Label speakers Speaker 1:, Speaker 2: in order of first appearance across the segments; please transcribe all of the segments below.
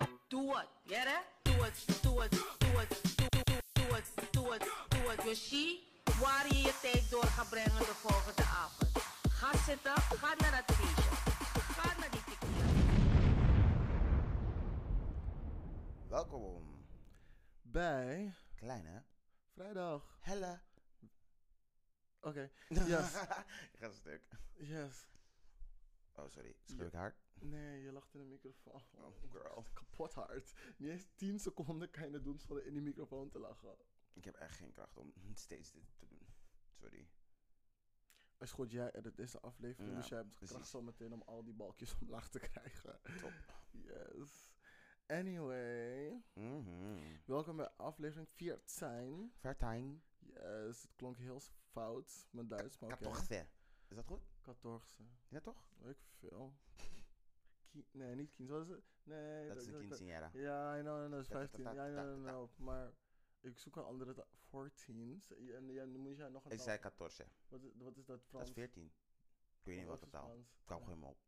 Speaker 1: it, yeah that? Do it, do it, do it, do, do, do het, doe het, doe het. Yoshi, waar je je tijd door gaat brengen de volgende avond. Ga zitten, ga naar dat feestje. Ga naar die tequila.
Speaker 2: Welkom.
Speaker 3: Bij
Speaker 2: Kleine.
Speaker 3: vrijdag.
Speaker 2: Helle.
Speaker 3: Oké. Yes.
Speaker 2: Ik ga een stuk.
Speaker 3: yes.
Speaker 2: Oh, sorry. Schreeuw ik hard?
Speaker 3: Nee, je lacht in de microfoon.
Speaker 2: Oh, girl.
Speaker 3: Kapot hard. Niet eens 10 seconden kan je het doen zonder in die microfoon te lachen.
Speaker 2: Ik heb echt geen kracht om steeds dit te doen. Sorry.
Speaker 3: Is goed, jij edit deze aflevering,
Speaker 2: Ja,
Speaker 3: dus jij hebt de
Speaker 2: precies.
Speaker 3: kracht zo meteen om al die balkjes omlaag te krijgen.
Speaker 2: Top.
Speaker 3: Yes. Anyway,
Speaker 2: Mhm.
Speaker 3: welkom bij aflevering 14.
Speaker 2: Vertijn.
Speaker 3: Yes, het klonk heel fout, mijn Duits, maar oké.
Speaker 2: Katorze. Is dat goed?
Speaker 3: 14.
Speaker 2: Ja, toch?
Speaker 3: Weet ik veel. Ki- nee, niet 15. Wat is het? Nee.
Speaker 2: Dat is een quinceañera.
Speaker 3: Ja, I know, I know, dat is
Speaker 2: Ta- ta-
Speaker 3: 15. Ja,
Speaker 2: ta-
Speaker 3: I
Speaker 2: ta-
Speaker 3: know, I
Speaker 2: ta-
Speaker 3: know. Maar ik zoek een andere ta- 14. Z- En ja, nu moet jij nog een
Speaker 2: Ik
Speaker 3: taal-
Speaker 2: zei 14.
Speaker 3: Wat is, wat is dat Frans?
Speaker 2: Dat is 14. Ik weet niet
Speaker 3: Wat
Speaker 2: wat
Speaker 3: is
Speaker 2: het taal.
Speaker 3: Frans?
Speaker 2: Ik kwam gewoon helemaal op.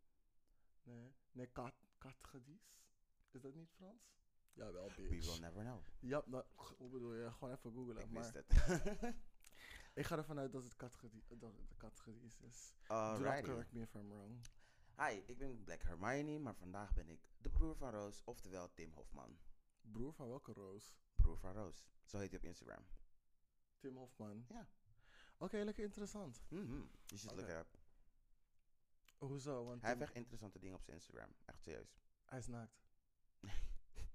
Speaker 3: Nee, nee, kat, katgedies. Is dat niet Frans? Jawel,
Speaker 2: We
Speaker 3: bitch.
Speaker 2: will never know.
Speaker 3: Ja, nou, g- hoe bedoel je? Gewoon even googlen.
Speaker 2: Ik
Speaker 3: maar
Speaker 2: wist het.
Speaker 3: ik ga ervan uit dat het katgedies, dat het katgedies is. Do not
Speaker 2: Alrighty.
Speaker 3: correct me if I'm wrong.
Speaker 2: Hi, ik ben Black Hermione, maar vandaag ben ik de broer van Roos, oftewel Tim Hofman.
Speaker 3: Broer van welke Roos?
Speaker 2: Broer van Roos. Zo heet hij op Instagram.
Speaker 3: Tim Hofman.
Speaker 2: Ja.
Speaker 3: Oké, lekker interessant.
Speaker 2: Mhm. Je should look it up.
Speaker 3: Hoezo? Want
Speaker 2: Hij heeft
Speaker 3: Tim-
Speaker 2: echt interessante dingen op zijn Instagram. Echt serieus.
Speaker 3: Hij is naakt.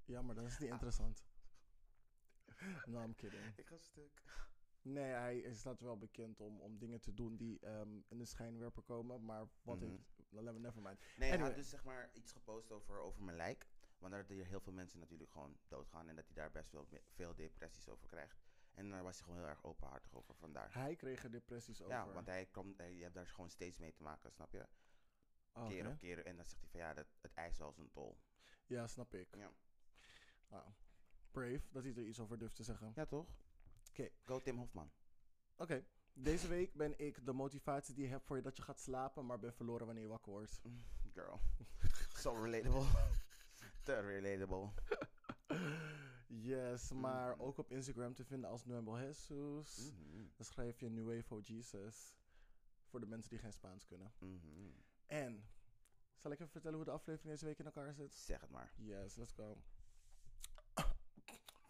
Speaker 3: ja, maar dat is
Speaker 2: Ah.
Speaker 3: niet interessant. no, I'm kidding.
Speaker 2: Ik ga stuk.
Speaker 3: Nee, hij is dat wel bekend om, om dingen te doen die ehm, in de schijnwerper komen. Maar wat
Speaker 2: Mhm.
Speaker 3: heeft... Let me never mind.
Speaker 2: Nee, hij
Speaker 3: Anyway.
Speaker 2: had dus zeg maar iets gepost over, over mijn lijk. Want dat er heel veel mensen natuurlijk gewoon doodgaan. En dat hij daar best wel me- veel depressies over krijgt. En daar was hij gewoon heel erg openhartig over vandaar.
Speaker 3: Hij kreeg er depressies over.
Speaker 2: Ja, want hij komt, hij, je hebt daar gewoon steeds mee te maken, snap je?
Speaker 3: Oh, Oké.
Speaker 2: Keer op keer. En dan zegt hij van ja, dat, het ijs wel zijn tol.
Speaker 3: Ja, snap ik.
Speaker 2: Ja,
Speaker 3: Nou, brave dat hij er iets over durft te zeggen. Oké.
Speaker 2: ja toch? Go Tim Hofman.
Speaker 3: Oké. Deze week ben ik de motivatie die je hebt voor je dat je gaat slapen, maar ben verloren wanneer je wakker wordt.
Speaker 2: Mhm. Girl. so relatable. Te relatable.
Speaker 3: Yes,
Speaker 2: Mhm.
Speaker 3: maar ook op Instagram te vinden als Nuevo Jesus.
Speaker 2: Mm-hmm.
Speaker 3: Dan schrijf je Nuevo Jesus. Voor de mensen die geen Spaans kunnen.
Speaker 2: Mhm.
Speaker 3: En, zal ik even vertellen hoe de aflevering deze week in elkaar zit?
Speaker 2: Zeg het maar.
Speaker 3: Yes, let's go.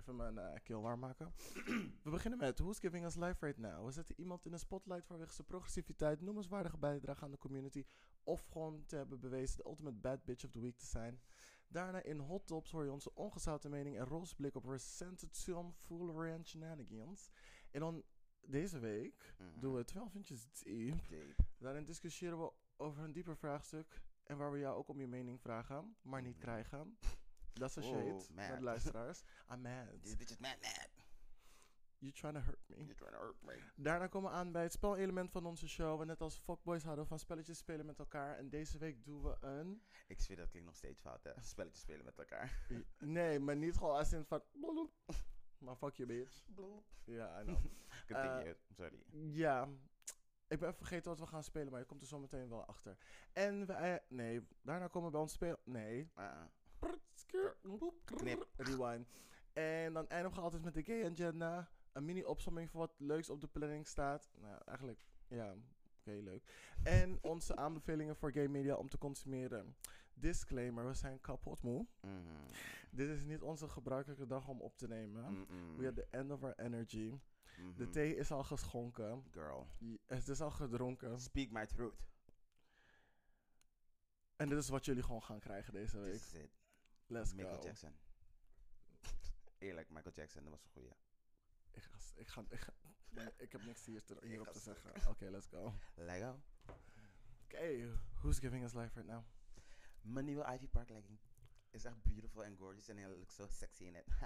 Speaker 3: Even mijn eh, keel warm maken. We beginnen met Who's Giving Us Life Right Now? We zetten iemand in een spotlight vanwege zijn progressiviteit, noemenswaardige bijdrage aan de community. Of gewoon te hebben bewezen de ultimate bad bitch of the week te zijn. Daarna in Hot Tops hoor je onze ongezouten mening en roze blik op recente full ranch shenanigans. En dan deze week doen we 12 inches deep.
Speaker 2: Deep.
Speaker 3: Daarin discussiëren we over een dieper vraagstuk. En waar we jou ook om je mening vragen, maar niet krijgen. Dat is een shade
Speaker 2: Wow, mad.
Speaker 3: naar de luisteraars. I'm mad.
Speaker 2: This bitch is mad mad.
Speaker 3: You trying to hurt me.
Speaker 2: You're trying to hurt me.
Speaker 3: Daarna komen we aan bij het spelelement van onze show. We net als fuckboys houden van spelletjes spelen met elkaar. En deze week doen we een...
Speaker 2: Ik zweer dat klinkt nog steeds fout, hè? Spelletjes spelen met elkaar.
Speaker 3: Nee, maar niet gewoon als in van... Maar fuck je bitch.
Speaker 2: Bloep.
Speaker 3: Ja, I know.
Speaker 2: Continue,
Speaker 3: Eh.
Speaker 2: sorry.
Speaker 3: Ja, ik ben even vergeten wat we gaan spelen, maar je komt er zo meteen wel achter. En we... eh, Nee, daarna komen we bij ons spelen... Nee,
Speaker 2: Uh-uh.
Speaker 3: Knip. Rewind. En dan eindigen we altijd met de gay agenda. Een mini opsomming van wat leuks op de planning staat. Nou, eigenlijk, ja, oké, leuk. En onze aanbevelingen voor gay media om te consumeren. Disclaimer, we zijn kapot moe.
Speaker 2: Mhm.
Speaker 3: Dit is niet onze gebruikelijke dag om op te nemen.
Speaker 2: Mm-mm.
Speaker 3: We are the end of our energy.
Speaker 2: Mhm.
Speaker 3: De thee is al geschonken.
Speaker 2: Girl.
Speaker 3: Het is al gedronken.
Speaker 2: Speak my truth.
Speaker 3: En dit is wat jullie gewoon gaan krijgen deze
Speaker 2: This
Speaker 3: week.
Speaker 2: is it.
Speaker 3: Let's
Speaker 2: Michael
Speaker 3: go.
Speaker 2: Jackson. Eerlijk, Michael Jackson, dat was een goeie.
Speaker 3: Ik, ga, ik, ga, ik, ga- nee, ik heb niks hier te, hierop
Speaker 2: ga
Speaker 3: te
Speaker 2: stuk.
Speaker 3: zeggen. Oké, let's go. Oké,
Speaker 2: Lego.
Speaker 3: who's giving us life right now?
Speaker 2: Mijn nieuwe Ivy Park legging is echt beautiful and gorgeous and I look so sexy in it.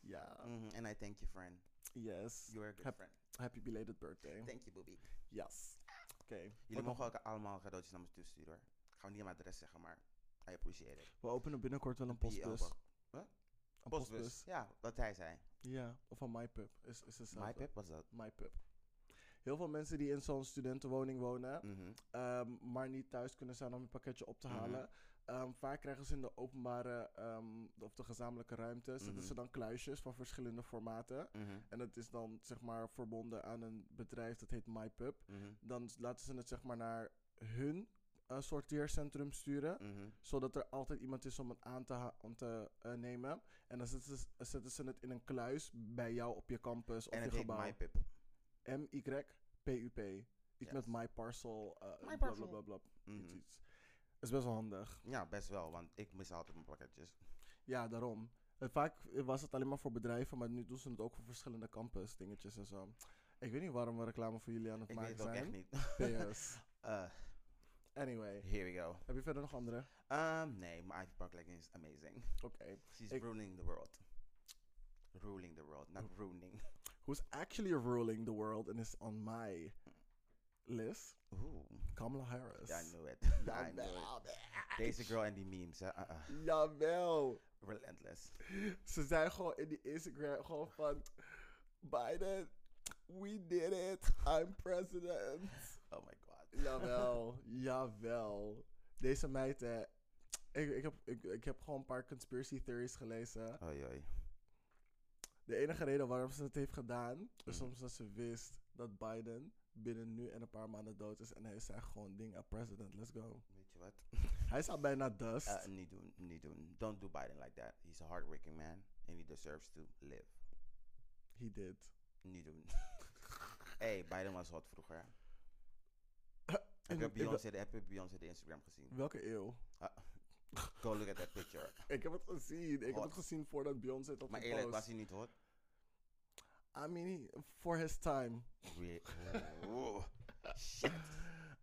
Speaker 3: Ja.
Speaker 2: Mhm, And I thank you, friend.
Speaker 3: Yes.
Speaker 2: You are a good
Speaker 3: Hap-
Speaker 2: friend.
Speaker 3: Happy belated birthday.
Speaker 2: Thank you, boobie.
Speaker 3: Hm. Yes. Oké.
Speaker 2: Jullie
Speaker 3: Wat-
Speaker 2: mogen ook allemaal cadeautjes naar me toesturen hoor. Ik ga niet mijn adres zeggen, maar I appreciate it.
Speaker 3: We openen binnenkort wel een postbus.
Speaker 2: Die eh,
Speaker 3: Een
Speaker 2: ook wel. Huh?
Speaker 3: postbus.
Speaker 2: Postbus. Ja, wat hij zei.
Speaker 3: Ja, of van MyPub. Is, is hetzelfde.
Speaker 2: My pip was dat.
Speaker 3: MyPub. heel veel mensen die in zo'n studentenwoning wonen,
Speaker 2: Mhm.
Speaker 3: ehm, maar niet thuis kunnen zijn om een pakketje op te
Speaker 2: Mhm.
Speaker 3: halen. Ehm, vaak krijgen ze in de openbare ehm, of de gezamenlijke ruimte zetten
Speaker 2: Mhm.
Speaker 3: ze dan kluisjes van verschillende formaten.
Speaker 2: Mhm.
Speaker 3: En dat is dan zeg maar verbonden aan een bedrijf dat heet MyPub.
Speaker 2: Mhm.
Speaker 3: Dan s- laten ze het zeg maar naar hun eh, sorteercentrum sturen.
Speaker 2: Mhm.
Speaker 3: Zodat er altijd iemand is om het aan te, ha- om te eh, nemen. En dan zetten ze, eh, zetten ze het in een kluis bij jou op je campus of
Speaker 2: En
Speaker 3: je
Speaker 2: het heet
Speaker 3: gebouw.
Speaker 2: MyPip.
Speaker 3: M-Y-P-U-P. Iets
Speaker 2: Yes.
Speaker 3: met my parcel. eh
Speaker 2: My
Speaker 3: bla,
Speaker 2: parcel.
Speaker 3: bla, bla, bla,
Speaker 2: Mhm.
Speaker 3: iets, iets. Is best wel handig.
Speaker 2: Ja, best wel, want ik mis altijd mijn pakketjes.
Speaker 3: Ja, daarom. Eh, Vaak was het alleen maar voor bedrijven, maar nu doen ze het ook voor verschillende campus dingetjes en zo. Ik weet niet waarom we reclame voor jullie aan het
Speaker 2: Ik weet
Speaker 3: maken
Speaker 2: het ook echt
Speaker 3: zijn.
Speaker 2: niet.
Speaker 3: PS.
Speaker 2: Eh,
Speaker 3: Anyway,
Speaker 2: here we go.
Speaker 3: heb je verder nog andere?
Speaker 2: Um, nee, mijn Ivy Park is amazing.
Speaker 3: Oké.
Speaker 2: She's
Speaker 3: Ik-
Speaker 2: ruining the world. Ruling the world, not ruining.
Speaker 3: Who's actually ruling the world and is on my list?
Speaker 2: Oeh,
Speaker 3: Kamala Harris.
Speaker 2: ja, I knew it. I knew it.
Speaker 3: Jawel.
Speaker 2: Deze girl en die memes, hè. ah, ah.
Speaker 3: Jawel.
Speaker 2: Relentless.
Speaker 3: Ze zijn gewoon in die Instagram gewoon van... Biden, we did it. I'm president.
Speaker 2: Oh my god.
Speaker 3: Jawel, jawel. Deze meid, eh, ik, ik, heb, ik, ik heb gewoon een paar conspiracy theories gelezen.
Speaker 2: Oei, oei.
Speaker 3: De enige reden waarom ze het heeft gedaan, is
Speaker 2: Mhm.
Speaker 3: omdat ze wist dat Biden binnen nu en een paar maanden dood is. En hij zei gewoon ding, "Ah, president, let's go.
Speaker 2: Weet je wat?
Speaker 3: Hij is al bijna dust.
Speaker 2: Eh, niet doen, niet doen. Don't do Biden like that. He's a hardworking man and he deserves to live.
Speaker 3: He did.
Speaker 2: Niet doen. hey, Biden was hot vroeger. Heb
Speaker 3: In-
Speaker 2: je
Speaker 3: in wel-
Speaker 2: Beyoncé de, heb je Beyoncé de Instagram gezien? Ah.
Speaker 3: welke eeuw?
Speaker 2: Go look at that picture.
Speaker 3: Ik heb het gezien. Ik heb
Speaker 2: Hot.
Speaker 3: het gezien voordat Beyoncé het had
Speaker 2: Maar eerlijk, was
Speaker 3: gepost.
Speaker 2: hij niet hot?
Speaker 3: I mean, he- for his time.
Speaker 2: Re- Oeh. Shit.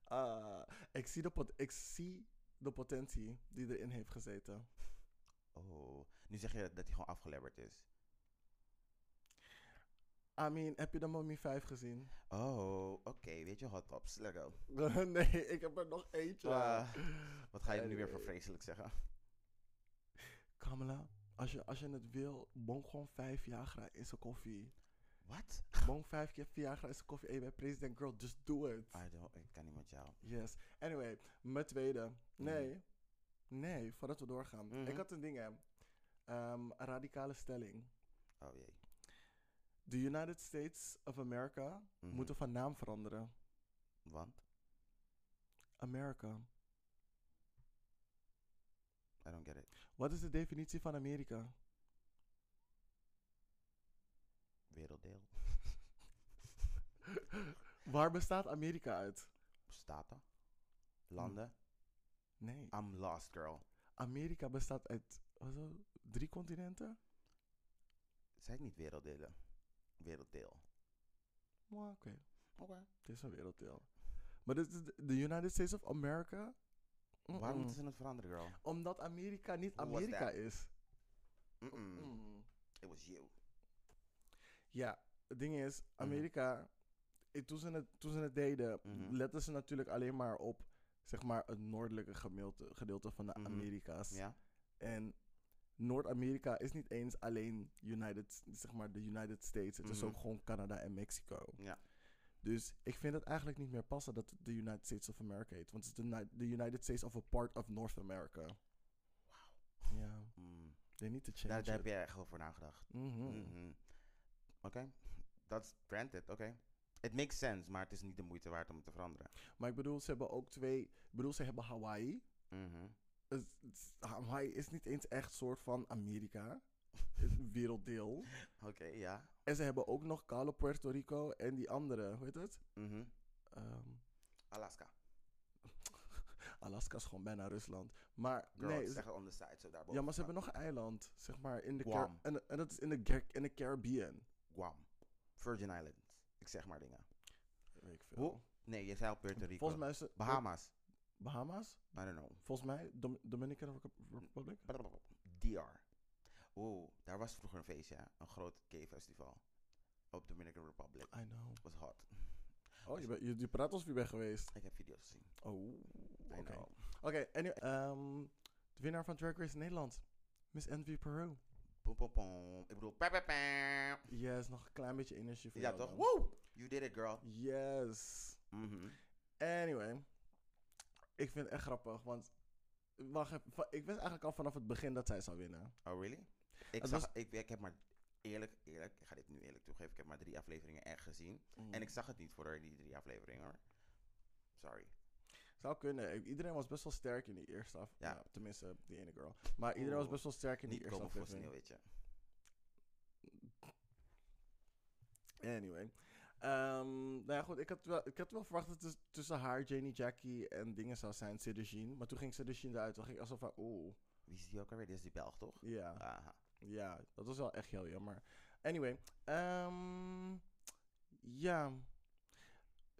Speaker 3: Ah, ik, zie de pot- ik zie de potentie die erin heeft gezeten.
Speaker 2: Oh. Nu zeg je dat hij gewoon afgelebberd is.
Speaker 3: I mean, heb je de Mummy 5 gezien?
Speaker 2: Oh, oké. Weet je, hot tops. Let's go.
Speaker 3: nee, ik heb er nog eentje.
Speaker 2: Ah, wat ga je nu weer voor
Speaker 3: Anyway.
Speaker 2: vreselijk zeggen?
Speaker 3: Kamala, als je, als je het wil, bong gewoon 5 Viagra in zijn koffie.
Speaker 2: Wat?
Speaker 3: Bong 5 keer Viagra in zijn koffie. Hey, bij President Girl, just do it.
Speaker 2: I don't, ik kan niet met jou.
Speaker 3: Yes. Anyway, mijn tweede. Nee. Nee, voordat we doorgaan.
Speaker 2: Mhm.
Speaker 3: Ik had een ding, hè. Ehm, een radicale stelling.
Speaker 2: Oh jee.
Speaker 3: The United States of America
Speaker 2: Mhm.
Speaker 3: moeten van naam veranderen.
Speaker 2: Want?
Speaker 3: America.
Speaker 2: I don't get it.
Speaker 3: Wat is de definitie van Amerika?
Speaker 2: Werelddeel.
Speaker 3: Waar bestaat Amerika uit?
Speaker 2: Staten. Landen.
Speaker 3: Nee.
Speaker 2: I'm lost, girl.
Speaker 3: Amerika bestaat uit wat was het? drie continenten?
Speaker 2: Zeg ik niet werelddelen? Werelddeel.
Speaker 3: Maar oké,
Speaker 2: Oké.
Speaker 3: het is een werelddeel. Maar dit is de de United States of America? Mm-mm.
Speaker 2: Waarom moeten ze het veranderen, girl?
Speaker 3: Omdat Amerika niet
Speaker 2: Who was
Speaker 3: Amerika
Speaker 2: that?
Speaker 3: is.
Speaker 2: Mm-mm.
Speaker 3: Mm.
Speaker 2: It was you.
Speaker 3: Ja, het ding is,
Speaker 2: Mm-hmm.
Speaker 3: Amerika, eh, toen, ze het, toen ze het deden,
Speaker 2: Mhm.
Speaker 3: letten ze natuurlijk alleen maar op zeg maar, het noordelijke gedeelte, gedeelte van de
Speaker 2: Mhm.
Speaker 3: Amerika's.
Speaker 2: Ja?
Speaker 3: En Noord-Amerika is niet eens alleen United, zeg maar de United States. Het is
Speaker 2: Mhm.
Speaker 3: ook gewoon Canada en Mexico.
Speaker 2: Ja.
Speaker 3: Dus ik vind het eigenlijk niet meer passen dat het de United States of America heet. Want het is de Ni- de United States of a part of North America. Wauw. Ja,
Speaker 2: Mm.
Speaker 3: they need to change
Speaker 2: Daar, daar heb
Speaker 3: it.
Speaker 2: je echt over nagedacht.
Speaker 3: Mhm.
Speaker 2: Mhm. Oké. That's granted. Oké. It makes sense, maar het is niet de moeite waard om het te veranderen.
Speaker 3: Maar ik bedoel, ze hebben ook twee... Ik bedoel, ze hebben Hawaii.
Speaker 2: Mhm.
Speaker 3: Het- het- Hawaii is niet eens echt soort van Amerika. Het werelddeel.
Speaker 2: Oké, ja.
Speaker 3: En ze hebben ook nog Calo Puerto Rico en die andere, hoe heet het?
Speaker 2: Mhm.
Speaker 3: Ehm,
Speaker 2: Alaska.
Speaker 3: Alaska is gewoon bijna Rusland. Maar
Speaker 2: Girl,
Speaker 3: nee,
Speaker 2: het is
Speaker 3: ze-
Speaker 2: echt on the side, zo daarboven.
Speaker 3: ja, maar ze hebben nog een eiland, zeg maar, in de Car-
Speaker 2: Guam.
Speaker 3: en, en dat is in de, Ger- in de Caribbean.
Speaker 2: Guam. Virgin Islands. Ik zeg maar dingen.
Speaker 3: Weet ik veel.
Speaker 2: Hoe? Nee, je zei al Puerto Rico.
Speaker 3: Volgens mij is het-
Speaker 2: Bahamas.
Speaker 3: Bahama's?
Speaker 2: I don't know.
Speaker 3: Volgens mij Dom- Dominican Repu- Republic?
Speaker 2: Blablabla. DR. Oeh, daar was vroeger een feestje, hè? een groot gay-festival. Op Dominican Republic.
Speaker 3: I know.
Speaker 2: was hot.
Speaker 3: Oh, je, bent- je, je praat alsof je bent geweest.
Speaker 2: Ik heb video's gezien.
Speaker 3: Oh,
Speaker 2: I
Speaker 3: oké.
Speaker 2: know.
Speaker 3: Oké, anyway. ehm, de winnaar van Drag Race Nederland. Miss Envy Peru.
Speaker 2: Pom, pom, pom. Ik bedoel, pa, pa, pa.
Speaker 3: Yes, nog een klein beetje energie voor
Speaker 2: Ja,
Speaker 3: jou
Speaker 2: toch?
Speaker 3: dan.
Speaker 2: Woe! You did it, girl.
Speaker 3: Yes.
Speaker 2: Mhm.
Speaker 3: Anyway, ik vind het echt grappig, want wacht, even, va- ik wist eigenlijk al vanaf het begin dat zij zou winnen.
Speaker 2: Oh, really? Ik,
Speaker 3: Het
Speaker 2: zag,
Speaker 3: was-
Speaker 2: ik, ik heb maar eerlijk, eerlijk, ik ga dit nu eerlijk toegeven. Ik heb maar drie afleveringen echt gezien.
Speaker 3: Mhm.
Speaker 2: En ik zag het niet voor die drie afleveringen hoor. Sorry.
Speaker 3: Zou kunnen. Ik- Iedereen was best wel sterk in die eerste af.
Speaker 2: Ja.
Speaker 3: Ja. tenminste, die ene girl. Maar iedereen was
Speaker 2: Oeh,
Speaker 3: best wel sterk in die
Speaker 2: Niet
Speaker 3: eerste
Speaker 2: komen voor sneeuw,
Speaker 3: aflevering.
Speaker 2: weet je.
Speaker 3: Anyway. Ehm, nou ja, goed. Ik had wel, ik had wel verwacht dat het tussen haar, Janie Jackie en dingen zou zijn, Cedric Maar toen ging Cedric eruit. Toen ging ik alsof van, oeh,
Speaker 2: Wie is die ook alweer? Dit is die Belg, toch?
Speaker 3: ja.
Speaker 2: Aha.
Speaker 3: Ja, dat was wel echt heel jammer. Anyway, ehm, ja.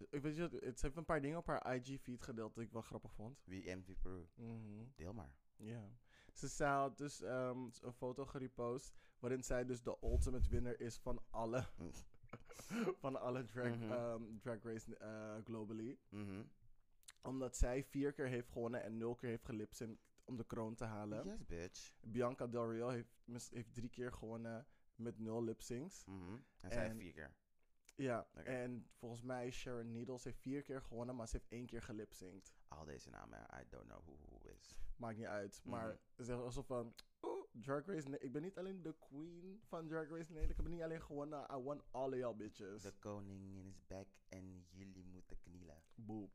Speaker 3: Ik weet je, wat, het- ze heeft een paar dingen op haar IG-feed gedeeld dat ik wel grappig vond.
Speaker 2: Wie MV Peru?
Speaker 3: Mhm,
Speaker 2: Deel maar.
Speaker 3: Ja. Ze zou dus ehm, een foto gerepost waarin zij dus de ultimate winner is van alle,
Speaker 2: Mm.
Speaker 3: van alle drag,
Speaker 2: Mhm.
Speaker 3: ehm, drag race eh, globally.
Speaker 2: Mhm.
Speaker 3: Omdat zij vier keer heeft gewonnen en nul keer heeft gelipsynct om de kroon te halen.
Speaker 2: Yes, bitch.
Speaker 3: Bianca Del Rio heeft, mis- heeft drie keer gewonnen met nul lipsyncs.
Speaker 2: Mhm. En zij
Speaker 3: En-
Speaker 2: vier keer.
Speaker 3: Ja,
Speaker 2: Oké.
Speaker 3: en volgens mij Sharon Needles heeft vier keer gewonnen, maar ze heeft één keer gelipzinkt.
Speaker 2: Al deze namen, I don't know who who is.
Speaker 3: Maakt niet uit. Maar
Speaker 2: Mhm.
Speaker 3: het is alsof van, oeh, Drag Race, nee, ik ben niet alleen de queen van Drag Race Nederland. Ik heb niet alleen gewonnen, I won all of y'all bitches.
Speaker 2: De koningin is back en jullie moeten knielen.
Speaker 3: Boop.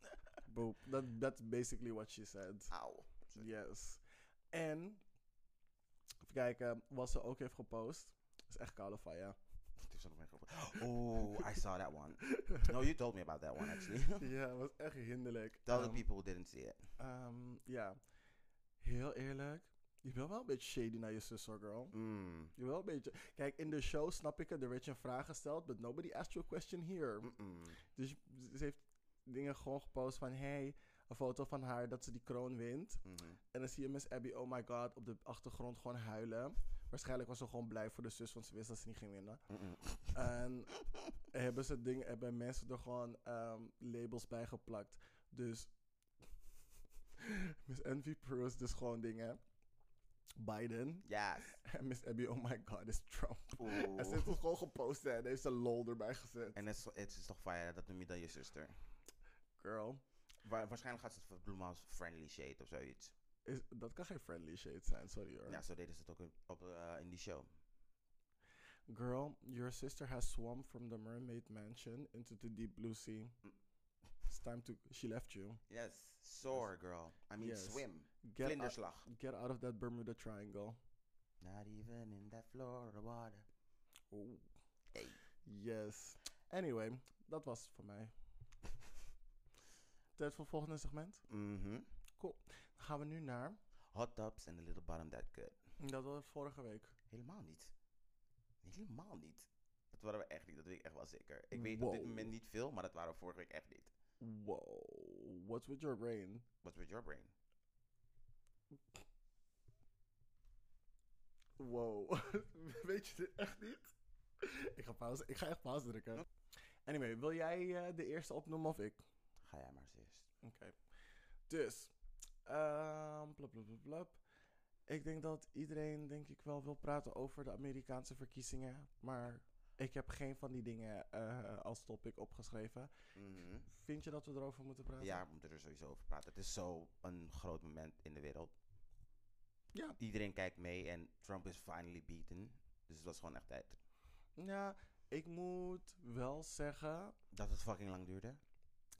Speaker 3: Boop. That, that's basically what she said.
Speaker 2: Auw. Sorry.
Speaker 3: Yes. En, even kijken, wat ze ook heeft gepost, is echt koude van, ja.
Speaker 2: Het is ook nog meer Oh, I saw that one. No, you told me about that one actually.
Speaker 3: Ja, het was echt hinderlijk.
Speaker 2: Tell the
Speaker 3: Ehm,
Speaker 2: people who didn't see it.
Speaker 3: Ehm, ja, heel eerlijk. Je wil wel een beetje shady naar je zus, hoor, girl.
Speaker 2: Mm.
Speaker 3: Je wil een beetje... Kijk, in de show snap ik het. Er werd je een vraag gesteld, but nobody asked you a question here.
Speaker 2: Mm-mm.
Speaker 3: Dus je- ze heeft dingen gewoon gepost van... Hey, een foto van haar dat ze die kroon wint.
Speaker 2: Mhm.
Speaker 3: En dan zie je Miss Abby, oh my god, op de achtergrond gewoon huilen. Waarschijnlijk was ze gewoon blij voor de zus, want ze wist dat ze niet ging winnen.
Speaker 2: Mm-mm.
Speaker 3: En hebben ze dingen, hebben mensen er gewoon ehm, labels bij geplakt. Dus Miss Envy Peru is dus gewoon dingen. Biden.
Speaker 2: Yes.
Speaker 3: En Miss Abby, oh my god, is Trump. En ze
Speaker 2: Oeh.
Speaker 3: heeft het gewoon gepost en heeft ze lol erbij gezet.
Speaker 2: En het is, het is toch fire, dat noem je dan je zuster.
Speaker 3: Girl,
Speaker 2: Wa- waarschijnlijk gaat ze het verbloemen als friendly shade of zoiets.
Speaker 3: is, dat kan geen friendly shade zijn, sorry hoor.
Speaker 2: Ja, zo deden ze het ook in, op, eh, in die show.
Speaker 3: Girl, your sister has swum from the mermaid mansion into the deep blue sea. It's time to, she left you.
Speaker 2: Yes. Soar, girl. I mean,
Speaker 3: Yes.
Speaker 2: swim.
Speaker 3: Get, out,
Speaker 2: Vlinderslag.
Speaker 3: get out of that Bermuda Triangle.
Speaker 2: Not even in that Florida water.
Speaker 3: Oeh.
Speaker 2: Hey.
Speaker 3: Yes. Anyway, dat was het voor mij. Tijd voor het volgende segment.
Speaker 2: Mhm.
Speaker 3: Dan gaan we nu naar.
Speaker 2: Hot tubs and a little bottom that good.
Speaker 3: Dat was vorige week.
Speaker 2: Helemaal niet. Helemaal niet. Dat waren we echt niet, dat weet ik echt wel zeker. Ik weet op dit
Speaker 3: Wow.
Speaker 2: moment niet veel, maar dat waren we vorige week echt niet.
Speaker 3: Wow. What's with your brain?
Speaker 2: What's with your brain?
Speaker 3: Wow. Weet je dit echt niet? Ik ga, pauze, ik ga echt pauze drukken. Anyway, wil jij eh, de eerste opnoemen of ik?
Speaker 2: Ga jij maar eens eerst.
Speaker 3: Oké. Dus. ehm blub, blub, blub, blub. Ik denk dat iedereen, denk ik, wel wil praten over de Amerikaanse verkiezingen. Maar ik heb geen van die dingen eh, als topic opgeschreven.
Speaker 2: Mhm.
Speaker 3: Vind je dat we erover moeten praten?
Speaker 2: Ja, we moeten er sowieso over praten. Het is zo een groot moment in de wereld.
Speaker 3: Ja.
Speaker 2: Iedereen kijkt mee en Trump is finally beaten. Dus het was gewoon echt tijd.
Speaker 3: Ja, ik moet wel zeggen.
Speaker 2: Dat het fucking lang duurde.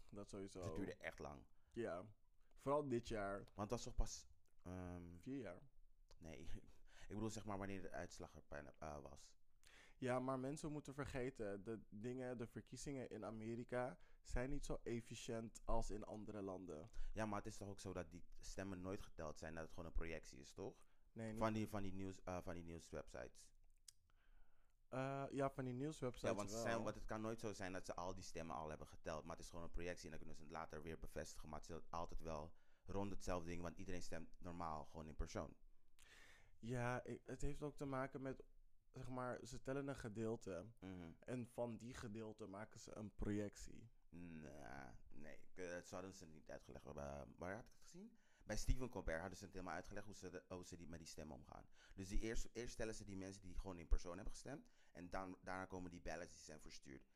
Speaker 3: Dat sowieso.
Speaker 2: Het duurde echt lang.
Speaker 3: Ja. Vooral dit jaar.
Speaker 2: Want het was toch pas... ehm,
Speaker 3: Vier jaar.
Speaker 2: nee, ik bedoel zeg maar wanneer de uitslag er bijna eh, was.
Speaker 3: Ja, maar mensen moeten vergeten, de dingen, de verkiezingen in Amerika zijn niet zo efficiënt als in andere landen.
Speaker 2: Ja, maar het is toch ook zo dat die stemmen nooit geteld zijn. Dat het gewoon een projectie is, toch?
Speaker 3: Nee, niet-
Speaker 2: Van die, van die, nieuws, eh, van die nieuwswebsites.
Speaker 3: Eh, ja, van die nieuwswebsites
Speaker 2: Ja, want, ze
Speaker 3: wel.
Speaker 2: zijn, want het kan nooit zo zijn dat ze al die stemmen al hebben geteld. Maar het is gewoon een projectie en dan kunnen ze het later weer bevestigen. Maar het is altijd wel rond hetzelfde ding. Want iedereen stemt normaal gewoon in persoon.
Speaker 3: Ja, i- het heeft ook te maken met, zeg maar, ze tellen een gedeelte.
Speaker 2: Mhm.
Speaker 3: En van die gedeelte maken ze een projectie.
Speaker 2: Nah, nee, ik, eh, dat hadden ze niet uitgelegd. eh, Waar, waar had ik het gezien? Bij Stephen Colbert hadden ze het helemaal uitgelegd hoe ze, de- hoe ze die, met die stemmen omgaan. Dus die eerst, eerst stellen ze die mensen die gewoon in persoon hebben gestemd. En dan, daarna komen die ballots die zijn verstuurd.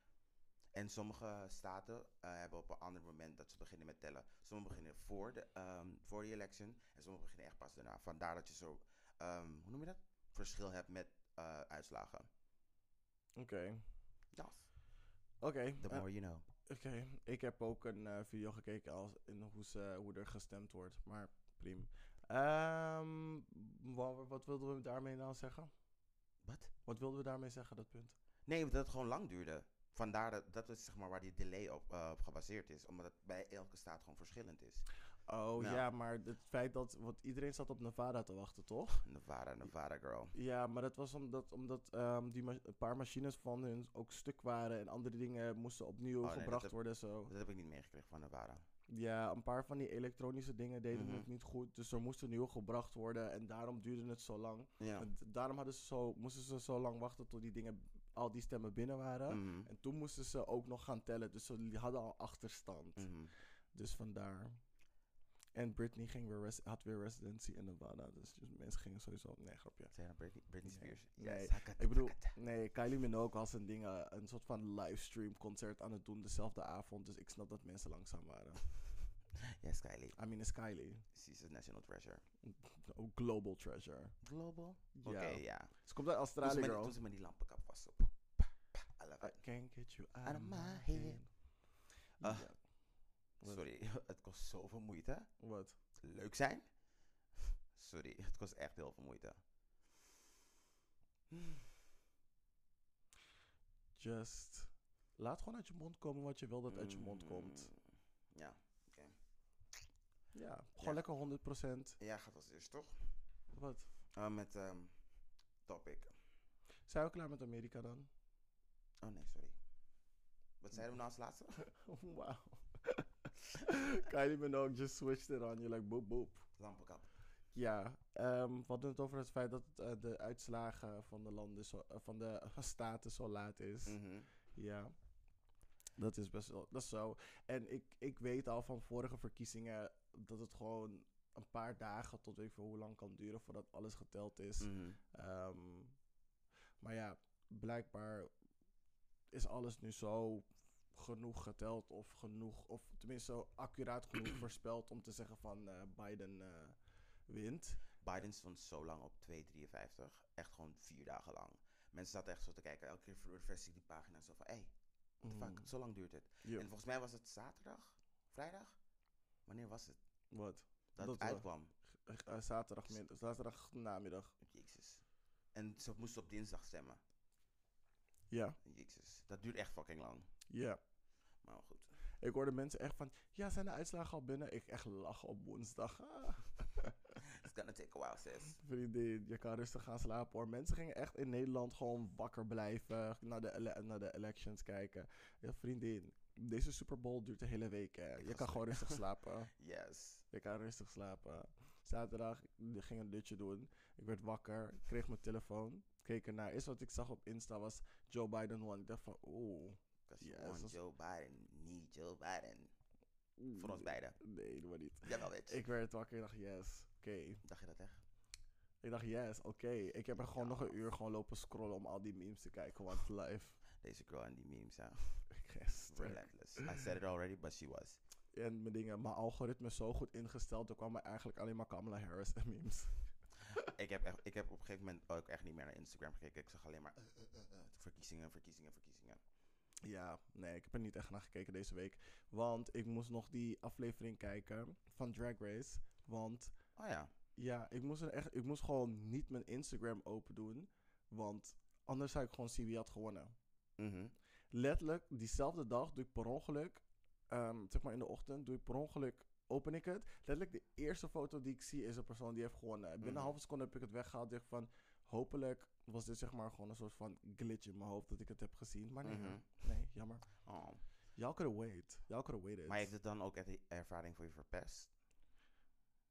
Speaker 2: En sommige staten eh, hebben op een ander moment dat ze beginnen met tellen. Sommigen beginnen voor de, ehm, voor de election en sommigen beginnen echt pas daarna. Vandaar dat je zo, ehm, hoe noem je dat? Verschil hebt met eh, uitslagen.
Speaker 3: Oké.
Speaker 2: Ja.
Speaker 3: Oké.
Speaker 2: The
Speaker 3: eh,
Speaker 2: more you know.
Speaker 3: Oké, ik heb ook een eh, video gekeken als in hoe, ze, hoe er gestemd wordt, maar prima. Ehm, wa- wat wilden we daarmee nou zeggen?
Speaker 2: Wat?
Speaker 3: Wat wilden we daarmee zeggen, dat punt?
Speaker 2: Nee, dat het gewoon lang duurde. Vandaar dat, dat is zeg maar waar die delay op, eh, op gebaseerd is. Omdat het bij elke staat gewoon verschillend is.
Speaker 3: Oh ja, maar het feit dat, want iedereen zat op Nevada te wachten, toch?
Speaker 2: Nevada, Nevada girl.
Speaker 3: Ja, maar dat was omdat, omdat ehm, die ma- een paar machines van hun ook stuk waren en andere dingen moesten opnieuw
Speaker 2: Oh, nee, dat
Speaker 3: gebracht
Speaker 2: heb-
Speaker 3: worden zo.
Speaker 2: Dat heb ik niet meegekregen van Nevada.
Speaker 3: Ja, een paar van die elektronische dingen deden
Speaker 2: Mhm.
Speaker 3: het niet goed, dus er moesten nieuw gebracht worden en daarom duurde het zo lang.
Speaker 2: Ja.
Speaker 3: En d- daarom hadden ze zo, moesten ze zo lang wachten tot die dingen, al die stemmen binnen waren.
Speaker 2: Mhm,
Speaker 3: En toen moesten ze ook nog gaan tellen. Dus ze li- hadden al achterstand.
Speaker 2: mhm.
Speaker 3: Dus vandaar. En Britney ging weer res- had weer residency in Nevada. Dus, dus mensen gingen sowieso... Nee, grapje.
Speaker 2: Zeg je nou Britney, Britney
Speaker 3: Nee.
Speaker 2: Spears.
Speaker 3: Nee,
Speaker 2: Yes, hakata,
Speaker 3: Ik bedoel,
Speaker 2: hakata.
Speaker 3: nee, Kylie Minogue was een, ding, eh, een soort van livestream concert aan het doen dezelfde avond. Dus ik snap dat mensen langzaam waren.
Speaker 2: Yes, Kylie.
Speaker 3: I mean, is Kylie.
Speaker 2: She's a national treasure.
Speaker 3: Oh, global treasure.
Speaker 2: Global?
Speaker 3: Ja.
Speaker 2: Oké, dus- ja.
Speaker 3: Ze komt uit
Speaker 2: Toen ze
Speaker 3: Australië,
Speaker 2: met die-
Speaker 3: girl. Eh,
Speaker 2: toen ze met die lampenkap was. Zo. poep, pa, pa, I love
Speaker 3: I
Speaker 2: it.
Speaker 3: can't get you out,
Speaker 2: Out
Speaker 3: of
Speaker 2: of
Speaker 3: my
Speaker 2: my
Speaker 3: head.
Speaker 2: head. Ah.
Speaker 3: Ja. Wat?
Speaker 2: Sorry, het kost zoveel moeite.
Speaker 3: Wat?
Speaker 2: Leuk zijn? Sorry, het kost echt heel veel moeite.
Speaker 3: Just. Laat gewoon uit je mond komen wat je wil dat uit je mond komt.
Speaker 2: Mm, Ja, oké.
Speaker 3: Ja, gewoon lekker 100%.
Speaker 2: Ja, gaat als eerst toch?
Speaker 3: Wat?
Speaker 2: Eh, met ehm, topic.
Speaker 3: Zijn we klaar met Amerika dan?
Speaker 2: Oh nee, sorry. Wat zeiden we nou als laatste?
Speaker 3: Wauw. Kylie Minogue just switched it on. You're like boop boop.
Speaker 2: Lampenkap.
Speaker 3: Ja, ehm, we hadden het over het feit dat eh, de uitslagen van de landen, zo, eh, van de staten zo laat is.
Speaker 2: Mhm.
Speaker 3: Ja. Dat is best wel, dat is zo. En ik, ik weet al van vorige verkiezingen dat het gewoon een paar dagen tot weet ik veel hoe lang kan duren voordat alles geteld is.
Speaker 2: Mhm.
Speaker 3: Ehm, maar ja, blijkbaar is alles nu zo genoeg geteld of genoeg, of tenminste zo accuraat genoeg voorspeld om te zeggen van eh, Biden eh, wint.
Speaker 2: Biden stond zo lang op 2,53. Echt gewoon vier dagen lang. Mensen zaten echt zo te kijken. Elke keer refresh ik die pagina zo van... Hé, hey, what the fuck,
Speaker 3: Mm,
Speaker 2: zo lang duurt het.
Speaker 3: ja,
Speaker 2: En volgens mij was het zaterdag? Vrijdag? Wanneer was het?
Speaker 3: Wat?
Speaker 2: Dat,
Speaker 3: Dat
Speaker 2: het
Speaker 3: we-
Speaker 2: uitkwam.
Speaker 3: Eh, zaterdagmiddag, zaterdag namiddag.
Speaker 2: Jezus. En ze moesten op dinsdag stemmen.
Speaker 3: Ja,
Speaker 2: Jezus. Dat duurt echt fucking lang.
Speaker 3: ja.
Speaker 2: Maar goed.
Speaker 3: Ik hoorde mensen echt van, ja, zijn de uitslagen al binnen? Ik echt lach op woensdag. Ah,
Speaker 2: It's gonna take a while, sis.
Speaker 3: vriendin, je kan rustig gaan slapen hoor. Mensen gingen echt in Nederland gewoon wakker blijven, naar de, ele- naar de elections kijken. Ja, vriendin, deze Super Bowl duurt de hele week hè. Je
Speaker 2: ga
Speaker 3: kan gewoon rustig slapen.
Speaker 2: Yes.
Speaker 3: Je kan rustig slapen. Zaterdag ik ging een dutje doen. Ik werd wakker, ik kreeg mijn telefoon, keek ernaar. Eerst wat ik zag op Insta was Joe Biden won. Ik dacht van, oeh.
Speaker 2: Because you
Speaker 3: Yes,
Speaker 2: want
Speaker 3: dat-
Speaker 2: Joe Biden, niet Joe Biden. Voor ons beiden.
Speaker 3: Nee, helemaal niet.
Speaker 2: Jawel, bitch.
Speaker 3: Ik werd wakker en dacht, yes, oké.
Speaker 2: Dacht je dat echt?
Speaker 3: Ik dacht, yes, oké. Ik heb er gewoon nog een uur gewoon lopen scrollen om al die memes te kijken, want live.
Speaker 2: Deze girl en die memes, ja.
Speaker 3: Yes.
Speaker 2: Relentless. I said it already, but she was.
Speaker 3: En mijn dingen, mijn algoritme is zo goed ingesteld, er kwamen eigenlijk alleen maar Kamala Harris en memes.
Speaker 2: ik, heb echt, ik heb op een gegeven moment ook echt niet meer naar Instagram gekeken. Ik zag alleen maar eh, eh, eh, eh, verkiezingen, verkiezingen, verkiezingen.
Speaker 3: Ja, nee, ik heb er niet echt naar gekeken deze week. Want ik moest nog die aflevering kijken van Drag Race. Want
Speaker 2: Oh ja.
Speaker 3: ja, ik moest, er echt, ik moest gewoon niet mijn Instagram open doen. Want anders zou ik gewoon zien wie had gewonnen.
Speaker 2: Mhm.
Speaker 3: letterlijk diezelfde dag doe ik per ongeluk, ehm, zeg maar in de ochtend, doe ik per ongeluk, open ik het. Letterlijk de eerste foto die ik zie is een persoon die heeft gewonnen. Binnen
Speaker 2: Mhm.
Speaker 3: een halve seconde heb ik het weggehaald. Dacht van, hopelijk was dit zeg maar gewoon een soort van glitch in mijn hoofd dat ik het heb gezien. Maar nee,
Speaker 2: Mhm.
Speaker 3: nee jammer.
Speaker 2: Oh.
Speaker 3: Y'all could wait. Y'all could waited.
Speaker 2: Maar heeft het dan ook echt die ervaring voor je verpest?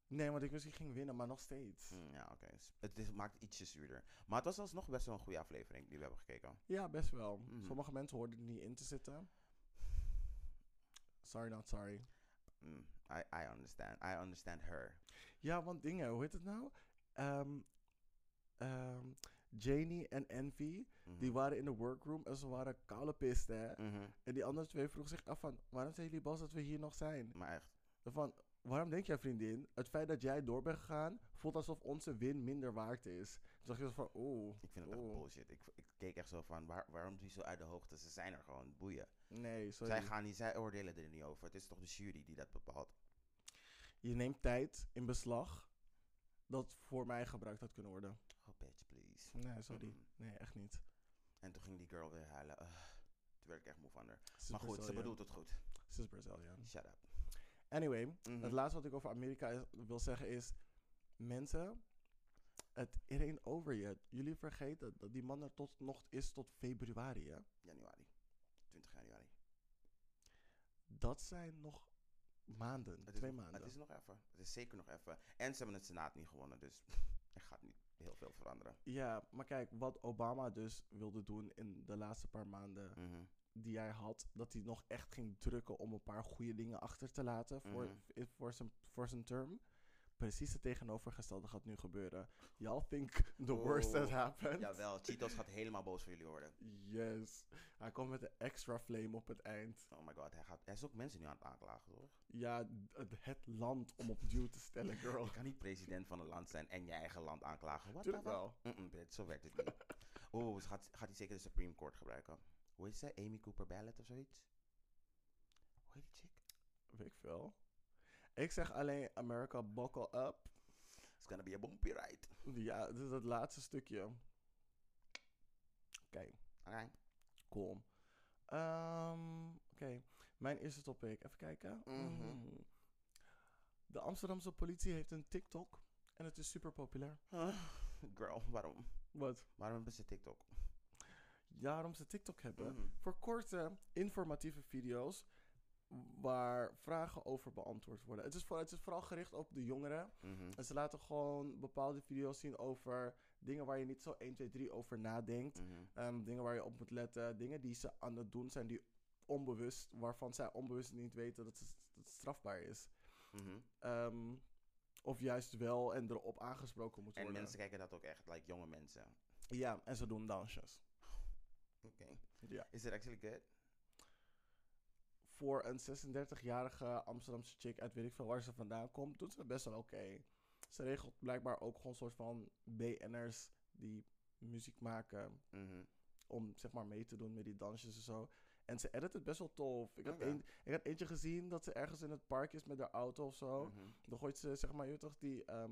Speaker 3: Nee, want ik wist ik ging winnen, maar nog steeds.
Speaker 2: Mm, ja, oké. S- Het is, maakt het ietsje zuurder. Maar het was alsnog best wel een goede aflevering die we hebben gekeken.
Speaker 3: Ja, best wel.
Speaker 2: Mhm.
Speaker 3: Sommige mensen hoorden er niet in te zitten. Sorry, not sorry.
Speaker 2: Mm, I, I understand. I understand her.
Speaker 3: Ja, want dingen, hoe heet het nou? Ehm, ehm, Janie en Envy,
Speaker 2: Mhm.
Speaker 3: die waren in de workroom en ze waren koude pisten. hè.
Speaker 2: Mhm.
Speaker 3: En die andere twee vroegen zich af van, waarom zijn jullie boos dat we hier nog zijn?
Speaker 2: Maar echt.
Speaker 3: Van, waarom denk jij vriendin, het feit dat jij door bent gegaan, voelt alsof onze win minder waard is. Toen dacht je zo van, oeh,
Speaker 2: Ik vind het echt
Speaker 3: Oeh.
Speaker 2: bullshit. Ik, ik keek echt zo van, waar, waarom die zo uit de hoogte? Ze zijn er gewoon, boeien.
Speaker 3: nee, sorry.
Speaker 2: Zij, gaan niet, zij oordelen er niet over. Het is toch de jury die dat bepaalt.
Speaker 3: Je neemt tijd in beslag dat voor mij gebruikt had kunnen worden.
Speaker 2: Oh, bitch, please.
Speaker 3: Nee, sorry.
Speaker 2: Mm.
Speaker 3: Nee, echt niet.
Speaker 2: En toen ging die girl weer huilen. Ugh, toen werd ik echt moe van haar.
Speaker 3: Ze is
Speaker 2: Maar goed, ze
Speaker 3: Brazilian.
Speaker 2: bedoelt het goed.
Speaker 3: Ze is Brazilian.
Speaker 2: Shut up.
Speaker 3: Anyway,
Speaker 2: Mhm.
Speaker 3: Mm. het laatste wat ik over Amerika is- wil zeggen is... Mensen, het it ain't over yet. Jullie vergeten dat die man er tot nog is tot februari, hè?
Speaker 2: Januari. 20 januari.
Speaker 3: Dat zijn nog maanden,
Speaker 2: Het is
Speaker 3: twee
Speaker 2: nog-
Speaker 3: maanden.
Speaker 2: Het is nog even. Het is zeker nog even. En ze hebben het Senaat niet gewonnen, dus er gaat niet heel veel veranderen.
Speaker 3: Ja, maar kijk, wat Obama dus wilde doen in de laatste paar maanden
Speaker 2: Mhm.
Speaker 3: die hij had, dat hij nog echt ging drukken om een paar goede dingen achter te laten voor,
Speaker 2: Mhm.
Speaker 3: i- voor, zijn, voor zijn term. Precies het tegenovergestelde gaat nu gebeuren. Y'all think the worst has
Speaker 2: Oh,
Speaker 3: happened.
Speaker 2: Jawel, Cheetos gaat helemaal boos voor jullie worden.
Speaker 3: Yes. Hij komt met een extra flame op het eind.
Speaker 2: Oh my god, hij, gaat, hij is ook mensen nu aan het aanklagen, toch?
Speaker 3: Ja, d- het, het land om opnieuw te stellen, girl.
Speaker 2: Je kan niet president van een land zijn en je eigen land aanklagen. Wat
Speaker 3: Tuurlijk wel.
Speaker 2: Mm Brit, zo werkt het niet. Oeh, ze gaat, gaat hij zeker de Supreme Court gebruiken. Hoe is ze? Amy Cooper Ballot of zoiets? Hoe heet die chick?
Speaker 3: Weet ik veel. Ik zeg alleen America buckle up.
Speaker 2: It's gonna be a bumpy ride.
Speaker 3: Ja, dat is het laatste stukje. Oké,
Speaker 2: Oké.
Speaker 3: cool. Ehm, Oké, mijn eerste topic. Even kijken.
Speaker 2: Mhm.
Speaker 3: Mm. De Amsterdamse politie heeft een TikTok. En het is super populair.
Speaker 2: Ah, Girl, waarom?
Speaker 3: Wat?
Speaker 2: Waarom hebben ze TikTok?
Speaker 3: Daarom ze TikTok hebben.
Speaker 2: Mhm.
Speaker 3: Voor korte, informatieve video's. Waar vragen over beantwoord worden. Het is, voor, het is vooral gericht op de jongeren.
Speaker 2: Mhm.
Speaker 3: En ze laten gewoon bepaalde video's zien over dingen waar je niet zo 1, 2, 3 over nadenkt.
Speaker 2: Mhm.
Speaker 3: Ehm, dingen waar je op moet letten. Dingen die ze aan het doen zijn die onbewust, waarvan zij onbewust niet weten dat het, dat het strafbaar is.
Speaker 2: Mhm.
Speaker 3: Ehm, of juist wel en erop aangesproken moet
Speaker 2: En
Speaker 3: worden.
Speaker 2: mensen kijken dat ook echt, like jonge mensen.
Speaker 3: Ja, en ze doen dansjes.
Speaker 2: Oké.
Speaker 3: Ja.
Speaker 2: Is it actually good?
Speaker 3: Voor een 36-jarige Amsterdamse chick uit weet ik veel waar ze vandaan komt, doet ze best wel oké. Ze regelt blijkbaar ook gewoon een soort van BN'ers die muziek maken
Speaker 2: Mhm.
Speaker 3: om zeg maar mee te doen met die dansjes en zo. En ze edit het best wel tof. Ik, had
Speaker 2: Oké.
Speaker 3: een, ik had eentje gezien dat ze ergens in het park is met haar auto of zo.
Speaker 2: Mhm.
Speaker 3: Dan gooit ze, zeg maar, je weet toch, die... ehm,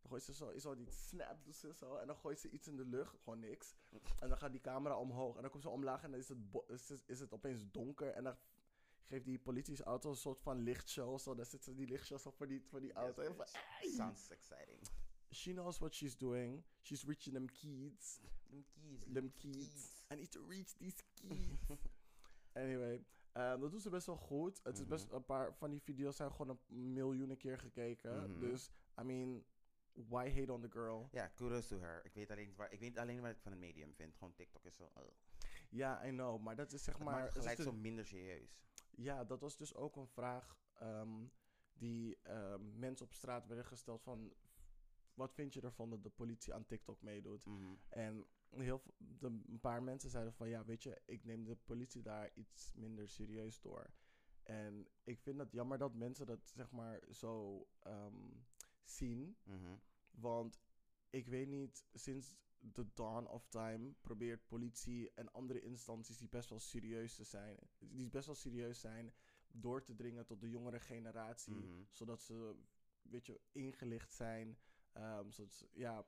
Speaker 3: dan gooit ze zo, is al die snap, doet ze zo. En dan gooit ze iets in de lucht, gewoon niks. En dan gaat die camera omhoog. En dan komt ze omlaag en dan is het, bo- is het, is het opeens donker. En dan geeft die politieauto een soort van lichtshow. Zo, dan zit ze die lichtshow zo voor die, voor die
Speaker 2: Yes,
Speaker 3: auto. En van,
Speaker 2: bitch. Sounds exciting.
Speaker 3: she knows what she's doing. She's reaching them kids.
Speaker 2: Them kids.
Speaker 3: Them kids. I need to reach these kids. anyway, ehm, dat doen ze best wel goed. Het is
Speaker 2: Mhm.
Speaker 3: best een paar van die video's zijn gewoon een miljoenen keer gekeken.
Speaker 2: Mhm.
Speaker 3: Dus, I mean, why hate on the girl?
Speaker 2: Ja, kudos to her. Ik weet alleen niet waar ik, weet alleen waar ik van een medium vind. Gewoon TikTok is zo. eh.
Speaker 3: Ja, I know, maar dat is zeg
Speaker 2: Het
Speaker 3: maar.
Speaker 2: maakt het
Speaker 3: het is
Speaker 2: gelijk
Speaker 3: dus-
Speaker 2: zo minder serieus.
Speaker 3: Ja, dat was dus ook een vraag ehm, die ehm, mensen op straat werden gesteld van. Wat vind je ervan dat de politie aan TikTok meedoet?
Speaker 2: Mhm.
Speaker 3: En heel veel- de, een paar mensen zeiden van ja, weet je, ik neem de politie daar iets minder serieus door. En ik vind het jammer dat mensen dat zeg maar zo ehm, zien.
Speaker 2: Mhm.
Speaker 3: Want ik weet niet, sinds the dawn of time probeert politie en andere instanties die best wel serieus te zijn, die best wel serieus zijn, door te dringen tot de jongere generatie.
Speaker 2: Mhm.
Speaker 3: Zodat ze, weet je, ingelicht zijn. ehm, zodat ze- ja,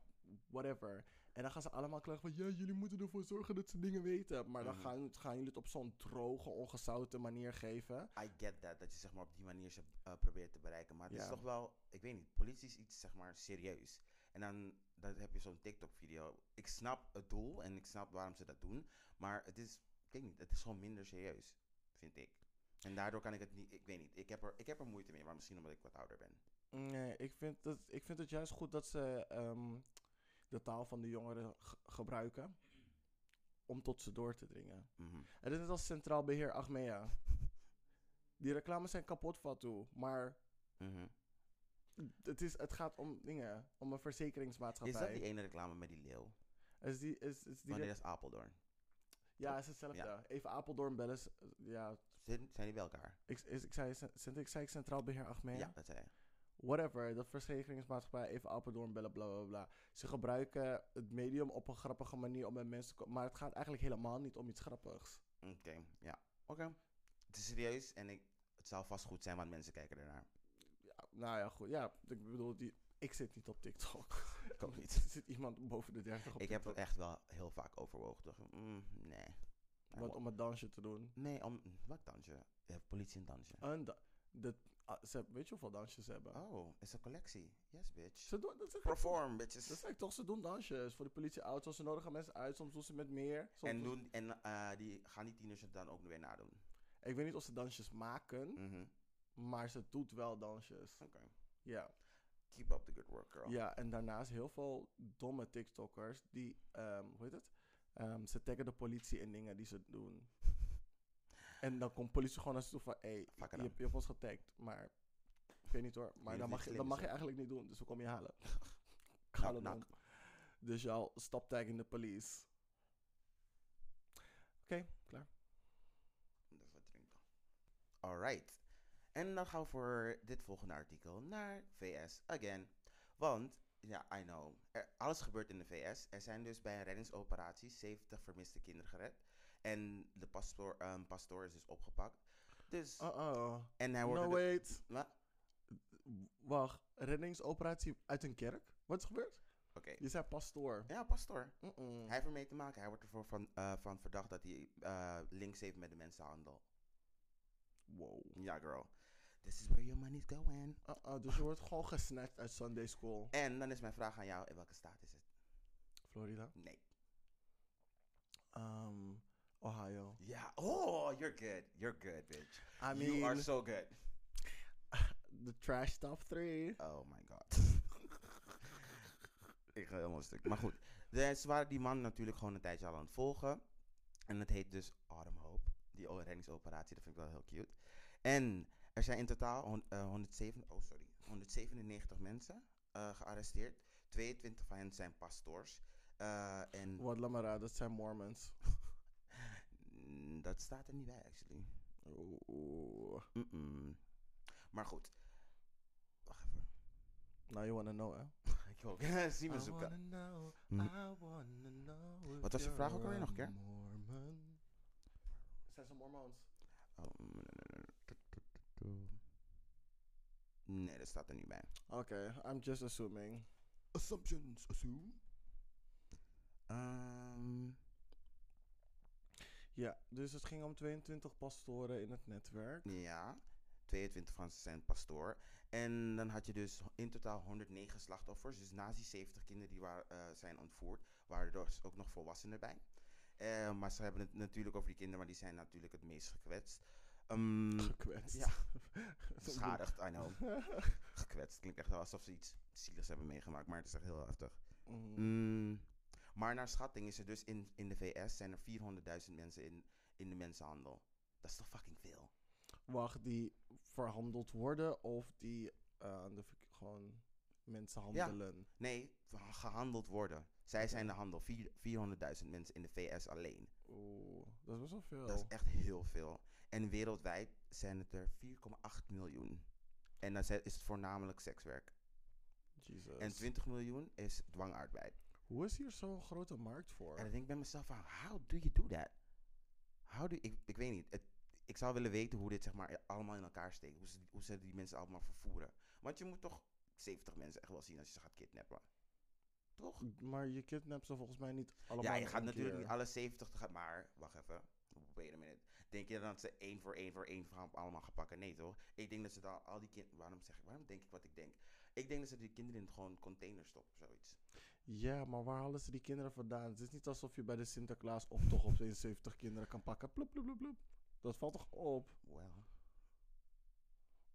Speaker 3: whatever. En dan gaan ze allemaal klagen van, ja, jullie moeten ervoor zorgen dat ze dingen weten. Maar dan
Speaker 2: Mhm.
Speaker 3: gaan, gaan jullie het op zo'n droge, ongezouten manier geven.
Speaker 2: I get that, dat je zeg maar op die manier ze eh, probeert te bereiken. Maar het
Speaker 3: Ja.
Speaker 2: is toch wel, ik weet niet, politie is iets zeg maar serieus. En dan, dan heb je zo'n TikTok-video. Ik snap het doel en ik snap waarom ze dat doen. Maar het is, ik weet niet, het is gewoon minder serieus, vind ik. En daardoor kan ik het niet, ik weet niet, ik heb er, ik heb er moeite mee. Maar misschien omdat ik wat ouder ben.
Speaker 3: Nee, ik vind, dat, ik vind het juist goed dat ze ehm, de taal van de jongeren ge- gebruiken om tot ze door te dringen.
Speaker 2: Mhm.
Speaker 3: En dit is als Centraal Beheer Achmea. Die reclames zijn kapot van toe, maar
Speaker 2: Mhm.
Speaker 3: het, is, het gaat om dingen, om een
Speaker 2: Is dat
Speaker 3: verzekeringsmaatschappij.
Speaker 2: die ene reclame met die leeuw?
Speaker 3: Is die, is, is die
Speaker 2: Wanneer is Apeldoorn?
Speaker 3: ja, is hetzelfde.
Speaker 2: Ja.
Speaker 3: Even Apeldoorn bellen. is- Ja,
Speaker 2: Zijn, zijn die bij elkaar?
Speaker 3: ik, is, ik, zei, cent- ik zei ik Centraal Beheer Achmea.
Speaker 2: Ja, dat zei je.
Speaker 3: Whatever, de verzekeringsmaatschappij, even Apeldoorn bellen, bla bla bla. Ze gebruiken het medium op een grappige manier om met mensen te komen. Maar het gaat eigenlijk helemaal niet om iets grappigs.
Speaker 2: Oké, ja. Oké. Het is serieus en ik, het zou vast goed zijn, want mensen kijken ernaar.
Speaker 3: Ja, nou ja, goed. Ja, ik bedoel, die, ik zit niet op TikTok.
Speaker 2: Ik ook niet.
Speaker 3: Er zit iemand boven de 30 op
Speaker 2: Ik heb
Speaker 3: TikTok.
Speaker 2: het echt wel heel vaak overwogen. Dacht, van, mm, nee. Maar
Speaker 3: Want
Speaker 2: wa-
Speaker 3: om een dansje te doen.
Speaker 2: Nee, om, wat dansje? Je hebt politie een dansje.
Speaker 3: Een da- dat, ah, ze, hebben- weet je hoeveel dansjes ze hebben?
Speaker 2: Oh, is een collectie. Yes, bitch.
Speaker 3: Ze doen, dat zeg ik
Speaker 2: Perform,
Speaker 3: toch- Dat
Speaker 2: bitches.
Speaker 3: zeg ik toch, ze doen dansjes voor de politieauto's. Ze nodigen mensen uit, soms doen ze met meer. soms
Speaker 2: En,
Speaker 3: doen ze-
Speaker 2: doen, en eh, die gaan die tieners het dan ook weer nadoen.
Speaker 3: Ik weet niet of ze dansjes maken,
Speaker 2: Mhm.
Speaker 3: maar ze doet wel dansjes.
Speaker 2: Oké.
Speaker 3: Ja.
Speaker 2: Keep up the good work, girl.
Speaker 3: Ja, en daarnaast heel veel domme TikTokkers die, ehm, hoe heet het? Ehm, ze taggen de politie in dingen die ze doen. En dan komt politie gewoon naar ze toe van, hé, hey,
Speaker 2: Fuck it
Speaker 3: je,
Speaker 2: up.
Speaker 3: hebt- je hebt ons getagd, maar ik weet niet hoor. Maar
Speaker 2: Je
Speaker 3: dat
Speaker 2: hebt
Speaker 3: mag,
Speaker 2: niks
Speaker 3: je, dat
Speaker 2: slims,
Speaker 3: mag je
Speaker 2: hè?
Speaker 3: eigenlijk niet doen, dus we kom je halen. Ik
Speaker 2: Nou,
Speaker 3: haal hem
Speaker 2: nou,
Speaker 3: om. Dus jouw stop tagging de police. Oké, klaar.
Speaker 2: Even wat drinken. Alright. En dan gaan we voor dit volgende artikel naar VS again. Want, ja, I know. Er- alles gebeurt in de VS. Er zijn dus bij een reddingsoperatie 70 vermiste kinderen gered. En de pastoor, ehm, pastoor is dus opgepakt. Dus,
Speaker 3: Uh-oh.
Speaker 2: en hij wordt...
Speaker 3: Oh, No,
Speaker 2: door de-
Speaker 3: wait.
Speaker 2: Wat?
Speaker 3: Wacht, reddingsoperatie uit een kerk? Wat is gebeurd?
Speaker 2: Oké.
Speaker 3: Je zei pastoor.
Speaker 2: Ja, pastoor.
Speaker 3: Mm. Mm-mm.
Speaker 2: Hij heeft ermee te maken. Hij wordt ervoor van, eh, van verdacht dat hij eh, links heeft met de mensenhandel.
Speaker 3: Wow.
Speaker 2: Ja, girl. This is where your money's going.
Speaker 3: Uh-uh, dus je wordt gewoon gesnackt uit Sunday School.
Speaker 2: En dan is mijn vraag aan jou, in welke staat is het?
Speaker 3: Florida.
Speaker 2: Nee.
Speaker 3: Um, Ohio.
Speaker 2: Ja. Oh, you're good. You're good, bitch.
Speaker 3: I mean,
Speaker 2: you are so good.
Speaker 3: the trash top three.
Speaker 2: Oh my god. ik ga helemaal stuk. Maar goed. Dus ze waren die man natuurlijk gewoon een tijdje al aan het volgen. En het heet dus Autumn Hope. Die o- reddingsoperatie, dat vind ik wel heel cute. En er zijn in totaal hon- eh, 107, oh sorry, 197 mensen eh, gearresteerd. 22 van hen zijn pastoors. Eh, en
Speaker 3: Wat laat maar raden, dat zijn Mormons.
Speaker 2: mm, dat staat er niet bij, actually.
Speaker 3: Oeh.
Speaker 2: Mm-mm. Maar goed. Wacht even.
Speaker 3: Now you wanna know, eh? hè?
Speaker 2: Ik ook. Simon
Speaker 3: I
Speaker 2: zoeken.
Speaker 3: wanna know,
Speaker 2: Hm.
Speaker 3: I wanna know if
Speaker 2: Wat was je vraag ook alweer
Speaker 3: you're
Speaker 2: nog een
Speaker 3: a
Speaker 2: keer?
Speaker 3: Mormon. Zijn ze Mormons?
Speaker 2: Oh, mm, nee, nee, nee, tu, tu, tu, tu. mm, Nee, dat staat er niet bij.
Speaker 3: Oké, I'm just assuming.
Speaker 2: Assumptions, assume. Ehm,
Speaker 3: Ja, dus het ging om 22 pastoren in het netwerk.
Speaker 2: ja, 22 van ze zijn pastoor. En dan had je dus in totaal 109 slachtoffers. Dus naast die 70 kinderen die waar, eh, zijn ontvoerd, waren er dus ook nog volwassenen bij. Eh, maar ze hebben het natuurlijk over die kinderen, maar die zijn natuurlijk het meest gekwetst. Ehm
Speaker 3: Gekwetst.
Speaker 2: Ja. Nou.
Speaker 3: Zo'n
Speaker 2: Beschadigd, I know. Gekwetst. Klinkt echt wel alsof ze iets zieligs hebben meegemaakt, maar het is echt heel heftig.
Speaker 3: boek. Mm.
Speaker 2: Mm. Maar naar schatting is er dus in, in de VS zijn er 400.000 mensen in, in de mensenhandel. Dat is toch fucking veel?
Speaker 3: Wacht, die verhandeld worden of die eh, de verk- gewoon mensen handelen?
Speaker 2: Nee, ge- gehandeld worden. Zij
Speaker 3: Oké.
Speaker 2: zijn de handel. Vier- 400.000 mensen in de VS alleen.
Speaker 3: Oeh, dat is best wel veel.
Speaker 2: Dat is echt heel veel. En wereldwijd zijn het er 4,8 miljoen. En dan zijn- is het voornamelijk sekswerk.
Speaker 3: Jesus.
Speaker 2: En 20 miljoen is dwangarbeid.
Speaker 3: Hoe is hier zo'n grote markt voor?
Speaker 2: En dan denk ik bij mezelf van, how do you do that? How do ik, ik weet niet. Het, ik zou willen weten hoe dit zeg maar allemaal in elkaar steekt. Hoe ze, hoe ze die mensen allemaal vervoeren. Want je moet toch 70 mensen echt wel zien als je ze gaat kidnappen. Toch?
Speaker 3: Maar je kidnapt ze volgens mij niet allemaal.
Speaker 2: ja, je
Speaker 3: in
Speaker 2: gaat
Speaker 3: één
Speaker 2: natuurlijk
Speaker 3: keer.
Speaker 2: niet alle 70 te gaan. Maar, wacht even. Wait a minute. Denk je dat ze één voor één voor één voor allemaal gaan pakken? Nee toch? Ik denk dat ze dan al die kinderen... Waarom zeg ik, waarom denk ik wat ik denk? Ik denk dat ze die kinderen in gewoon containers stoppen of zoiets.
Speaker 3: Ja, maar waar halen ze die kinderen vandaan? Het is niet alsof je bij de Sinterklaas op toch op 70 kinderen kan pakken. Ploep, ploep, ploep, ploep. Dat valt toch op?
Speaker 2: Well.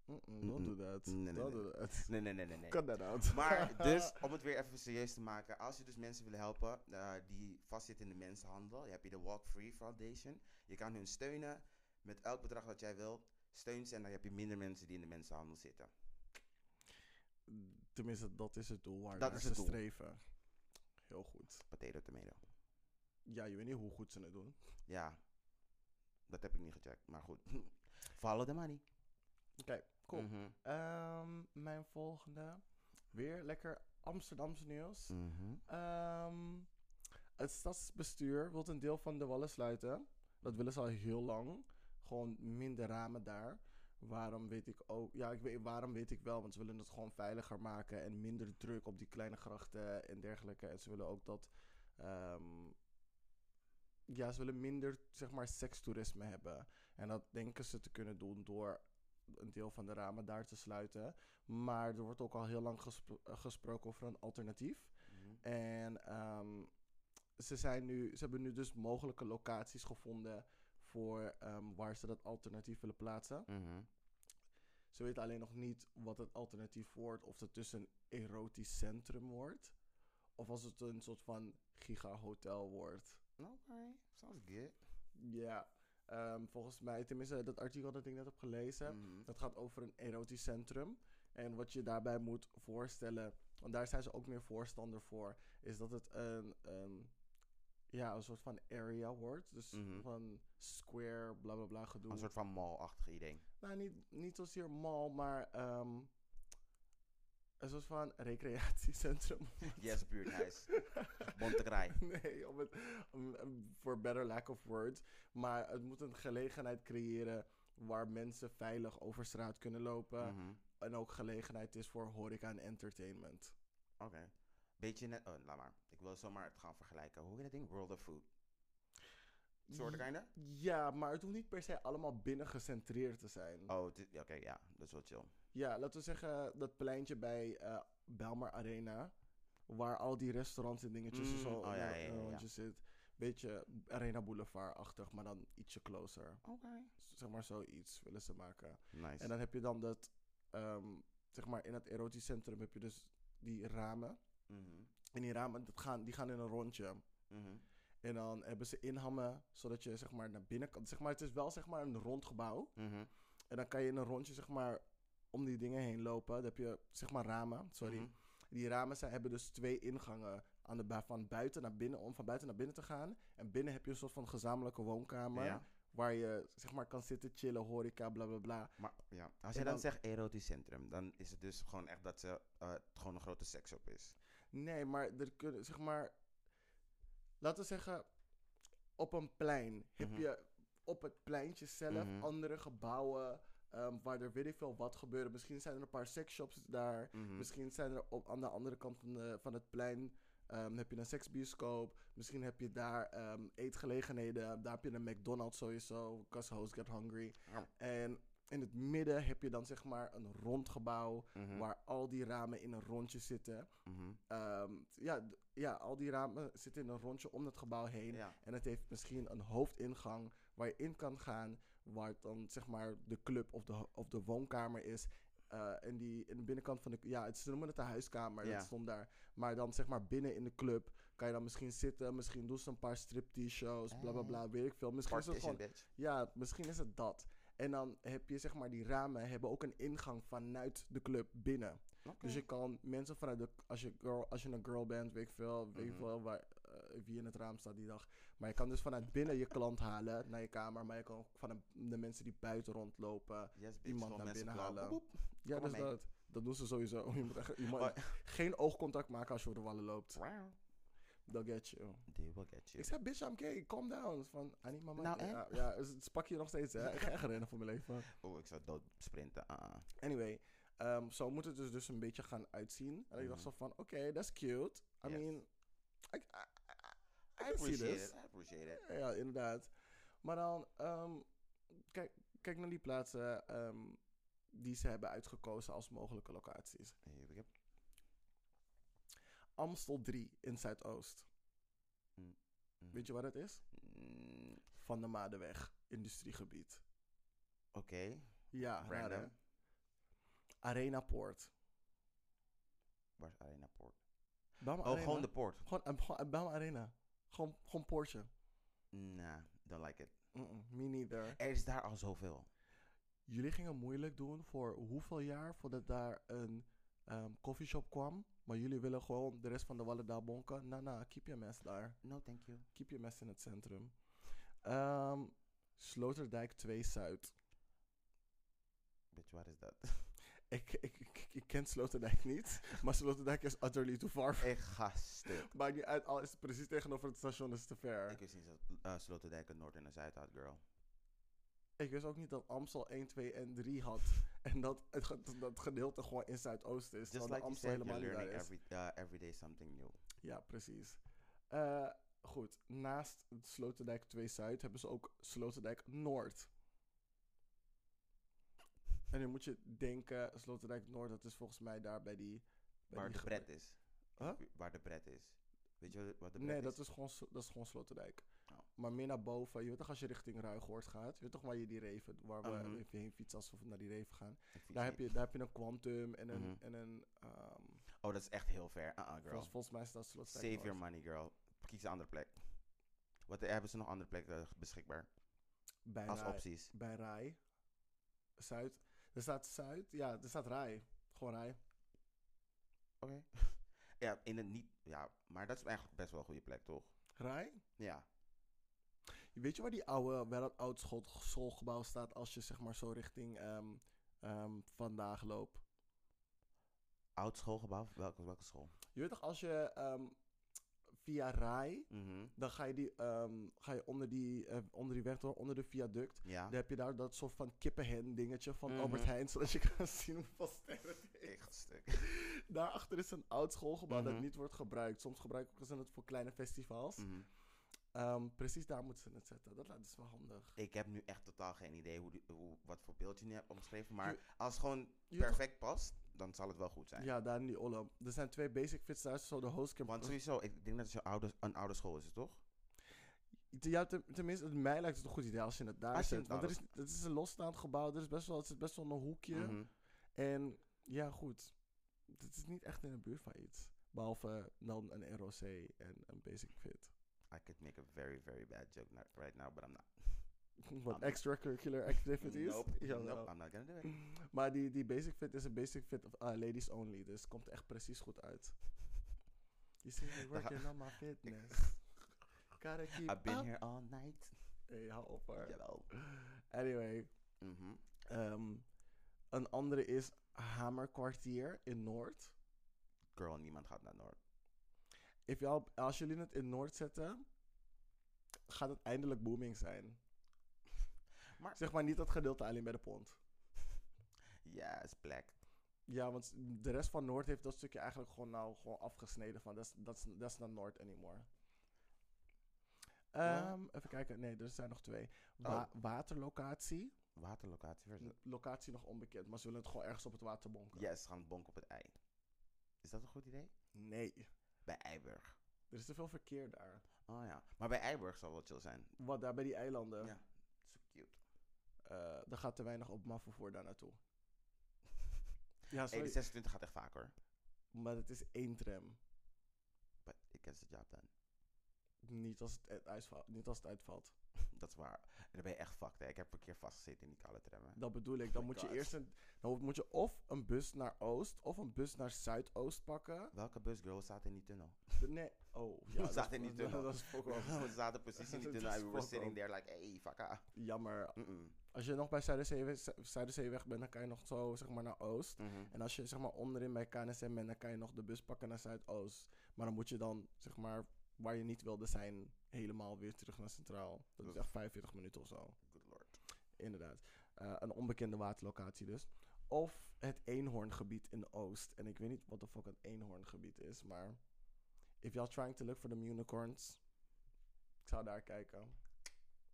Speaker 3: Mm-mm, don't
Speaker 2: Mm-mm.
Speaker 3: do that.
Speaker 2: Nee, nee,
Speaker 3: don't
Speaker 2: nee.
Speaker 3: do that.
Speaker 2: Nee, nee, nee, nee. nee.
Speaker 3: Cut that out.
Speaker 2: Maar dus, om het weer even serieus te maken. Als je dus mensen wil helpen eh, die vastzitten in de mensenhandel. Je hebt hier de Walk Free Foundation. Je kan hun steunen. Met elk bedrag dat jij wil. Steun ze en dan heb je minder mensen die in de mensenhandel zitten.
Speaker 3: Tenminste, dat is het doel waar
Speaker 2: Dat
Speaker 3: naar
Speaker 2: is
Speaker 3: ze
Speaker 2: het doel.
Speaker 3: streven. Heel goed.
Speaker 2: Potato, tomato.
Speaker 3: Ja, je weet niet hoe goed ze het doen.
Speaker 2: Ja. Dat heb ik niet gecheckt, maar goed. Follow the money.
Speaker 3: Oké, cool.
Speaker 2: Mhm.
Speaker 3: Ehm, mijn volgende. Weer lekker Amsterdamse nieuws.
Speaker 2: Mhm.
Speaker 3: Ehm, het stadsbestuur wil een deel van de wallen sluiten. Dat willen ze al heel lang. Gewoon minder ramen daar. Waarom weet ik ook? Ja, ik weet, waarom weet ik wel. Want ze willen het gewoon veiliger maken en minder druk op die kleine grachten en dergelijke. En ze willen ook dat. ehm, ja, ze willen minder, zeg maar, sekstoerisme hebben. En dat denken ze te kunnen doen door een deel van de ramen daar te sluiten. Maar er wordt ook al heel lang gespro- eh, gesproken over een alternatief.
Speaker 2: Mhm.
Speaker 3: En ehm, ze, zijn nu, ze hebben nu dus mogelijke locaties gevonden voor ehm, waar ze dat alternatief willen plaatsen.
Speaker 2: Mhm.
Speaker 3: Ze weten alleen nog niet wat het alternatief wordt. Of het dus een erotisch centrum wordt. Of als het een soort van gigahotel wordt.
Speaker 2: Oké, sounds good.
Speaker 3: Ja, ehm, volgens mij, tenminste dat artikel dat ik net heb gelezen.
Speaker 2: Mhm.
Speaker 3: Dat gaat over een erotisch centrum. En wat je daarbij moet voorstellen, want daar zijn ze ook meer voorstander voor, is dat het een, een, ja, een soort van area wordt. Dus
Speaker 2: Mhm.
Speaker 3: van square, bla bla bla gedoe.
Speaker 2: Een soort van mall-achtig idee.
Speaker 3: Nou, niet, niet zozeer mall, maar ehm, een soort van recreatiecentrum.
Speaker 2: Yes, buurt, nice. Bontekraai.
Speaker 3: nee, om het, om- om- voor better lack of words. Maar het moet een gelegenheid creëren waar mensen veilig over straat kunnen lopen.
Speaker 2: Mhm.
Speaker 3: En ook gelegenheid is voor horeca en entertainment.
Speaker 2: Oké. Beetje net... Oh, laat maar. Ik wil zomaar het gaan vergelijken. Hoe heet dat ding? World of Food. Soort kinda?
Speaker 3: Ja, maar het hoeft niet per se allemaal binnen gecentreerd te zijn.
Speaker 2: Oh, het is- oké, ja. Dat is wel chill.
Speaker 3: Ja, laten we zeggen dat pleintje bij eh Belmar Arena. Waar al die restaurants en dingetjes dus
Speaker 2: Mm,
Speaker 3: zo
Speaker 2: oh ja, ja, ja, ja.
Speaker 3: rondjes zit. Beetje Arena Boulevard-achtig, maar dan ietsje closer.
Speaker 2: Oké.
Speaker 3: Zeg maar zoiets willen ze maken.
Speaker 2: Nice.
Speaker 3: En dan heb je dan dat, ehm, zeg maar in het erotisch centrum heb je dus die ramen.
Speaker 2: Mhm.
Speaker 3: En die ramen, dat gaan, die gaan in een rondje.
Speaker 2: Mhm.
Speaker 3: En dan hebben ze inhammen, zodat je zeg maar naar binnen kan. Zeg maar, het is wel zeg maar een rond gebouw.
Speaker 2: Mhm.
Speaker 3: En dan kan je in een rondje zeg maar om die dingen heen lopen. Dan heb je zeg maar ramen, sorry.
Speaker 2: Mhm.
Speaker 3: Die ramen zijn, hebben dus twee ingangen aan de, bu- van buiten naar binnen, om van buiten naar binnen te gaan. En binnen heb je een soort van gezamenlijke woonkamer.
Speaker 2: Ja.
Speaker 3: Waar je zeg maar kan zitten, chillen, horeca, bla bla bla.
Speaker 2: Maar ja, als
Speaker 3: En
Speaker 2: jij dan,
Speaker 3: dan-
Speaker 2: zegt erotisch centrum, dan is het dus gewoon echt dat ze eh, het gewoon een grote seksshop is.
Speaker 3: Nee, maar er kunnen zeg maar. Laten we zeggen, op een plein heb
Speaker 2: Mhm.
Speaker 3: je op het pleintje zelf
Speaker 2: Mhm.
Speaker 3: andere gebouwen ehm, waar er weet ik veel wat gebeuren. Misschien zijn er een paar seksshops daar.
Speaker 2: Mhm.
Speaker 3: Misschien zijn er op, aan de andere kant van, de, van het plein. ehm, heb je een seksbioscoop? Misschien heb je daar ehm, eetgelegenheden. Daar heb je een McDonald's sowieso. Cause hoes get hungry.
Speaker 2: Ja.
Speaker 3: En in het midden heb je dan zeg maar een rond gebouw. Waar al die ramen in een rondje zitten.
Speaker 2: Mhm.
Speaker 3: Ehm, ja, d- ja, al die ramen zitten in een rondje om dat gebouw heen.
Speaker 2: Ja.
Speaker 3: En het heeft misschien een hoofdingang waar je in kan gaan. Waar het dan zeg maar de club of de, ho- of de woonkamer is. Eh, en die in de binnenkant van de. Ja, het, ze noemen het de huiskamer.
Speaker 2: Ja.
Speaker 3: Dat stond daar. Maar dan zeg maar binnen in de club kan je dan misschien zitten. Misschien doen ze een paar striptease-shows. Bla bla bla. Weet ik veel. Misschien is het
Speaker 2: Eh. Partition,
Speaker 3: gewoon.
Speaker 2: bitch.
Speaker 3: Ja, misschien is het dat. En dan heb je zeg maar die ramen hebben ook een ingang vanuit de club binnen. Dus je kan mensen vanuit de. Als je, girl, als je een girl bent, weet ik veel, weet ik
Speaker 2: Mhm.
Speaker 3: veel waar, eh, wie in het raam staat die dag. Maar je kan dus vanuit binnen je klant halen naar je kamer. Maar je kan ook van de mensen die buiten rondlopen.
Speaker 2: yes, bitch.
Speaker 3: iemand
Speaker 2: Gewoon
Speaker 3: naar
Speaker 2: mensen
Speaker 3: binnen
Speaker 2: klauwen.
Speaker 3: halen.
Speaker 2: Boep, boep.
Speaker 3: Ja,
Speaker 2: Kom maar
Speaker 3: dus
Speaker 2: mee.
Speaker 3: dat. Dat doen ze sowieso. Je moet echt, je moet
Speaker 2: Oh.
Speaker 3: geen oogcontact maken als je over de wallen loopt.
Speaker 2: Wow.
Speaker 3: They'll get you.
Speaker 2: They will get you.
Speaker 3: Ik zei, bitch, I'm gay, calm down. Van, I need my money.
Speaker 2: Nou, hè?
Speaker 3: ja, ja, dus het pak je nog steeds, hè. Ik ga echt rennen voor mijn leven.
Speaker 2: Oh, ik zou dood sprinten. Ah, ah.
Speaker 3: Anyway, ehm, zo moet het dus, dus een beetje gaan uitzien. En ik dacht
Speaker 2: Mhm.
Speaker 3: zo van, oké, that's cute. I
Speaker 2: Yes.
Speaker 3: mean, I, I, I,
Speaker 2: I
Speaker 3: I can see
Speaker 2: appreciate
Speaker 3: this.
Speaker 2: it. I appreciate it.
Speaker 3: Ja, ja, inderdaad. Maar dan, ehm, kijk, kijk naar die plaatsen ehm, die ze hebben uitgekozen als mogelijke locaties.
Speaker 2: Here we go.
Speaker 3: Amstel 3 in Zuidoost.
Speaker 2: Mhm.
Speaker 3: Weet je waar dat is?
Speaker 2: Mm,
Speaker 3: Van de Madeweg, industriegebied.
Speaker 2: Oké.
Speaker 3: Ja, raar, hè?
Speaker 2: Random.
Speaker 3: Arena Poort.
Speaker 2: Waar is Arena Poort?
Speaker 3: Bam
Speaker 2: Oh,
Speaker 3: Arena.
Speaker 2: gewoon de poort.
Speaker 3: Gewoon, eh, gewoon, eh, Bam Arena. Gewoon, gewoon Poortje.
Speaker 2: Nah, don't like it.
Speaker 3: Mm-mm, me neither.
Speaker 2: Er is daar al zoveel.
Speaker 3: Jullie gingen moeilijk doen voor hoeveel jaar voordat daar een ehm koffieshop kwam. Maar jullie willen gewoon de rest van de Wallen daar bonken. Na, na, keep je mes daar.
Speaker 2: No, thank you.
Speaker 3: Keep je mes in het centrum. Ehm, Sloterdijk 2 Zuid.
Speaker 2: Bitch, what is that?
Speaker 3: Ik, ik, ik, ik ken Sloterdijk niet, maar Sloterdijk is utterly too far.
Speaker 2: Ik ga stuk.
Speaker 3: Maakt niet uit, al is het precies tegenover het station, is te ver.
Speaker 2: Ik wist niet dat eh, Sloterdijk een Noord en een Zuid had, girl.
Speaker 3: Ik wist ook niet dat Amstel 1, 2 en 3 had. En dat het, ge- dat het gedeelte gewoon in Zuidoost is.
Speaker 2: Just
Speaker 3: terwijl de
Speaker 2: like you
Speaker 3: Amstel
Speaker 2: said, you're
Speaker 3: helemaal niet
Speaker 2: learning
Speaker 3: daar is.
Speaker 2: every, eh, every day something new.
Speaker 3: Ja, precies. Eh, goed, naast het Sloterdijk 2 Zuid hebben ze ook Sloterdijk Noord. En dan moet je denken, Sloterdijk Noord, dat is volgens mij daar bij die... Bij
Speaker 2: Waar
Speaker 3: die
Speaker 2: de
Speaker 3: ge-
Speaker 2: pret is.
Speaker 3: Huh?
Speaker 2: Waar de pret is. Weet je wat de pret
Speaker 3: Nee,
Speaker 2: is?
Speaker 3: dat is gewoon, Slo- dat is gewoon Sloterdijk.
Speaker 2: Oh.
Speaker 3: Maar meer naar boven. Je weet toch als je richting Ruigoord gaat. Je weet toch waar je die reven, waar we
Speaker 2: Mhm.
Speaker 3: even heen fietsen als we naar die reven gaan.
Speaker 2: Ik fiets
Speaker 3: Daar heb,
Speaker 2: niet.
Speaker 3: je, daar heb je een Quantum en een...
Speaker 2: Mhm.
Speaker 3: en een ehm,
Speaker 2: Oh, dat is echt heel ver. Uh-uh, girl.
Speaker 3: volgens, volgens mij is dat Sloterdijk
Speaker 2: Save your
Speaker 3: Noord.
Speaker 2: money, girl. Kies een andere plek. Wat eh, hebben ze nog andere plekken eh, beschikbaar?
Speaker 3: Bijna,
Speaker 2: Als opties.
Speaker 3: bij Rai. Zuid. Er staat Zuid. Ja, er staat Rai. Gewoon Rai.
Speaker 2: Oké. ja, in het niet. Ja, maar dat is eigenlijk best wel een goede plek, toch?
Speaker 3: Rai?
Speaker 2: Ja.
Speaker 3: Weet je waar die oude, wel het oud school- schoolgebouw staat als je zeg maar zo richting ehm, ehm, vandaag loopt?
Speaker 2: Oud schoolgebouw? Welke, welke school?
Speaker 3: Je weet toch als je ehm, via Rai,
Speaker 2: Mhm.
Speaker 3: dan ga je, die, ehm, ga je onder, die, eh, onder die weg door, onder de viaduct.
Speaker 2: Ja.
Speaker 3: Dan heb je daar dat soort van kippenhen dingetje van
Speaker 2: Mhm.
Speaker 3: Albert Heijn, zodat je kan zien hoeveel sterren het heeft.
Speaker 2: Ik ga stuk.
Speaker 3: Daarachter is een oud schoolgebouw
Speaker 2: Mhm.
Speaker 3: dat niet wordt gebruikt. Soms gebruiken ze het voor kleine festivals.
Speaker 2: Mhm.
Speaker 3: Ehm, precies daar moeten ze het zetten. Dat lijkt- dat is wel handig.
Speaker 2: Ik heb nu echt totaal geen idee hoe die- hoe, wat voor beeld je nu hebt omschreven.
Speaker 3: Je-
Speaker 2: Maar als het gewoon
Speaker 3: Je weet
Speaker 2: perfect past, dan zal het wel goed zijn.
Speaker 3: Ja, daar in die Ollem. Er zijn twee basic fits daar, zo de hostcamp.
Speaker 2: Want sowieso, ik denk dat het jouw oude, een oude school is, toch?
Speaker 3: Ja, ten- tenminste, het mij lijkt het een goed idee als je het daar
Speaker 2: Als je
Speaker 3: zet.
Speaker 2: het
Speaker 3: want
Speaker 2: daar
Speaker 3: er is, het is een losstaand gebouw, er is best wel, het zit best wel in een hoekje.
Speaker 2: Mhm.
Speaker 3: En ja, goed. Het is niet echt in de buurt van iets. Behalve dan een ROC en een basic fit.
Speaker 2: I could make a very, very bad joke no- right now, but I'm not.
Speaker 3: Wat
Speaker 2: Am-
Speaker 3: extracurricular activities.
Speaker 2: Ah, Nope,
Speaker 3: Jawel.
Speaker 2: nope, I'm not gonna do it.
Speaker 3: Maar die, die basic fit is een basic fit of, ah, ladies only. Dus het komt echt precies goed uit. You see me working on my fitness. Gotta keep
Speaker 2: I've been
Speaker 3: up.
Speaker 2: here all night.
Speaker 3: Hey, hou op hoor.
Speaker 2: Jawel.
Speaker 3: Anyway.
Speaker 2: Mhm.
Speaker 3: ehm, een andere is Hamerkwartier in Noord.
Speaker 2: Girl, niemand gaat naar Noord.
Speaker 3: If jou- als jullie het in Noord zetten, gaat het eindelijk booming zijn.
Speaker 2: Maar-
Speaker 3: zeg maar niet dat gedeelte alleen bij de pont.
Speaker 2: Ja, is black.
Speaker 3: Ja, want de rest van Noord heeft dat stukje eigenlijk gewoon, nou, gewoon afgesneden van, that's, that's, that's not Noord anymore.
Speaker 2: Ja.
Speaker 3: Ehm, Even kijken, nee, er zijn nog twee. Wa- Waterlocatie,
Speaker 2: Waterlocatie versus...
Speaker 3: locatie nog onbekend, maar ze willen het gewoon ergens op het water bonken.
Speaker 2: Yes, gaan bonk op het ei. Is dat een goed idee?
Speaker 3: Nee,
Speaker 2: Bij Eiburg.
Speaker 3: er is te veel verkeer daar.
Speaker 2: Oh ja. Maar bij Eiburg zal wel chill zijn.
Speaker 3: Wat daar bij die eilanden,
Speaker 2: Ja. Zo cute.
Speaker 3: eh, daar gaat te weinig op voor daar naartoe.
Speaker 2: Hey, de
Speaker 3: ja, sorry,
Speaker 2: 26 gaat echt vaak hoor.
Speaker 3: maar het is één tram.
Speaker 2: But it gets the job done.
Speaker 3: Niet als het, uitvalt, niet als het uitvalt.
Speaker 2: Dat is waar. En dan ben je echt fucked. Hè. Ik heb een keer vastgezeten in die koude tram. Hè.
Speaker 3: Dat bedoel ik. Dan
Speaker 2: Oh my
Speaker 3: moet je
Speaker 2: God.
Speaker 3: eerst een, dan moet je of een bus naar Oost of een bus naar Zuidoost pakken.
Speaker 2: Welke bus, girl, staat in die tunnel?
Speaker 3: De- Nee. Oh, ja, dat
Speaker 2: zaten
Speaker 3: is-
Speaker 2: in die
Speaker 3: dat-
Speaker 2: tunnel.
Speaker 3: Dat is fuck off.
Speaker 2: we zaten precies in die
Speaker 3: Dat
Speaker 2: tunnel. En
Speaker 3: is
Speaker 2: we were
Speaker 3: fuck
Speaker 2: sitting
Speaker 3: off.
Speaker 2: there like, hey, fuck ah.
Speaker 3: Jammer.
Speaker 2: Mm-mm.
Speaker 3: Als je nog bij Zuiderzee- Zu- Zuiderzeeweg bent, dan kan je nog zo zeg maar naar Oost.
Speaker 2: Mhm.
Speaker 3: En als je zeg maar onderin bij KNSM bent, dan kan je nog de bus pakken naar Zuidoost. Maar dan moet je dan zeg maar waar je niet wilde zijn, helemaal weer terug naar Centraal. Dat is
Speaker 2: Dat-
Speaker 3: echt 45 minuten of zo.
Speaker 2: Good lord.
Speaker 3: Inderdaad. Eh, een onbekende waterlocatie dus. Of het eenhoorngebied in Oost. En ik weet niet wat de fuck een eenhoorngebied is, maar... If y'all trying to look for the unicorns... Ik zou daar kijken.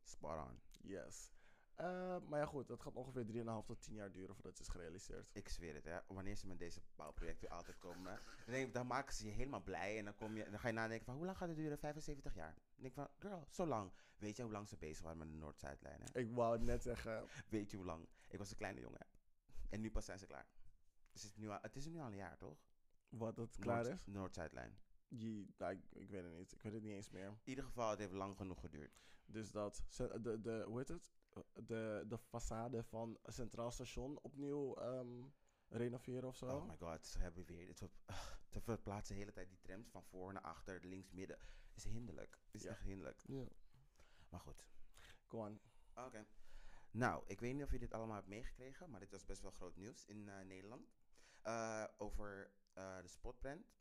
Speaker 2: Spot on.
Speaker 3: Yes. Eh, maar ja goed, dat gaat ongeveer 3,5 tot 10 jaar duren voordat het is gerealiseerd.
Speaker 2: Ik zweer het, hè. Wanneer ze met deze bouwprojecten altijd komen, hè, dan, denk ik, dan maken ze je helemaal blij. En dan, kom je, dan ga je nadenken van, hoe lang gaat het duren? 75 jaar. Dan denk ik van, girl, zo lang. Weet je hoe lang ze bezig waren met de Noord-Zuidlijn, hè?
Speaker 3: Ik wou het net zeggen.
Speaker 2: Weet je hoe lang? Ik was een kleine jongen. En nu pas zijn ze klaar. Dus het, is nu al, het is nu al een jaar, toch?
Speaker 3: Wat dat klaar
Speaker 2: Noord-
Speaker 3: is?
Speaker 2: Noord-Zuidlijn.
Speaker 3: Je, nou, ik, ik weet het niet. Ik weet het niet eens meer.
Speaker 2: In ieder geval, het heeft lang genoeg geduurd.
Speaker 3: Dus dat... ze- De, de, hoe heet het? De, de façade van Centraal Station opnieuw ehm, renoveren of zo.
Speaker 2: Oh my god, ze hebben weer dit soort... Ze verplaatsen de hele tijd die trams van voor naar achter, links, midden. Is hinderlijk. Is
Speaker 3: Ja.
Speaker 2: echt hinderlijk.
Speaker 3: Ja.
Speaker 2: Maar goed.
Speaker 3: Go on.
Speaker 2: Oké. Nou, ik weet niet of je dit allemaal hebt meegekregen, maar dit was best wel groot nieuws in eh, Nederland. Eh, over eh, de spotbrand.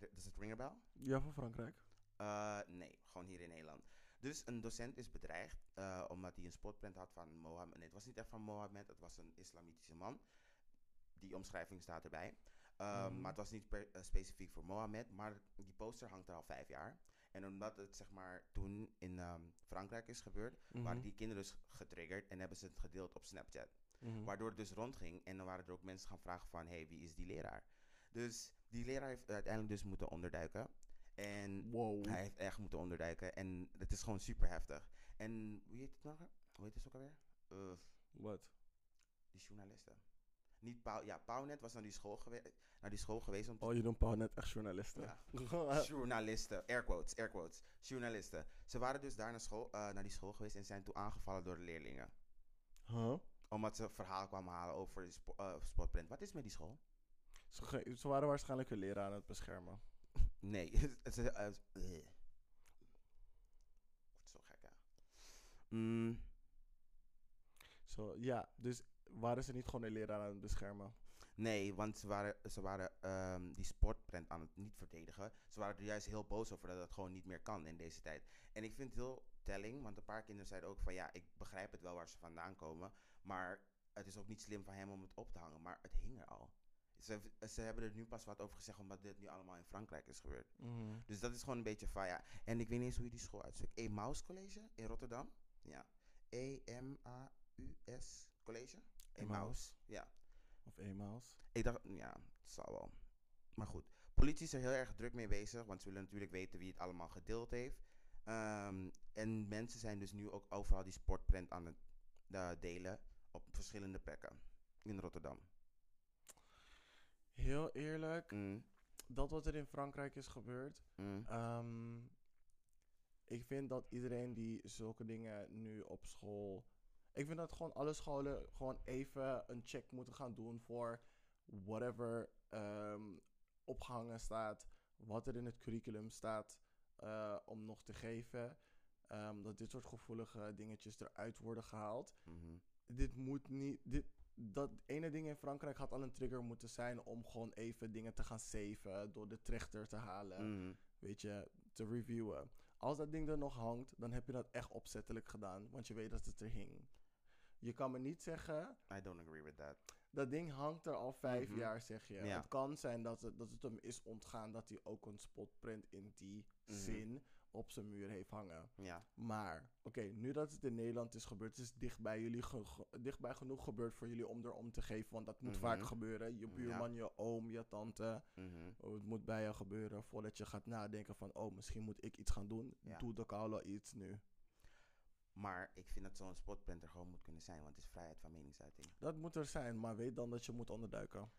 Speaker 2: R- Does het ring a bell?
Speaker 3: Ja, van Frankrijk.
Speaker 2: Eh, nee, gewoon hier in Nederland. Dus een docent is bedreigd eh, omdat hij een spotprint had van Mohammed. Nee, het was niet echt van Mohammed, het was een islamitische man. Die omschrijving staat erbij. Ehm,
Speaker 3: Mhm.
Speaker 2: Maar het was niet per- eh, specifiek voor Mohammed, maar die poster hangt er al vijf jaar. En omdat het zeg maar toen in ehm, Frankrijk is gebeurd,
Speaker 3: Mhm.
Speaker 2: waren die kinderen dus getriggerd en hebben ze het gedeeld op Snapchat.
Speaker 3: Mhm.
Speaker 2: Waardoor het dus rondging en dan waren er ook mensen gaan vragen van, hé, hey, wie is die leraar? Dus die leraar heeft uiteindelijk dus moeten onderduiken. En
Speaker 3: Wow.
Speaker 2: hij heeft echt moeten onderduiken. En het is gewoon super heftig. En wie heet het nog? Hoe heet het ook alweer? Eh,
Speaker 3: Wat?
Speaker 2: die journalisten. Niet Pau. Ja, Pauwnet was naar die school, gewe- naar die school geweest om te
Speaker 3: Oh, Eh. je noemt Paul net echt journalisten.
Speaker 2: Ja. journalisten, air quotes, air quotes, journalisten. Ze waren dus daar naar, school, eh, naar die school geweest en zijn toen aangevallen door de leerlingen.
Speaker 3: huh?
Speaker 2: Omdat ze verhaal kwamen halen over de spo- eh, sportprint. Wat is met die school?
Speaker 3: ze, ge- ze waren waarschijnlijk hun leraar aan het beschermen.
Speaker 2: Nee. ze, eh, eh. Wordt zo gek, hè? Mm,
Speaker 3: Zo, ja, dus waren ze niet gewoon hun leraar aan het beschermen?
Speaker 2: Nee, want ze waren, ze waren ehm, die sportprint aan het niet verdedigen. Ze waren er juist heel boos over dat dat gewoon niet meer kan in deze tijd. En ik vind het heel telling, want een paar kinderen zeiden ook van ja, ik begrijp het wel waar ze vandaan komen. Maar het is ook niet slim van hem om het op te hangen, maar het hing er al. Ze, heeft- ze hebben er nu pas wat over gezegd omdat dit nu allemaal in Frankrijk is gebeurd.
Speaker 3: Mhm.
Speaker 2: Dus dat is gewoon een beetje van ja. En ik weet niet eens hoe je die school uitspreekt. Emaus College in Rotterdam. Ja. E-M-A-U-S College. Emaus. Ja.
Speaker 3: Of eenmaals.
Speaker 2: Ik dacht, ja, het zal wel. Maar goed, politie is er heel erg druk mee bezig, want ze willen natuurlijk weten wie het allemaal gedeeld heeft. Ehm, en mensen zijn dus nu ook overal die sportprint aan het eh, delen op verschillende plekken in Rotterdam.
Speaker 3: Heel eerlijk,
Speaker 2: Mm,
Speaker 3: dat wat er in Frankrijk is gebeurd.
Speaker 2: mm,
Speaker 3: ehm, ik vind dat iedereen die zulke dingen nu op school. Ik vind dat gewoon alle scholen gewoon even een check moeten gaan doen voor whatever ehm, opgehangen staat, wat er in het curriculum staat eh, om nog te geven. Ehm, dat dit soort gevoelige dingetjes eruit worden gehaald
Speaker 2: mhm.
Speaker 3: dit moet niet. Dit, dat ene ding in Frankrijk had al een trigger moeten zijn om gewoon even dingen te gaan saven. Door de trechter te halen.
Speaker 2: Mhm.
Speaker 3: Weet je, te reviewen. Als dat ding er nog hangt, dan heb je dat echt opzettelijk gedaan. Want je weet dat het er hing. Je kan me niet zeggen,
Speaker 2: I don't agree with that.
Speaker 3: dat ding hangt er al vijf
Speaker 2: Mhm.
Speaker 3: jaar, zeg je.
Speaker 2: Ja.
Speaker 3: Het kan zijn dat het, dat het hem is ontgaan dat hij ook een spotprint in die
Speaker 2: Mhm.
Speaker 3: zin op zijn muur heeft hangen.
Speaker 2: Ja,
Speaker 3: Maar, oké, nu dat het in Nederland is gebeurd, het is dichtbij, jullie ge- ge- dichtbij genoeg gebeurd voor jullie om er om te geven. Want dat moet vaak
Speaker 2: Mhm.
Speaker 3: gebeuren. Je
Speaker 2: Ja.
Speaker 3: buurman, je oom, je tante.
Speaker 2: mhm,
Speaker 3: oh, Het moet bij je gebeuren voordat je gaat nadenken van, oh, misschien moet ik iets gaan doen.
Speaker 2: Ja.
Speaker 3: Doe de koude iets nu.
Speaker 2: maar ik vind dat zo'n spotprint er gewoon moet kunnen zijn, want het is vrijheid van meningsuiting.
Speaker 3: Dat moet er zijn, maar weet dan dat je moet onderduiken.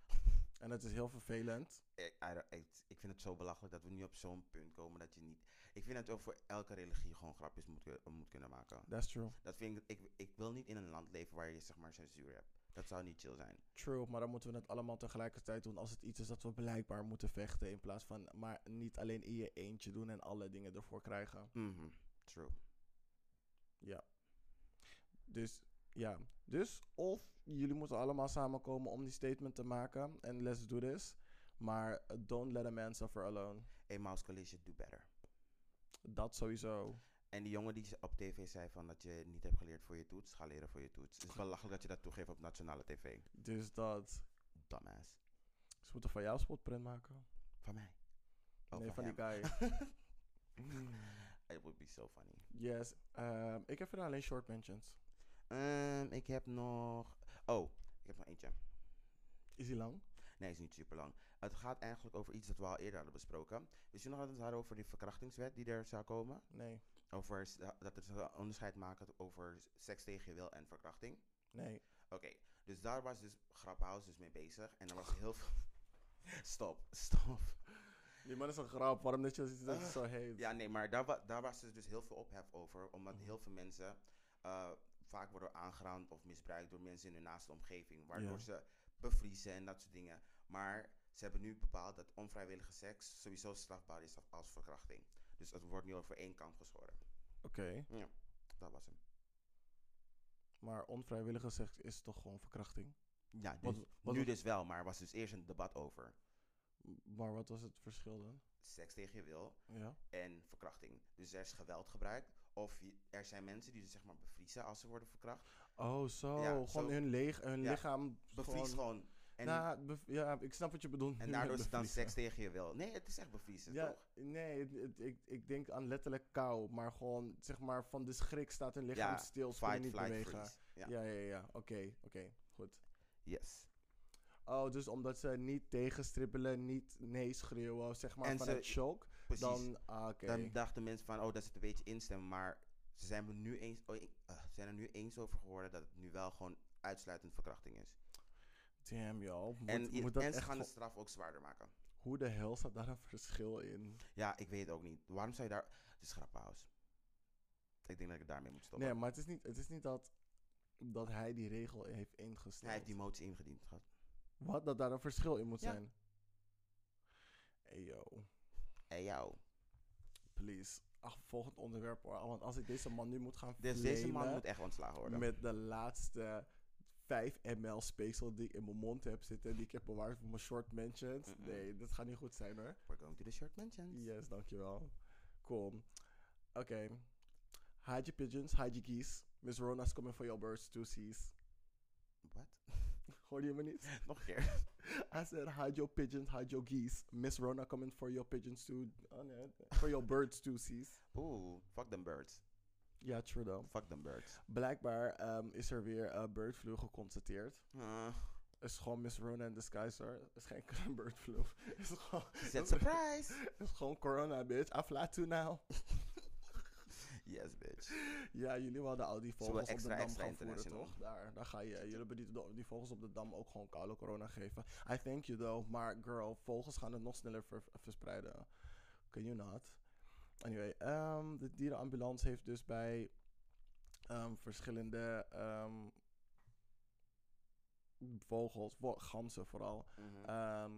Speaker 3: En dat is heel vervelend.
Speaker 2: ik, I don't- ik, ik vind het zo belachelijk dat we nu op zo'n punt komen dat je niet. Ik vind dat ook voor elke religie gewoon grapjes moet, kun- moet kunnen maken.
Speaker 3: That's true.
Speaker 2: Dat vind ik, ik, ik wil niet in een land leven waar je zeg maar censuur hebt. Dat zou niet chill zijn.
Speaker 3: True, maar dan moeten we het allemaal tegelijkertijd doen als het iets is dat we blijkbaar moeten vechten. In plaats van maar niet alleen in je eentje doen en alle dingen ervoor krijgen.
Speaker 2: Mhm, True.
Speaker 3: Dus ja, dus of jullie moeten allemaal samenkomen om die statement te maken en let's do this. Maar eh, don't let a man suffer alone.
Speaker 2: Hey, Mouse College, do better.
Speaker 3: Dat sowieso.
Speaker 2: En die jongen die ze op tv zei van dat je niet hebt geleerd voor je toets, ga leren voor je toets. Het is belachelijk dat je dat toegeeft op nationale tv.
Speaker 3: Dus dat.
Speaker 2: Dumbass.
Speaker 3: Ze Dus moeten van jou een spotprint maken.
Speaker 2: Van mij. Oh,
Speaker 3: nee, van
Speaker 2: hem.
Speaker 3: die guy.
Speaker 2: It would be so funny.
Speaker 3: yes. ehm, ik heb er alleen short mentions.
Speaker 2: Ehm, ik heb nog. Oh, ik heb nog eentje.
Speaker 3: Is die lang?
Speaker 2: Nee, is niet super lang. Het gaat eigenlijk over iets dat we al eerder hadden besproken. Wist je nog dat we het hadden over die verkrachtingswet die er zou komen?
Speaker 3: Nee.
Speaker 2: Over s- dat er een onderscheid maken over seks tegen je wil en verkrachting.
Speaker 3: Nee.
Speaker 2: Oké, dus daar was dus Graphaus dus mee bezig. En er was heel veel... Stop, stop.
Speaker 3: Die man is een grap. Waarom dat je dat je
Speaker 2: Ah.
Speaker 3: zo heet?
Speaker 2: Ja, nee, maar daar, wa- daar was dus, dus heel veel ophef over. Omdat
Speaker 3: Mhm.
Speaker 2: heel veel mensen eh, vaak worden aangerand of misbruikt door mensen in hun naaste omgeving. Waardoor
Speaker 3: Ja.
Speaker 2: ze bevriezen en dat soort dingen. Maar Ze hebben nu bepaald dat onvrijwillige seks sowieso strafbaar is als verkrachting. Dus het wordt nu over één kant geschoren.
Speaker 3: Oké,
Speaker 2: Dat was hem.
Speaker 3: maar onvrijwillige seks is toch gewoon verkrachting?
Speaker 2: Ja, dus,
Speaker 3: Wat- wat-
Speaker 2: nu dus wel, maar er was dus eerst een debat over
Speaker 3: Maar wat was het verschil dan?
Speaker 2: seks tegen je wil
Speaker 3: Ja.
Speaker 2: en verkrachting. Dus er is geweld gebruikt. Of je- er zijn mensen die dus zeg maar bevriezen als ze worden verkracht.
Speaker 3: Oh, zo.
Speaker 2: Ja,
Speaker 3: gewoon
Speaker 2: zo-
Speaker 3: hun, leeg, hun
Speaker 2: ja,
Speaker 3: lichaam.
Speaker 2: Bevries
Speaker 3: gewoon-
Speaker 2: gewoon. En,
Speaker 3: Nou, bev- ja, ik snap wat je bedoelt.
Speaker 2: en
Speaker 3: met
Speaker 2: daardoor is het dan
Speaker 3: bevriezen.
Speaker 2: seks tegen je wil. Nee, het is echt bevriezen,
Speaker 3: Ja,
Speaker 2: toch?
Speaker 3: nee, het- het- ik, ik denk aan letterlijk kou, maar gewoon zeg maar van de schrik staat hun lichaam
Speaker 2: Ja,
Speaker 3: stil, ze kunnen
Speaker 2: Fight,
Speaker 3: niet
Speaker 2: flight,
Speaker 3: bewegen.
Speaker 2: freeze. Ja.
Speaker 3: Ja, ja, ja, oké, oké, goed.
Speaker 2: Yes.
Speaker 3: Oh, dus omdat ze niet tegenstribbelen, niet nee schreeuwen, zeg maar
Speaker 2: En
Speaker 3: vanuit
Speaker 2: ze-
Speaker 3: shock,
Speaker 2: Precies.
Speaker 3: dan, ah, oké.
Speaker 2: Dan dachten mensen van, oh, dat zit een beetje instemmen. Maar ze zijn, er nu eens, oh, ik- eh, ze zijn er nu eens over geworden dat het nu wel gewoon uitsluitend verkrachting is.
Speaker 3: Damn, joh. Moet,
Speaker 2: en i-
Speaker 3: moet dat
Speaker 2: en ze
Speaker 3: echt
Speaker 2: gaan de
Speaker 3: vo-
Speaker 2: straf ook zwaarder maken.
Speaker 3: Hoe de hel staat daar een verschil in?
Speaker 2: Ja, ik weet het ook niet. Waarom zou je daar... Het is grappenhuis. Ik denk dat ik het daarmee moet stoppen.
Speaker 3: Nee, maar het is niet, het is niet dat, dat hij die regel heeft ingesteld.
Speaker 2: Hij heeft die motie ingediend gehad.
Speaker 3: Wat, dat daar een verschil in moet
Speaker 2: Ja.
Speaker 3: zijn? Hey, yo.
Speaker 2: En jou.
Speaker 3: Please. Ach, volgend onderwerp hoor. Want als ik deze man nu moet gaan
Speaker 2: Dus deze man
Speaker 3: flamen
Speaker 2: moet echt ontslagen worden.
Speaker 3: met de laatste 5 ml speeksel die ik in mijn mond heb zitten, die ik heb bewaard voor mijn short mentions.
Speaker 2: Mhm.
Speaker 3: Nee, dat gaat niet goed zijn hoor.
Speaker 2: We're going to the short mentions.
Speaker 3: Yes, dankjewel. Cool. Oké. Hide your pigeons, hide your geese. Miss Rona's coming for your birds, two seas.
Speaker 2: Wat?
Speaker 3: Hoorde je me niet?
Speaker 2: Nog een keer.
Speaker 3: I said, hide your pigeons, hide your geese. Miss Rona coming for your pigeons, too. Oh nee, for your birds, two seas.
Speaker 2: Oeh, fuck them birds.
Speaker 3: Ja, true though.
Speaker 2: Fuck them birds.
Speaker 3: Blijkbaar ehm, is er weer eh, birdflu geconstateerd.
Speaker 2: Ah,
Speaker 3: Is gewoon Miss Rona in disguise, hoor. Is geen birdflu. Is gewoon,
Speaker 2: She said surprise.
Speaker 3: is gewoon corona, bitch. I fly to now.
Speaker 2: yes, bitch.
Speaker 3: Ja, jullie hadden al die vogels op
Speaker 2: extra,
Speaker 3: de dam
Speaker 2: extra
Speaker 3: gaan voeren,
Speaker 2: international.
Speaker 3: toch? Daar, daar ga je. Jullie hebben die, do- die vogels op de dam ook gewoon koude corona geven. I thank you though, maar girl, vogels gaan het nog sneller ver- verspreiden. Can you not? Anyway, ehm, de dierenambulance heeft dus bij ehm, verschillende ehm, vogels, wo- ganzen vooral,
Speaker 2: Mhm.
Speaker 3: ehm,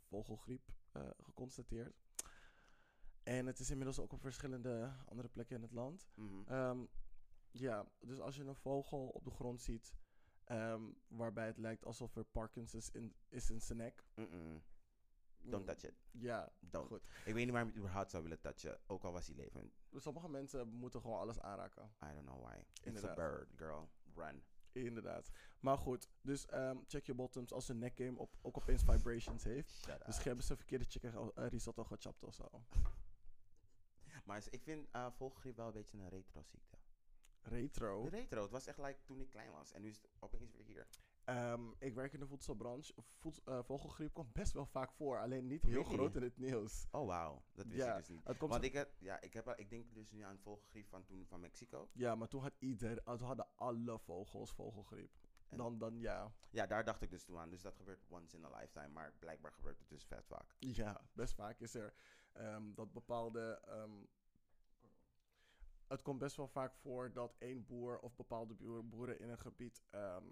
Speaker 3: vogelgriep eh, geconstateerd. En het is inmiddels ook op verschillende andere plekken in het land.
Speaker 2: Mhm.
Speaker 3: Ehm, ja, dus als je een vogel op de grond ziet, ehm, waarbij het lijkt alsof er Parkinson's in, is in zijn nek.
Speaker 2: Mm-mm. Don't
Speaker 3: mm,
Speaker 2: touch it.
Speaker 3: Ja,
Speaker 2: Don't.
Speaker 3: Goed.
Speaker 2: Ik weet niet waarom je het überhaupt zou willen touchen. Ook al was hij levend.
Speaker 3: dus sommige mensen moeten gewoon alles aanraken.
Speaker 2: I don't know why. It's a
Speaker 3: Inderdaad.
Speaker 2: bird, girl. Run.
Speaker 3: Inderdaad. Maar goed, dus ehm, check je bottoms als een nekgame op, ook opeens vibrations heeft.
Speaker 2: Shut up.
Speaker 3: Dus hebben ze verkeerde chicken ge- eh, risotto gechapt of zo.
Speaker 2: Maar ik vind eh vogelgriep wel een beetje een retro-ziekte.
Speaker 3: Retro.
Speaker 2: De retro, het was echt like toen ik klein was. En nu is het opeens weer hier.
Speaker 3: Ehm, ik werk in de voedselbranche. Voed- eh, vogelgriep komt best wel vaak voor, alleen niet heel
Speaker 2: Really?
Speaker 3: groot in het nieuws.
Speaker 2: Oh, wauw. Dat wist
Speaker 3: Ja,
Speaker 2: ik dus niet.
Speaker 3: Het komt
Speaker 2: Want ik, heb, ja, ik, heb, wel- ik denk dus nu aan vogelgriep van toen van Mexico.
Speaker 3: Ja, maar toen had ieder, ah, toen hadden alle vogels vogelgriep.
Speaker 2: En-
Speaker 3: Dan, dan ja.
Speaker 2: Ja, daar dacht ik dus toen aan. Dus dat gebeurt once in a lifetime. Maar blijkbaar gebeurt het dus vet vaak.
Speaker 3: Ja, best vaak is er ehm, dat bepaalde. ehm, het komt best wel vaak voor dat één boer of bepaalde boer- boeren in een gebied. ehm,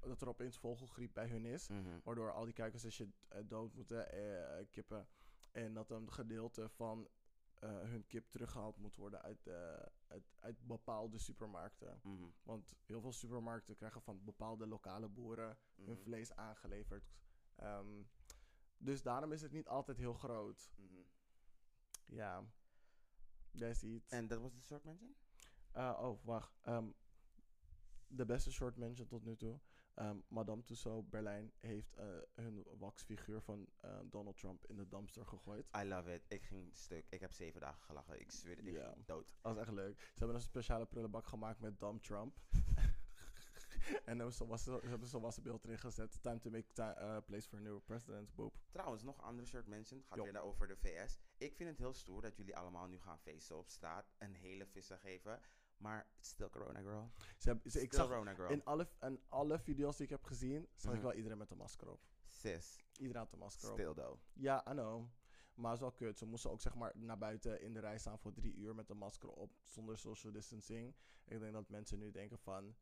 Speaker 3: dat er opeens vogelgriep bij hun is. Waardoor al die kijkers als je dood moeten eh, kippen. En dat een gedeelte van eh, hun kip teruggehaald moet worden uit, de- uit, uit bepaalde supermarkten.
Speaker 2: Mhm.
Speaker 3: Want heel veel supermarkten krijgen van bepaalde lokale boeren
Speaker 2: Mhm.
Speaker 3: hun vlees aangeleverd. Ehm, dus daarom is het niet altijd heel groot.
Speaker 2: Mhm.
Speaker 3: Ja, jij ziet.
Speaker 2: En dat was de short mention?
Speaker 3: Eh, oh, wacht. Ehm, de beste short mention tot nu toe. Ehm, Madame Tussauds Berlijn heeft eh, hun waxfiguur van eh, Donald Trump in de dumpster gegooid.
Speaker 2: I love it. Ik ging stuk. Ik heb zeven dagen gelachen. Ik zweer het, ik
Speaker 3: Ja.
Speaker 2: ging dood.
Speaker 3: Dat was echt leuk. Ze hebben een speciale prullenbak gemaakt met Dumb Trump. en hebben zo'n wassen- ze hebben zo'n wassenbeeld erin gezet. Time to make ti- eh, place for a new president. Boop.
Speaker 2: Trouwens, nog een andere short mention. Gaat
Speaker 3: Jo.
Speaker 2: weer over de VS. Ik vind het heel stoer dat jullie allemaal nu gaan feesten op straat. Een hele vissa geven. Maar it's still corona, girl.
Speaker 3: Ze hebben, ze- ik
Speaker 2: Still
Speaker 3: zag
Speaker 2: corona, girl.
Speaker 3: in alle, in alle video's die ik heb gezien, zag ik
Speaker 2: Mhm.
Speaker 3: wel iedereen met een masker op.
Speaker 2: Sis,
Speaker 3: Iedereen had een masker op.
Speaker 2: still though.
Speaker 3: Ja, I know. Maar het is wel kut. Ze moesten ook zeg maar naar buiten in de rij staan voor drie uur met een masker op zonder social distancing. Ik denk dat mensen nu denken van...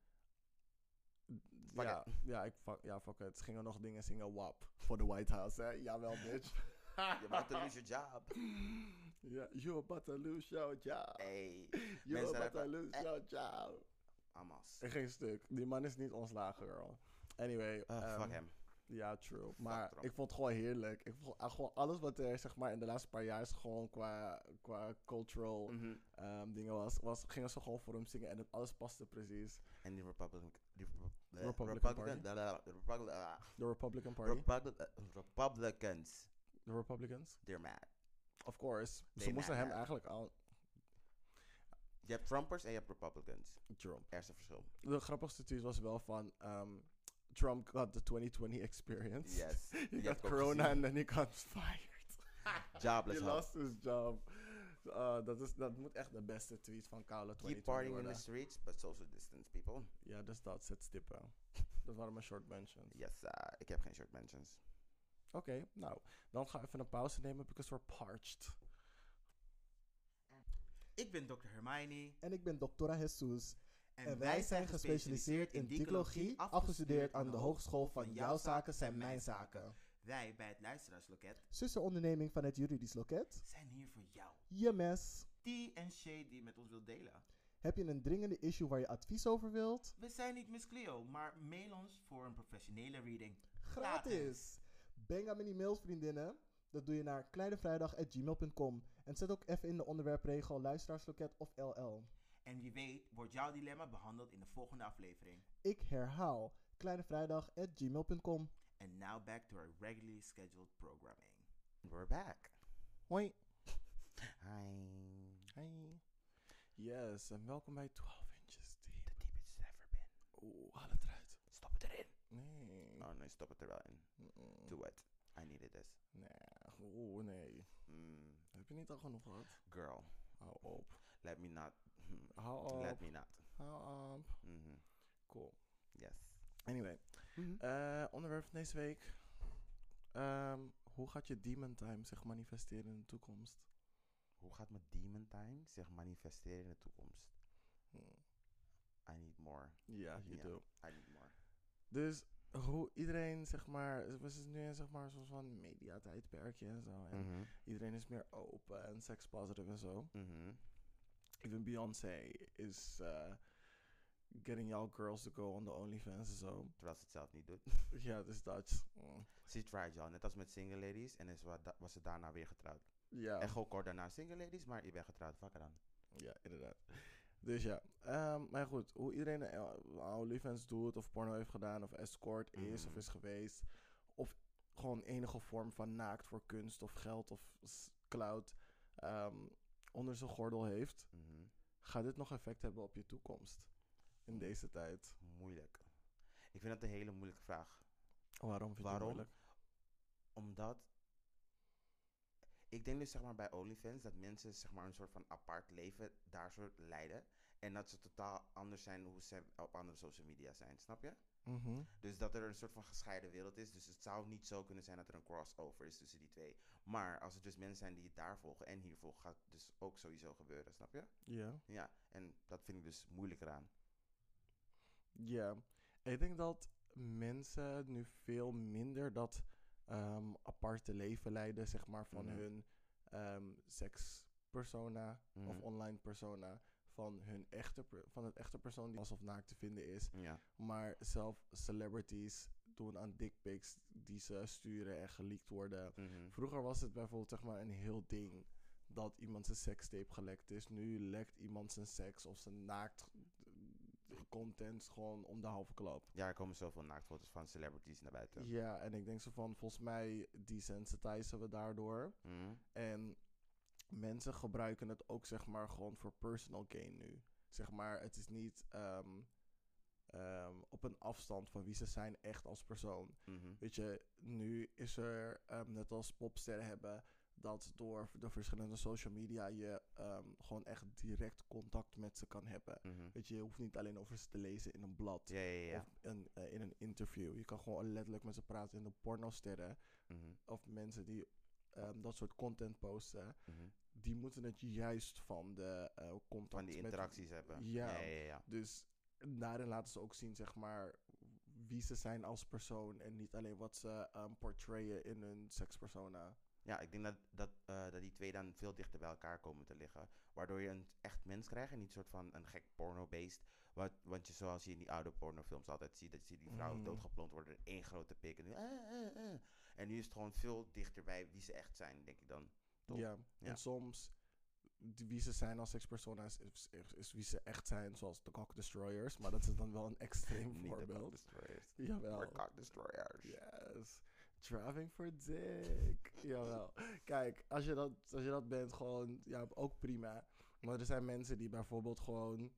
Speaker 2: Fuck
Speaker 3: ja, ja, ik, fuck, ja, fuck it. Ze gingen nog dingen zingen, WAP, voor de White House, hè? Jawel, bitch.
Speaker 2: You're about to lose your job.
Speaker 3: Ja, you about to lose your job.
Speaker 2: Hey,
Speaker 3: You
Speaker 2: Eh, mensen
Speaker 3: about to
Speaker 2: hebben-
Speaker 3: lose
Speaker 2: eh.
Speaker 3: your job.
Speaker 2: Amas.
Speaker 3: Ik ging stuk. Die man is niet ontslagen, girl. Anyway.
Speaker 2: Ah,
Speaker 3: ehm,
Speaker 2: fuck hem.
Speaker 3: Ja, true. maar
Speaker 2: Trump.
Speaker 3: ik vond het gewoon heerlijk. Ik vond ah, gewoon alles wat er zeg maar in de laatste paar jaar is gewoon qua, qua cultural
Speaker 2: Mhm.
Speaker 3: ehm, dingen was, was, gingen ze gewoon voor hem zingen en het, alles paste precies.
Speaker 2: En die Republican... Die Repu- eh,
Speaker 3: Republican Party?
Speaker 2: da- da- da- de Republican... ah,
Speaker 3: De Republican Party.
Speaker 2: Republic- eh, Republicans,
Speaker 3: De Republicans.
Speaker 2: they're mad.
Speaker 3: Of course.
Speaker 2: Nee,
Speaker 3: ze
Speaker 2: maar-
Speaker 3: moesten hem
Speaker 2: maar-
Speaker 3: eigenlijk al...
Speaker 2: Je hebt Trumpers en je hebt Republicans.
Speaker 3: Trump.
Speaker 2: Er is een verschil.
Speaker 3: De grappigste tweet was wel van... ehm, Trump got the 2020 experience.
Speaker 2: Yes.
Speaker 3: He
Speaker 2: hebt
Speaker 3: got
Speaker 2: ook
Speaker 3: corona
Speaker 2: gezien.
Speaker 3: and then he got fired.
Speaker 2: Jobless
Speaker 3: He
Speaker 2: hub.
Speaker 3: lost his job. Eh, dat, is, dat moet echt de beste tweet van Koude 2020
Speaker 2: Keep partying in
Speaker 3: worden.
Speaker 2: the streets, but social distance, people.
Speaker 3: Ja, dus dat zit stippen. Dat waren mijn short mentions.
Speaker 2: Yes, eh, ik heb geen short mentions.
Speaker 3: Oké, nou, dan ga ik even een pauze nemen, because we're parched.
Speaker 4: Ik ben Dr. Hermione.
Speaker 5: En ik ben Doctora Jesus.
Speaker 4: En,
Speaker 5: En, wij zijn gespecialiseerd in dicologie, afgestudeerd aan de hogeschool van Jouw Zaken zijn Mijn Zaken.
Speaker 4: Wij bij het Luisteraarsloket
Speaker 5: Zussenonderneming van het juridisch loket.
Speaker 4: zijn hier voor jou.
Speaker 5: Je mes.
Speaker 4: Die en Shay die met ons wilt delen.
Speaker 5: Heb je een dringende issue waar je advies over wilt?
Speaker 4: We zijn niet Miss Cleo, maar mail ons voor een professionele reading.
Speaker 5: Gratis! Bang aan mijn e-mail, vriendinnen. Dat doe je naar kleinevrijdag.gmail.com. En zet ook even in de onderwerpregel luisteraarsloket of LL.
Speaker 4: En wie weet wordt jouw dilemma behandeld in de volgende aflevering.
Speaker 5: Ik herhaal, kleinevrijdag.gmail.com.
Speaker 4: And now back to our regularly scheduled programming.
Speaker 2: We're back.
Speaker 3: Hoi.
Speaker 2: Hi.
Speaker 3: Hi. Yes, en welkom bij 12 Inches Deep.
Speaker 2: The deepest it's ever been.
Speaker 3: Oeh, haal het eruit.
Speaker 2: Stop het erin.
Speaker 3: Nee.
Speaker 2: Oh nee, stop het er wel in.
Speaker 3: Mm-mm.
Speaker 2: Do it. I needed this.
Speaker 3: Nee, oeh, nee.
Speaker 2: Mm,
Speaker 3: Heb je niet al genoeg gehad?
Speaker 2: girl,
Speaker 3: Hou op.
Speaker 2: let me not.
Speaker 3: Hou
Speaker 2: Let
Speaker 3: op.
Speaker 2: me not.
Speaker 3: Hou op.
Speaker 2: Mhm.
Speaker 3: Cool.
Speaker 2: Yes.
Speaker 3: Anyway,
Speaker 2: Mhm.
Speaker 3: eh, onderwerp van deze week. Ehm, hoe gaat je demon time zich manifesteren in de toekomst?
Speaker 2: Hoe gaat mijn demon time zich manifesteren in de toekomst?
Speaker 3: Hmm.
Speaker 2: I need more.
Speaker 3: Ja, you
Speaker 2: Ja.
Speaker 3: do.
Speaker 2: I need more.
Speaker 3: Dus hoe iedereen, zeg maar, we zitten nu in zeg maar, zo'n van mediatijdperkje en zo. En
Speaker 2: Mhm.
Speaker 3: Iedereen is meer open en sex positive en zo.
Speaker 2: Mhm.
Speaker 3: Even Beyoncé is eh, getting y'all girls to go on the OnlyFans en zo.
Speaker 2: Terwijl ze het zelf niet doet.
Speaker 3: Ja, dus dat. mm,
Speaker 2: She tried, y'all. Net als met single ladies. En is wa- da- was ze daarna weer getrouwd.
Speaker 3: Ja,
Speaker 2: En gewoon kort daarna single ladies, maar je bent getrouwd. Fuck it dan.
Speaker 3: ja, inderdaad. Dus ja, ehm, maar goed, hoe iedereen eh, OnlyFans doet of porno heeft gedaan of escort is of
Speaker 2: Mhm.
Speaker 3: is geweest. Of gewoon enige vorm van naakt voor kunst of geld of s- cloud ehm, onder zijn gordel heeft.
Speaker 2: Mhm.
Speaker 3: gaat dit nog effect hebben op je toekomst in deze tijd?
Speaker 2: Moeilijk. Ik vind dat een hele moeilijke vraag.
Speaker 3: Waarom vind je het
Speaker 2: Waarom?
Speaker 3: moeilijk?
Speaker 2: Omdat. Ik denk dus zeg maar bij OnlyFans dat mensen zeg maar een soort van apart leven daar zo leiden. En dat ze totaal anders zijn hoe ze op andere social media zijn, snap je?
Speaker 3: Mhm.
Speaker 2: Dus dat er een soort van gescheiden wereld is. Dus het zou niet zo kunnen zijn dat er een crossover is tussen die twee. Maar als er dus mensen zijn die het daar volgen en hier volgen, gaat het dus ook sowieso gebeuren, snap je?
Speaker 3: Ja.
Speaker 2: Ja, en dat vind ik dus moeilijker aan.
Speaker 3: Ja. Ik denk dat mensen nu veel minder dat ehm, aparte leven leiden, zeg maar, van
Speaker 2: Mhm.
Speaker 3: hun ehm sekspersona
Speaker 2: Mhm.
Speaker 3: of online persona. Van, hun echte per- van het echte persoon die alsof naakt te vinden is.
Speaker 2: Ja.
Speaker 3: Maar zelf celebrities doen aan dickpics die ze sturen en geleakt worden.
Speaker 2: Mhm.
Speaker 3: Vroeger was het bijvoorbeeld zeg maar een heel ding dat iemand zijn sekstape gelekt is. Nu lekt iemand zijn seks of zijn naakt eh, content gewoon om de halve klap.
Speaker 2: Ja, er komen zoveel naaktfoto's van celebrities naar buiten.
Speaker 3: Ja, en ik denk zo van, volgens mij desensitizen we daardoor.
Speaker 2: Mhm.
Speaker 3: En mensen gebruiken het ook zeg maar gewoon voor personal gain nu. Zeg maar, het is niet ehm, ehm, op een afstand van wie ze zijn echt als persoon.
Speaker 2: Mhm.
Speaker 3: Weet je, nu is er, ehm, net als popsterren hebben, dat door de verschillende social media je ehm, gewoon echt direct contact met ze kan hebben.
Speaker 2: Mhm.
Speaker 3: Weet je, je hoeft niet alleen over ze te lezen in een blad
Speaker 2: Ja, ja, ja.
Speaker 3: of een, eh, in een interview. Je kan gewoon letterlijk met ze praten in de pornosterren
Speaker 2: Mhm.
Speaker 3: of mensen die ehm, dat soort content posten.
Speaker 2: Mhm.
Speaker 3: Die moeten het juist van de eh, contact
Speaker 2: Van die
Speaker 3: met-
Speaker 2: interacties hebben.
Speaker 3: Ja.
Speaker 2: ja, ja. ja.
Speaker 3: Dus daarin laten ze ook zien, zeg maar, wie ze zijn als persoon en niet alleen wat ze ehm, portrayen in hun sekspersona.
Speaker 2: Ja, ik denk dat, dat, eh, dat die twee dan veel dichter bij elkaar komen te liggen. Waardoor je een echt mens krijgt en niet een soort van een gek porno-beest. Wat, want je, zoals je in die oude pornofilms altijd ziet, dat je die vrouwen
Speaker 3: Mm.
Speaker 2: doodgeplond worden in één grote pik. En, nu, eh, eh, eh. en nu is het gewoon veel dichter bij wie ze echt zijn, denk ik dan. Top.
Speaker 3: Ja.
Speaker 2: Ja.
Speaker 3: En soms die- wie ze zijn als sekspersona's is, is, is wie ze echt zijn, zoals de Cock Destroyers. Maar dat is dan wel een extreem
Speaker 2: Niet de cock
Speaker 3: voorbeeld.
Speaker 2: destroyers.
Speaker 3: Jawel.
Speaker 2: We're cock destroyers.
Speaker 3: Yes. Driving for dick. Jawel. Kijk, als je, dat, als je dat bent, gewoon, ja, ook prima. Maar er zijn mensen die bijvoorbeeld gewoon,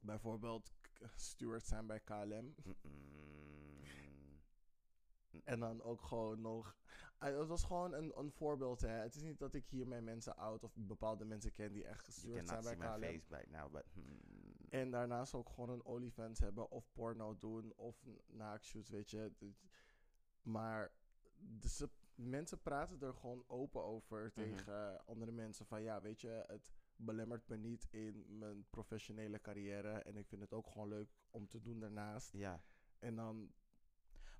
Speaker 3: bijvoorbeeld k- steward zijn bij KLM.
Speaker 2: Mm-mm.
Speaker 3: En dan ook gewoon nog, Ah, dat was gewoon een, een voorbeeld hè. Het is niet dat ik hiermee mensen out of bepaalde mensen ken die echt
Speaker 2: You
Speaker 3: gestuurd
Speaker 2: cannot
Speaker 3: zijn bij
Speaker 2: see my
Speaker 3: KLM.
Speaker 2: face right now, but... hmm.
Speaker 3: En daarnaast ook gewoon een OnlyFans hebben of porno doen of n- naakshoots, weet je. D- Maar de ze- mensen praten er gewoon open over
Speaker 2: Mhm.
Speaker 3: tegen andere mensen van ja, weet je, het belemmert me niet in mijn professionele carrière en ik vind het ook gewoon leuk om te doen daarnaast.
Speaker 2: Ja,
Speaker 3: En dan,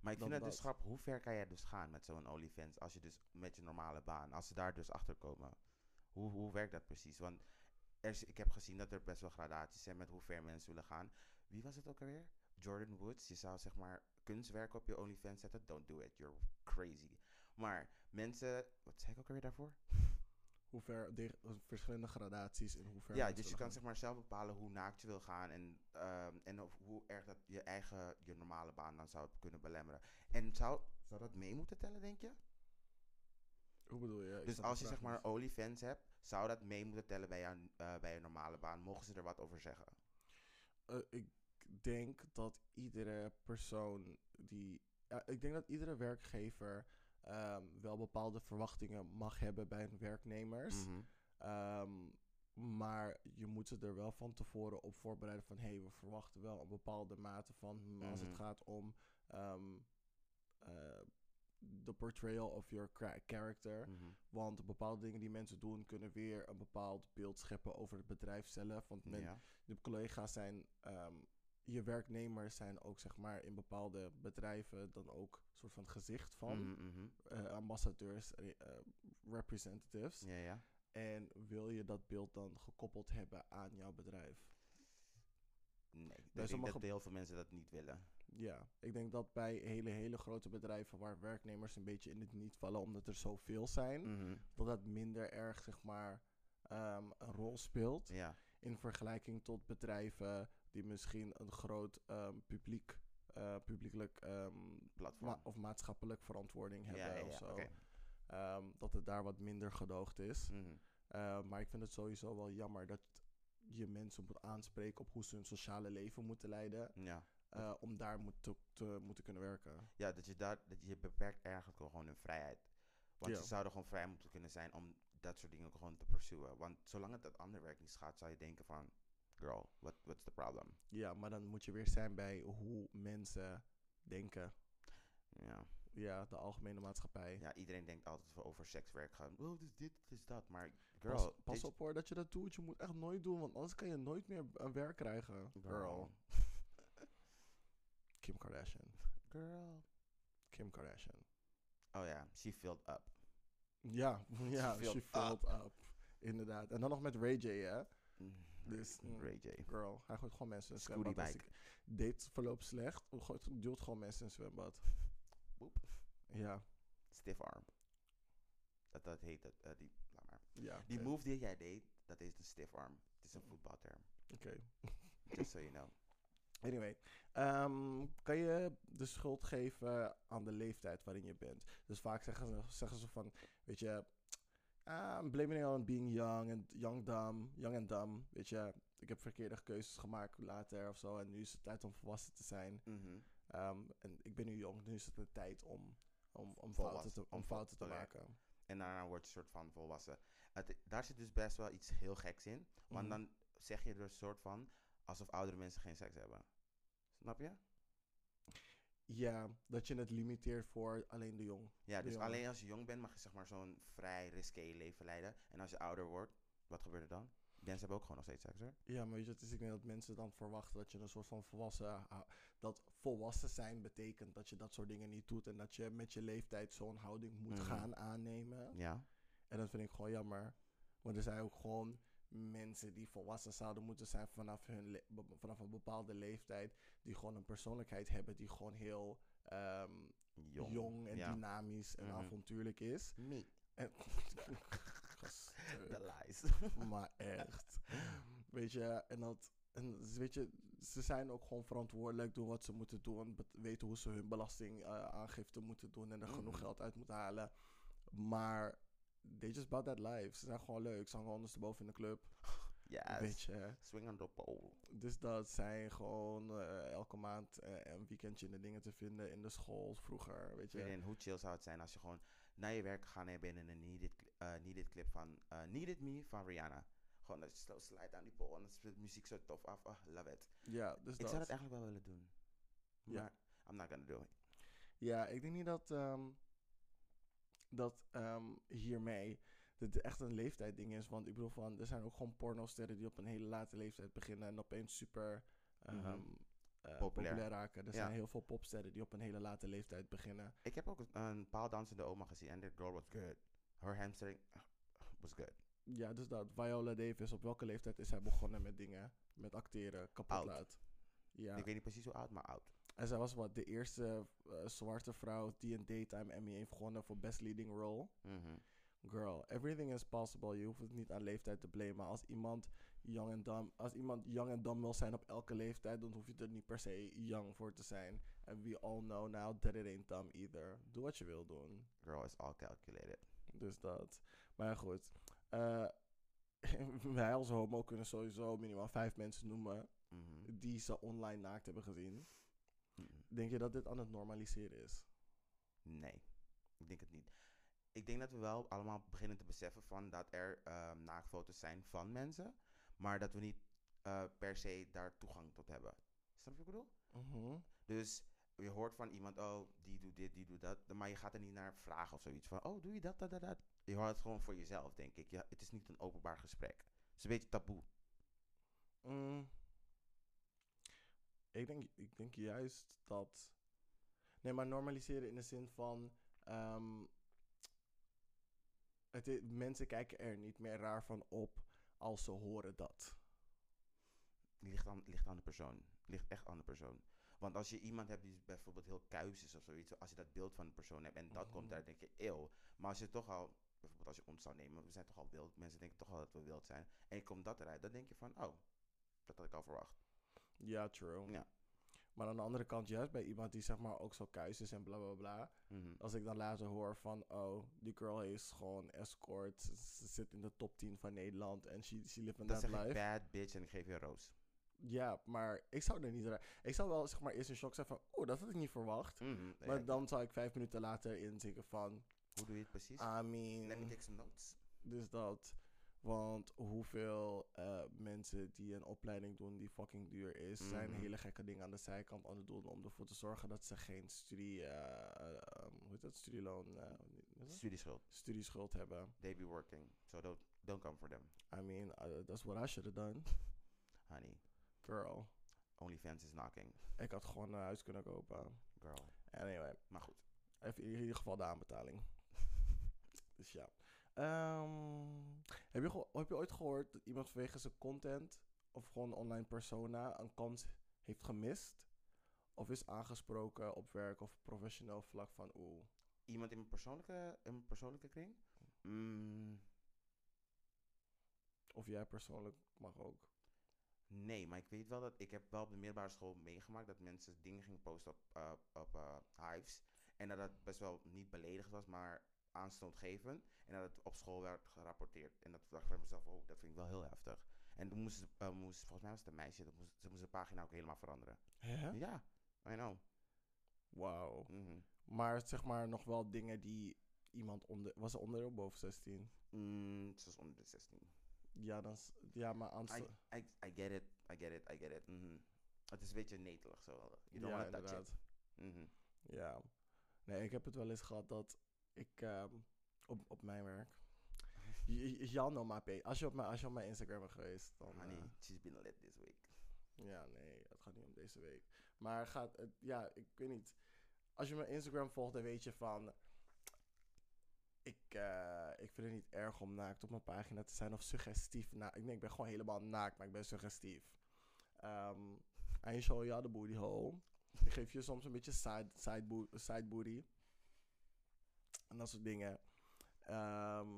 Speaker 2: maar ik
Speaker 3: Dan
Speaker 2: vind het dus
Speaker 3: dat.
Speaker 2: grappig. Hoe ver kan jij dus gaan met zo'n OnlyFans als je dus met je normale baan, als ze daar dus achter komen? Hoe, hoe werkt dat precies? Want er is, ik heb gezien dat er best wel gradaties zijn met hoe ver mensen willen gaan. Wie was het ook alweer? Jordan Woods. Je zou zeg maar kunstwerk op je OnlyFans zetten. Don't do it, you're crazy. Maar mensen, wat zei ik ook alweer daarvoor?
Speaker 3: hoe ver, de- verschillende gradaties in hoever.
Speaker 2: Ja,
Speaker 3: mensen
Speaker 2: dus je
Speaker 3: willen
Speaker 2: kan
Speaker 3: gaan.
Speaker 2: zeg maar zelf bepalen hoe naakt je wil gaan en, ehm, en of hoe erg dat je eigen, je normale baan dan zou kunnen belemmeren. En zou, zou dat mee moeten tellen, denk je?
Speaker 3: Hoe bedoel je? Ik
Speaker 2: Dus
Speaker 3: snap de
Speaker 2: als je
Speaker 3: vraag
Speaker 2: zeg maar
Speaker 3: niet.
Speaker 2: OnlyFans hebt, zou dat mee moeten tellen bij, jou, eh, bij je normale baan? Mogen ze er wat over zeggen?
Speaker 3: Eh, ik denk dat iedere persoon die. ja, ik denk dat iedere werkgever ehm, wel bepaalde verwachtingen mag hebben bij hun werknemers.
Speaker 2: Mhm.
Speaker 3: Ehm, maar je moet ze er wel van tevoren op voorbereiden van hé, hey, we verwachten wel een bepaalde mate van hmm, als het
Speaker 2: Mhm.
Speaker 3: gaat om ehm, eh, de portrayal of your cra- character.
Speaker 2: Mhm.
Speaker 3: Want bepaalde dingen die mensen doen kunnen weer een bepaald beeld scheppen over het bedrijf zelf. Want men,
Speaker 2: Ja.
Speaker 3: de collega's zijn, ehm, je werknemers zijn ook zeg maar in bepaalde bedrijven dan ook een soort van gezicht van
Speaker 2: Mhm, mhm.
Speaker 3: eh, ambassadeurs, re- eh, representatives.
Speaker 2: Ja, ja.
Speaker 3: En wil je dat beeld dan gekoppeld hebben aan jouw bedrijf?
Speaker 2: Nee, ik denk
Speaker 3: sommige-
Speaker 2: dat heel veel mensen dat niet willen.
Speaker 3: Ja, ik denk dat bij hele, hele grote bedrijven waar werknemers een beetje in het niet vallen omdat er zoveel zijn,
Speaker 2: Mhm.
Speaker 3: dat dat minder erg zeg maar ehm, een rol speelt.
Speaker 2: Ja.
Speaker 3: in vergelijking tot bedrijven die misschien een groot ehm, publiek, eh, publiekelijk ehm,
Speaker 2: Platform.
Speaker 3: ma- of maatschappelijk verantwoording
Speaker 2: Ja,
Speaker 3: hebben
Speaker 2: ja,
Speaker 3: of
Speaker 2: ja,
Speaker 3: zo.
Speaker 2: oké.
Speaker 3: Ehm, dat het daar wat minder gedoogd is.
Speaker 2: Mhm.
Speaker 3: Eh, maar ik vind het sowieso wel jammer dat je mensen moet aanspreken op hoe ze hun sociale leven moeten leiden.
Speaker 2: Ja.
Speaker 3: eh, om daar moet te, te moeten kunnen werken.
Speaker 2: Ja, dat je, daar, dat je beperkt eigenlijk wel gewoon hun vrijheid. Want
Speaker 3: Ja.
Speaker 2: ze zouden gewoon vrij moeten kunnen zijn om dat soort dingen gewoon te pursuen. Want zolang het dat ander werk niet schaadt, zou je denken van... Girl, what, what's the problem?
Speaker 3: Ja, maar dan moet je weer zijn bij hoe mensen denken.
Speaker 2: Ja.
Speaker 3: Ja, de algemene maatschappij.
Speaker 2: ja, iedereen denkt altijd wel over sekswerk gaan. Oh, dit is dit, dit is dat. Maar girl,
Speaker 3: Pas, pas
Speaker 2: dit-
Speaker 3: op hoor dat je dat doet. Je moet echt nooit doen, want anders kan je nooit meer een werk krijgen.
Speaker 2: Girl.
Speaker 3: Kim Kardashian.
Speaker 2: Girl.
Speaker 3: Kim Kardashian.
Speaker 2: Oh ja, she filled up.
Speaker 3: Ja, ja
Speaker 2: filled
Speaker 3: she filled up. Inderdaad. En dan nog met Ray J, hè?
Speaker 2: Mm,
Speaker 3: Dus, mm,
Speaker 2: Ray J.
Speaker 3: Girl, hij gooit gewoon mensen in een
Speaker 2: Scooty
Speaker 3: zwembad. Als
Speaker 2: bike.
Speaker 3: ik date verloopt slecht, hij gooit, duwt gewoon mensen in een zwembad.
Speaker 2: Boep.
Speaker 3: Ja,
Speaker 2: Stiff arm. Dat, dat heet dat. eh, die, laat maar.
Speaker 3: ja.
Speaker 2: die
Speaker 3: oké.
Speaker 2: move die jij deed, dat is een stiff arm. Het is een voetbalterm.
Speaker 3: Oké.
Speaker 2: Just so you know.
Speaker 3: Anyway, ehm, kan je de schuld geven aan de leeftijd waarin je bent? Dus vaak zeggen ze, zeggen ze van, weet je, ah, I'm blaming it on being young and young dumb, young and dumb. Weet je, ik heb verkeerde keuzes gemaakt later of zo en nu is het tijd om volwassen te zijn.
Speaker 2: Mhm.
Speaker 3: Ehm, en ik ben nu jong, nu is het de tijd om, om, om fouten te,
Speaker 2: Volwassen,
Speaker 3: om
Speaker 2: om
Speaker 3: fouten te
Speaker 2: vol- oké.
Speaker 3: maken.
Speaker 2: En daarna word je een soort van volwassen. Het, daar zit dus best wel iets heel geks in. Want
Speaker 3: Mhm.
Speaker 2: dan zeg je er een soort van alsof oudere mensen geen seks hebben. Snap je?
Speaker 3: Ja, dat je het limiteert voor alleen de jong.
Speaker 2: Ja, dus
Speaker 3: Ja.
Speaker 2: alleen als je jong bent mag je zeg maar zo'n vrij risqué leven leiden. En als je ouder wordt, wat gebeurt er dan? Mensen hebben ook gewoon nog steeds seks hoor.
Speaker 3: Ja, maar weet je, het is ik denk dat mensen dan verwachten dat je een soort van volwassen... ah, dat volwassen zijn betekent dat je dat soort dingen niet doet. En dat je met je leeftijd zo'n houding moet
Speaker 2: Mhm.
Speaker 3: gaan aannemen.
Speaker 2: Ja.
Speaker 3: En dat vind ik gewoon jammer. Want er zijn ook gewoon mensen die volwassen zouden moeten zijn vanaf, hun le- be- vanaf een bepaalde leeftijd. Die gewoon een persoonlijkheid hebben die gewoon heel ehm, jong.
Speaker 2: Jong.
Speaker 3: en
Speaker 2: ja.
Speaker 3: dynamisch en
Speaker 2: Mhm.
Speaker 3: avontuurlijk is.
Speaker 2: Me.
Speaker 3: En Gasteuk.
Speaker 2: The lies.
Speaker 3: maar echt. Weet je, en dat. En z- weet je, ze zijn ook gewoon verantwoordelijk, doen wat ze moeten doen, bet- weten hoe ze hun belastingaangifte moeten doen en er genoeg
Speaker 2: Mhm.
Speaker 3: geld uit moeten halen. Maar they just bought that life. Ze zijn gewoon leuk, ze hangen ondersteboven in de club, weet
Speaker 2: Yes.
Speaker 3: je.
Speaker 2: Swing on the pole.
Speaker 3: Dus dat zijn gewoon eh, elke maand eh, een weekendje in de dingen te vinden in de school vroeger, weet je.
Speaker 2: En hoe chill zou het zijn als je gewoon naar je werk gaan en je bent in een Needed, cli- eh, needed clip van eh, Needed Me van Rihanna. Gewoon eh, slow slide down die pole en dan speelt de muziek zo tof af. Oh, love it.
Speaker 3: Ja, dus
Speaker 2: Ik
Speaker 3: dat.
Speaker 2: zou dat eigenlijk wel willen doen.
Speaker 3: Ja.
Speaker 2: Maar I'm not gonna do it.
Speaker 3: Ja, ik denk niet dat, ehm, dat ehm, hiermee dit echt een leeftijdding is. Want ik bedoel, van, er zijn ook gewoon pornosterren die op een hele late leeftijd beginnen en opeens super ehm,
Speaker 2: Mhm.
Speaker 3: eh, populair.
Speaker 2: Populair.
Speaker 3: raken. Er
Speaker 2: Ja.
Speaker 3: zijn heel veel popsterren die op een hele late leeftijd beginnen.
Speaker 2: Ik heb ook een- een paal dansende oma gezien en the girl was good. Her hamstring eh, was good.
Speaker 3: Ja, dus dat. Viola Davis, op welke leeftijd is zij begonnen met dingen? Met acteren, kapot
Speaker 2: Oud.
Speaker 3: laat. Ja.
Speaker 2: Ik weet niet precies hoe oud, maar oud.
Speaker 3: En zij was wat, de eerste eh, zwarte vrouw die een Daytime Emmy heeft gewonnen voor Best Leading Role.
Speaker 2: Mhm.
Speaker 3: Girl, everything is possible. Je hoeft het niet aan leeftijd te blamen. Als iemand jong en dom, als iemand jong en dom wil zijn op elke leeftijd, dan hoef je er niet per se jong voor te zijn. And we all know now that it ain't dumb either. Doe wat je wil doen.
Speaker 2: Girl is all calculated.
Speaker 3: Dus dat. Maar goed. eh, wij als homo kunnen sowieso minimaal vijf mensen noemen
Speaker 2: Mhm.
Speaker 3: die ze online naakt hebben gezien.
Speaker 2: Mhm.
Speaker 3: Denk je dat dit aan het normaliseren is?
Speaker 2: Nee, ik denk het niet. Ik denk dat we wel allemaal beginnen te beseffen van dat er ehm, naaktfoto's zijn van mensen, maar dat we niet eh, per se daar toegang tot hebben. Snap je wat ik bedoel?
Speaker 3: Mhm.
Speaker 2: Dus je hoort van iemand, oh, die doet dit, die doet dat, maar je gaat er niet naar vragen of zoiets van, oh, doe je dat, dat, dat, dat. Je houdt het gewoon voor jezelf, denk ik. Ja, het is niet een openbaar gesprek. Het is een beetje taboe.
Speaker 3: Mm. Ik, denk, ik denk juist dat. Nee, maar normaliseren in de zin van. ehm, het i- mensen kijken er niet meer raar van op als ze horen dat.
Speaker 2: ligt aan, ligt aan de persoon. Ligt echt aan de persoon. Want als je iemand hebt die bijvoorbeeld heel kuis is of zoiets, als je dat beeld van de persoon hebt en dat komt
Speaker 3: Mhm.
Speaker 2: daar, denk je, eeuw. Maar als je toch al, bijvoorbeeld als je ons zou nemen, we zijn toch al wild, mensen denken toch al dat we wild zijn. En komt dat eruit, dan denk je van, oh, dat had ik al verwacht.
Speaker 3: Ja, true.
Speaker 2: Ja.
Speaker 3: Maar aan de andere kant, juist bij iemand die zeg maar ook zo kuis is en bla bla bla.
Speaker 2: Mhm.
Speaker 3: Als ik dan later hoor van, oh, die girl is gewoon escort. Ze, ze zit in de top 10 van Nederland en she, she living
Speaker 2: Dan zeg
Speaker 3: that
Speaker 2: ik
Speaker 3: life.
Speaker 2: bad bitch en ik geef je een roos.
Speaker 3: Ja, maar ik zou er niet ra- Ik zou wel zeg maar eerst in shock zijn van, oh, dat had ik niet verwacht.
Speaker 2: Mhm. Ja,
Speaker 3: Maar dan zou ik vijf minuten later inzinken van,
Speaker 2: Hoe doe je het precies?
Speaker 3: I
Speaker 2: Let me
Speaker 3: mean,
Speaker 2: take some notes.
Speaker 3: dus dat. Want hoeveel eh, mensen die een opleiding doen die fucking duur is, zijn
Speaker 2: Mhm.
Speaker 3: hele gekke dingen aan de zijkant aan het doen om ervoor te zorgen dat ze geen studie, eh, eh, hoe heet dat, studieloon, eh, hoe heet dat?
Speaker 2: Studieschuld.
Speaker 3: studieschuld hebben.
Speaker 2: They be working. So don't, don't come for them,
Speaker 3: I mean, eh, that's what I should have done.
Speaker 2: honey.
Speaker 3: Girl,
Speaker 2: OnlyFans is knocking.
Speaker 3: ik had gewoon een huis kunnen kopen.
Speaker 2: Girl.
Speaker 3: Anyway.
Speaker 2: Maar goed.
Speaker 3: Even in ieder geval de aanbetaling. dus ja. Ehm, heb, je geho- heb je ooit gehoord dat iemand vanwege zijn content of gewoon online persona een kans heeft gemist? Of is aangesproken op werk of professioneel vlak van oeh.
Speaker 2: iemand in mijn persoonlijke, in mijn persoonlijke kring? Mm,
Speaker 3: Of jij persoonlijk mag ook.
Speaker 2: nee, maar ik weet wel dat ik heb wel op de middelbare school meegemaakt dat mensen dingen gingen posten op, eh, op eh, Hives. En dat dat best wel niet beledigend was, maar aanstootgevend. En dat het op school werd gerapporteerd. En dat dacht ik bij mezelf, oh, dat vind ik wel heel heftig. En toen moest, eh, moest volgens mij was het een meisje, dat moest, ze moest de pagina ook helemaal veranderen.
Speaker 3: Hè?
Speaker 2: Ja, I know.
Speaker 3: Wauw.
Speaker 2: Mhm.
Speaker 3: Maar zeg maar nog wel dingen die iemand onder. Was ze onder of boven 16?
Speaker 2: Mm, ze was onder de 16.
Speaker 3: Ja, dan, s- ja maar aan
Speaker 2: I, I, I get it, I get it, I get it. mhm. Het is een beetje netelig zo. Je don't
Speaker 3: ja,
Speaker 2: wanna touch it. Mhm.
Speaker 3: Ja. Nee, ik heb het wel eens gehad dat ik ehm, op, op mijn werk. Y- y- Y'all know my page. Als je op mijn, als je op mijn Instagram bent geweest, dan...
Speaker 2: Honey,
Speaker 3: eh,
Speaker 2: she's been lit this week.
Speaker 3: Ja, nee, het gaat niet om deze week. Maar gaat, het, ja, ik weet niet. Als je mijn Instagram volgt, dan weet je van. Ik, eh, ik vind het niet erg om naakt op mijn pagina te zijn of suggestief. Na ik, nee, ik ben gewoon helemaal naakt, maar ik ben suggestief. Ehm I show you the booty hole. Ik geef je soms een beetje side, side, boo- side booty. En dat soort dingen. Ehm,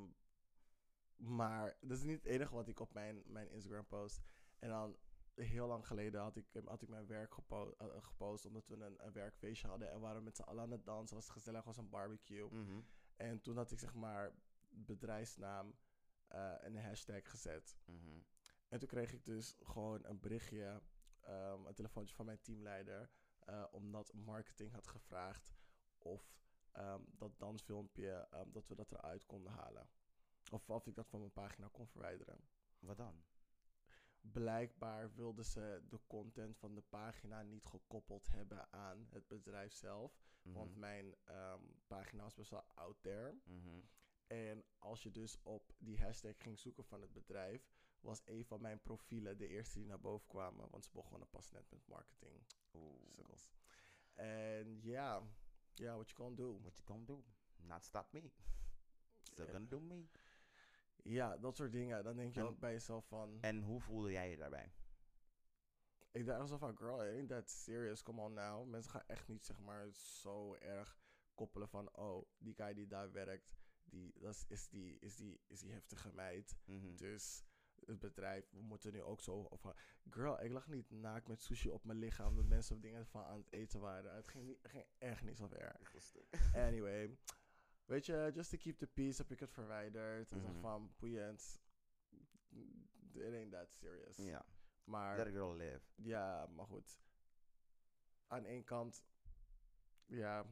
Speaker 3: maar dat is niet het enige wat ik op mijn, mijn Instagram post. En dan heel lang geleden had ik, had ik mijn werk gepo- eh, gepost. Omdat we een, een werkfeestje hadden. En waren we met z'n allen aan het dansen. Was gezellig, was een barbecue.
Speaker 2: Mhm,
Speaker 3: En toen had ik zeg maar bedrijfsnaam eh, en een hashtag gezet.
Speaker 2: mhm.
Speaker 3: En toen kreeg ik dus gewoon een berichtje. ehm, een telefoontje van mijn teamleider. eh, omdat marketing had gevraagd of ehm, dat dansfilmpje, ehm, dat we dat eruit konden halen. Of of ik dat van mijn pagina kon verwijderen
Speaker 2: Wat dan?
Speaker 3: blijkbaar wilden ze de content van de pagina niet gekoppeld hebben aan het bedrijf zelf. Want
Speaker 2: Mhm,
Speaker 3: mijn ehm, pagina was best wel out there.
Speaker 2: mhm.
Speaker 3: En als je dus op die hashtag ging zoeken van het bedrijf, was een van mijn profielen de eerste die naar boven kwamen. Want ze begonnen pas net met marketing.
Speaker 2: Oeh.
Speaker 3: cirkels. En ja, ja, what you gonna do?
Speaker 2: What you gonna do? Not stop me. Still
Speaker 3: Ja.
Speaker 2: gonna do me.
Speaker 3: Ja, dat soort dingen. Dan denk je
Speaker 2: En-
Speaker 3: ook bij jezelf van...
Speaker 2: En hoe voelde jij je daarbij?
Speaker 3: Ik dacht alsof van, girl, it ain't that serious, come on now. Mensen gaan echt niet, zeg maar, zo erg koppelen van, oh, die guy die daar werkt, die, dat is, is, die, is, die, is die heftige meid.
Speaker 2: Mhm.
Speaker 3: Dus het bedrijf, we moeten nu ook zo over... Girl, ik lag niet naakt met sushi op mijn lichaam, omdat mensen op dingen van aan het eten waren. Het ging, niet, ging echt niet zo ver.
Speaker 2: Echt een stuk.
Speaker 3: Anyway, weet je, just to keep the peace heb ik het verwijderd. En zeg
Speaker 2: Mhm.
Speaker 3: van, boeiend, it ain't that serious.
Speaker 2: Ja,
Speaker 3: Maar...
Speaker 2: let a girl live.
Speaker 3: Ja, maar goed. Aan één kant, ja,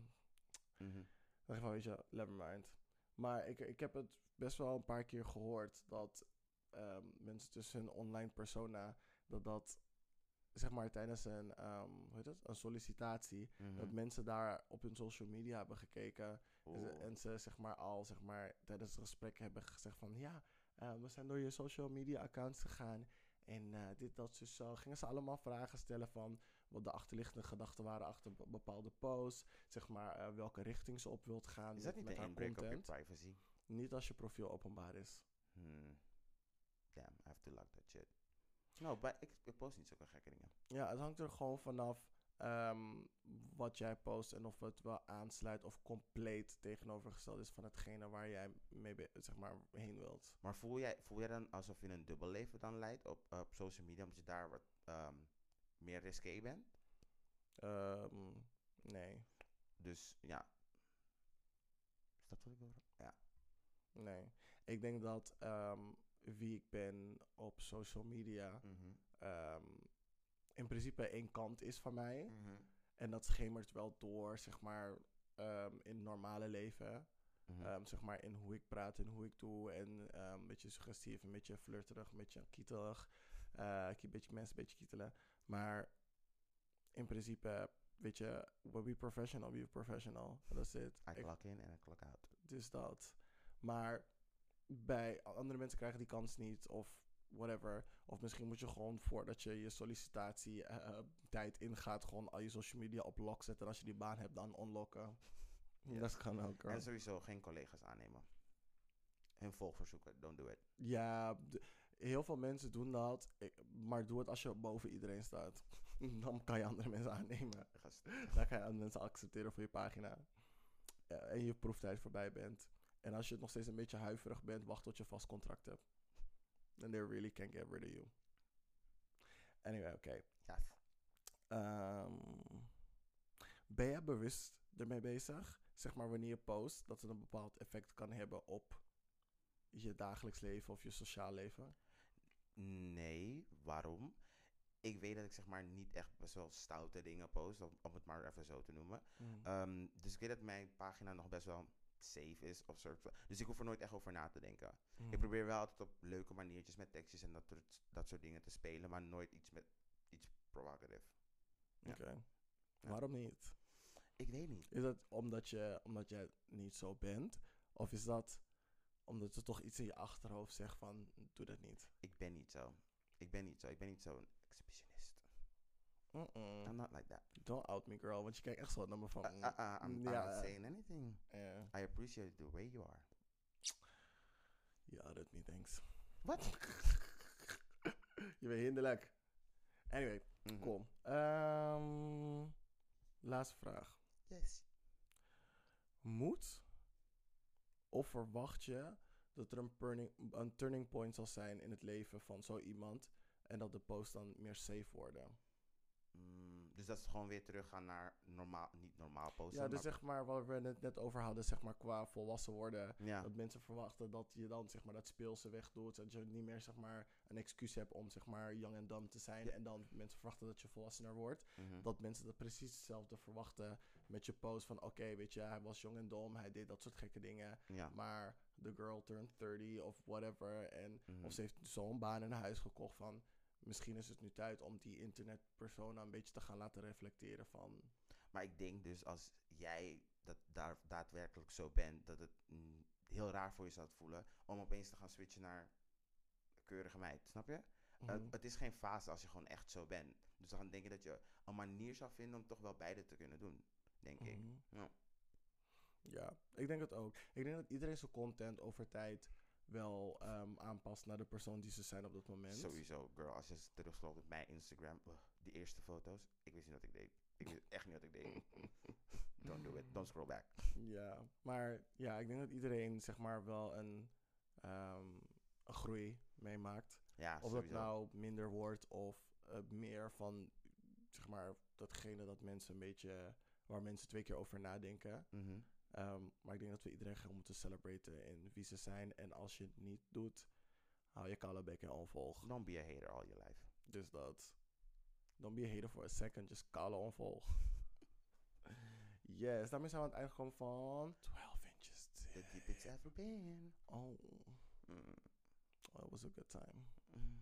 Speaker 2: Mhm.
Speaker 3: dan van, weet je, nevermind. Maar ik, ik heb het best wel een paar keer gehoord dat ehm, mensen tussen hun online persona, dat dat, zeg maar, tijdens een, ehm, hoe heet het, een sollicitatie, dat
Speaker 2: Mhm.
Speaker 3: mensen daar op hun social media hebben gekeken en ze-
Speaker 2: Oeh.
Speaker 3: En ze zeg maar al zeg maar, tijdens het gesprek hebben gezegd van ja, eh, we zijn door je social media accounts gegaan. En eh, dit, dat, dus zo. Gingen ze allemaal vragen stellen van wat de achterliggende gedachten waren achter be- bepaalde posts. Zeg maar eh, welke richting ze op wilt gaan
Speaker 2: Is
Speaker 3: met,
Speaker 2: dat niet
Speaker 3: met
Speaker 2: een
Speaker 3: haar
Speaker 2: inbreuk op je
Speaker 3: content.
Speaker 2: privacy?
Speaker 3: Niet als je profiel openbaar is.
Speaker 2: Hmm. Damn, I have to lock that shit. Nou, maar ik, ik post niet zulke gekke dingen.
Speaker 3: Ja, het hangt er gewoon vanaf ehm, wat jij post en of het wel aansluit of compleet tegenovergesteld is van hetgene waar jij mee be- zeg maar, heen wilt.
Speaker 2: Maar voel jij, voel jij dan alsof je een dubbel leven dan leidt op, op social media, omdat je daar wat ehm, meer risqué bent?
Speaker 3: Ehm, nee.
Speaker 2: Dus ja. Is dat wat ik hoor? Ja.
Speaker 3: Nee. Ik denk dat ehm, wie ik ben op social media
Speaker 2: Mhm.
Speaker 3: ehm, in principe één kant is van mij.
Speaker 2: Mhm.
Speaker 3: En dat schemert wel door, zeg maar, ehm, in het normale leven.
Speaker 2: Mhm.
Speaker 3: Ehm, zeg maar in hoe ik praat en hoe ik doe. En ehm, een beetje suggestief, een beetje flirterig, een beetje kietelig. Eh, ik een beetje mensen een beetje kietelen. Maar in principe, weet je, we be professional, be professional. Dat is het.
Speaker 2: I
Speaker 3: Ik-
Speaker 2: clock in en I clock out.
Speaker 3: Dus dat. Maar bij a- andere mensen krijgen die kans niet of whatever. Of misschien moet je gewoon voordat je je sollicitatie eh, eh, tijd ingaat, gewoon al je social media op lock zetten. En als je die baan hebt, dan unlocken. Dat kan ook. hoor.
Speaker 2: En sowieso geen collega's aannemen. Hun volgverzoeken, don't do it.
Speaker 3: Ja, d- heel veel mensen doen dat. Ik- Maar doe het als je boven iedereen staat. dan kan je andere mensen aannemen.
Speaker 2: Gast.
Speaker 3: Dan kan je andere mensen accepteren voor je pagina. Eh, en je proeftijd voorbij bent. En als je nog steeds een beetje huiverig bent, wacht tot je vast contract hebt. And they really can't get rid of you. Anyway, oké.
Speaker 2: Yes.
Speaker 3: Ehm, ben je bewust ermee bezig? Zeg maar wanneer je post, dat het een bepaald effect kan hebben op je dagelijks leven of je sociaal leven?
Speaker 2: Nee, waarom? Ik weet dat ik zeg maar niet echt best wel stoute dingen post, om, om het maar even zo te noemen.
Speaker 3: Eh,
Speaker 2: Ehm, dus ik weet dat mijn pagina nog best wel safe is of soort van. Dus ik hoef er nooit echt over na te denken. Ik
Speaker 3: Mhm.
Speaker 2: probeer wel altijd op leuke maniertjes met tekstjes en dat, soort- dat soort dingen te spelen, maar nooit iets met iets provocative. ja.
Speaker 3: Oké. Waarom niet?
Speaker 2: Ik weet niet.
Speaker 3: Is dat omdat je, omdat je niet zo bent? Of is dat Omdat er toch iets in je achterhoofd zegt van, doe dat niet.
Speaker 2: Ik ben niet zo. Ik ben niet zo. Ik ben niet zo'n exhibitionist.
Speaker 3: Mm-mm.
Speaker 2: I'm not like that.
Speaker 3: Don't out me girl, want je kijkt echt zo naar me van...
Speaker 2: Uh, uh, uh, I'm, I'm
Speaker 3: Oh, mm. ja,
Speaker 2: not
Speaker 3: eh,
Speaker 2: saying anything.
Speaker 3: eh,
Speaker 2: I appreciate the way you are.
Speaker 3: ja, dat niet eens.
Speaker 2: Wat?
Speaker 3: je bent hinderlijk. Anyway,
Speaker 2: Mhm.
Speaker 3: kom. Ehm, laatste vraag.
Speaker 2: Yes.
Speaker 3: Moet of verwacht je dat er een turning, een turning point zal zijn in het leven van zo iemand en dat de posts dan meer safe worden?
Speaker 2: Mm, dus dat is gewoon weer teruggaan naar normaal, niet normaal posten.
Speaker 3: Ja, dus
Speaker 2: maar-
Speaker 3: zeg maar waar we het net over hadden, zeg maar qua volwassen worden.
Speaker 2: ja.
Speaker 3: Dat mensen verwachten dat je dan zeg maar dat speelse wegdoet. Dat je niet meer zeg maar een excuus hebt om zeg maar young en dumb te zijn.
Speaker 2: Ja.
Speaker 3: En dan mensen verwachten dat je volwassener wordt.
Speaker 2: mhm.
Speaker 3: Dat mensen dat precies hetzelfde verwachten met je post van oké, weet je, hij was jong en dom. Hij deed dat soort gekke dingen.
Speaker 2: ja.
Speaker 3: Maar the girl turned 30 of whatever. En
Speaker 2: Mhm.
Speaker 3: of ze heeft zo'n baan en een huis gekocht van. Misschien is het nu tijd om die internetpersona een beetje te gaan laten reflecteren van.
Speaker 2: Maar ik denk dus als jij dat daar daadwerkelijk zo bent, dat het mm, heel raar voor je zou voelen om opeens te gaan switchen naar keurige meid, snap je? Uh,
Speaker 3: mhm.
Speaker 2: het is geen fase als je gewoon echt zo bent. Dus dan denk ik dat je een manier zou vinden om toch wel beide te kunnen doen, denk ik.
Speaker 3: Mhm.
Speaker 2: Ja.
Speaker 3: Ja, ik denk het ook. Ik denk dat iedereen zijn content over tijd wel ehm, aanpast naar de persoon die ze zijn op dat moment.
Speaker 2: Sowieso, girl. Als je eens terugscrollt op mijn Instagram, ugh, die eerste foto's, ik wist niet wat ik deed. Ik wist echt niet wat ik deed. Don't do it. Don't scroll back.
Speaker 3: Ja, maar ja, ik denk dat iedereen zeg maar wel een, ehm, een groei meemaakt.
Speaker 2: Ja,
Speaker 3: of dat
Speaker 2: sowieso.
Speaker 3: nou minder wordt of eh, meer van zeg maar datgene dat mensen een beetje waar mensen twee keer over nadenken.
Speaker 2: Mhm.
Speaker 3: Ehm, maar ik denk dat we iedereen gewoon moeten celebraten in wie ze zijn. En als je het niet doet, hou je koude bek en onvolg.
Speaker 2: Don't be a hater all your life.
Speaker 3: Dus dat. Don't be a hater for a second, just kale onvolg. yes, daarmee zijn we aan het eind gekomen van 12 inches. Deep.
Speaker 2: The deepest ever been.
Speaker 3: Oh,
Speaker 2: Mm.
Speaker 3: oh, it was a good time.
Speaker 2: Mm.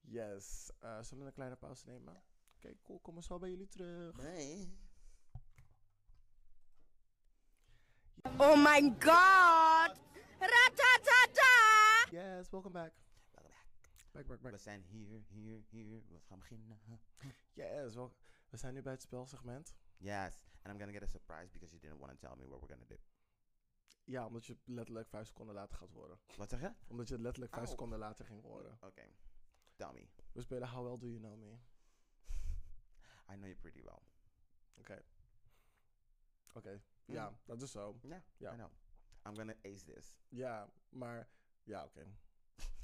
Speaker 3: Yes, eh, zullen we een kleine pauze nemen? Oké, cool, kom maar zo bij jullie terug.
Speaker 2: Bye.
Speaker 1: Oh my god! Ratatata!
Speaker 3: Yes, welcome back.
Speaker 2: Welcome back.
Speaker 3: Back, back,
Speaker 2: We
Speaker 3: back.
Speaker 2: zijn hier, hier, hier. We gaan beginnen.
Speaker 3: Yes, wel we zijn nu bij het spelsegment.
Speaker 2: Yes. And I'm gonna get a surprise because you didn't want to tell me what we're gonna do.
Speaker 3: Ja, omdat je het letterlijk vijf seconden later gaat horen.
Speaker 2: Wat zeg je?
Speaker 3: Omdat je het letterlijk vijf
Speaker 2: Au.
Speaker 3: seconden later ging horen.
Speaker 2: Oké. Tell me.
Speaker 3: We spelen How Well Do You Know Me. Oké.
Speaker 2: I know you pretty well.
Speaker 3: Oké, ja,
Speaker 2: Mm.
Speaker 3: dat is zo.
Speaker 2: Ja,
Speaker 3: Ja.
Speaker 2: I know. I'm gonna ace this.
Speaker 3: Ja, maar ja, oké.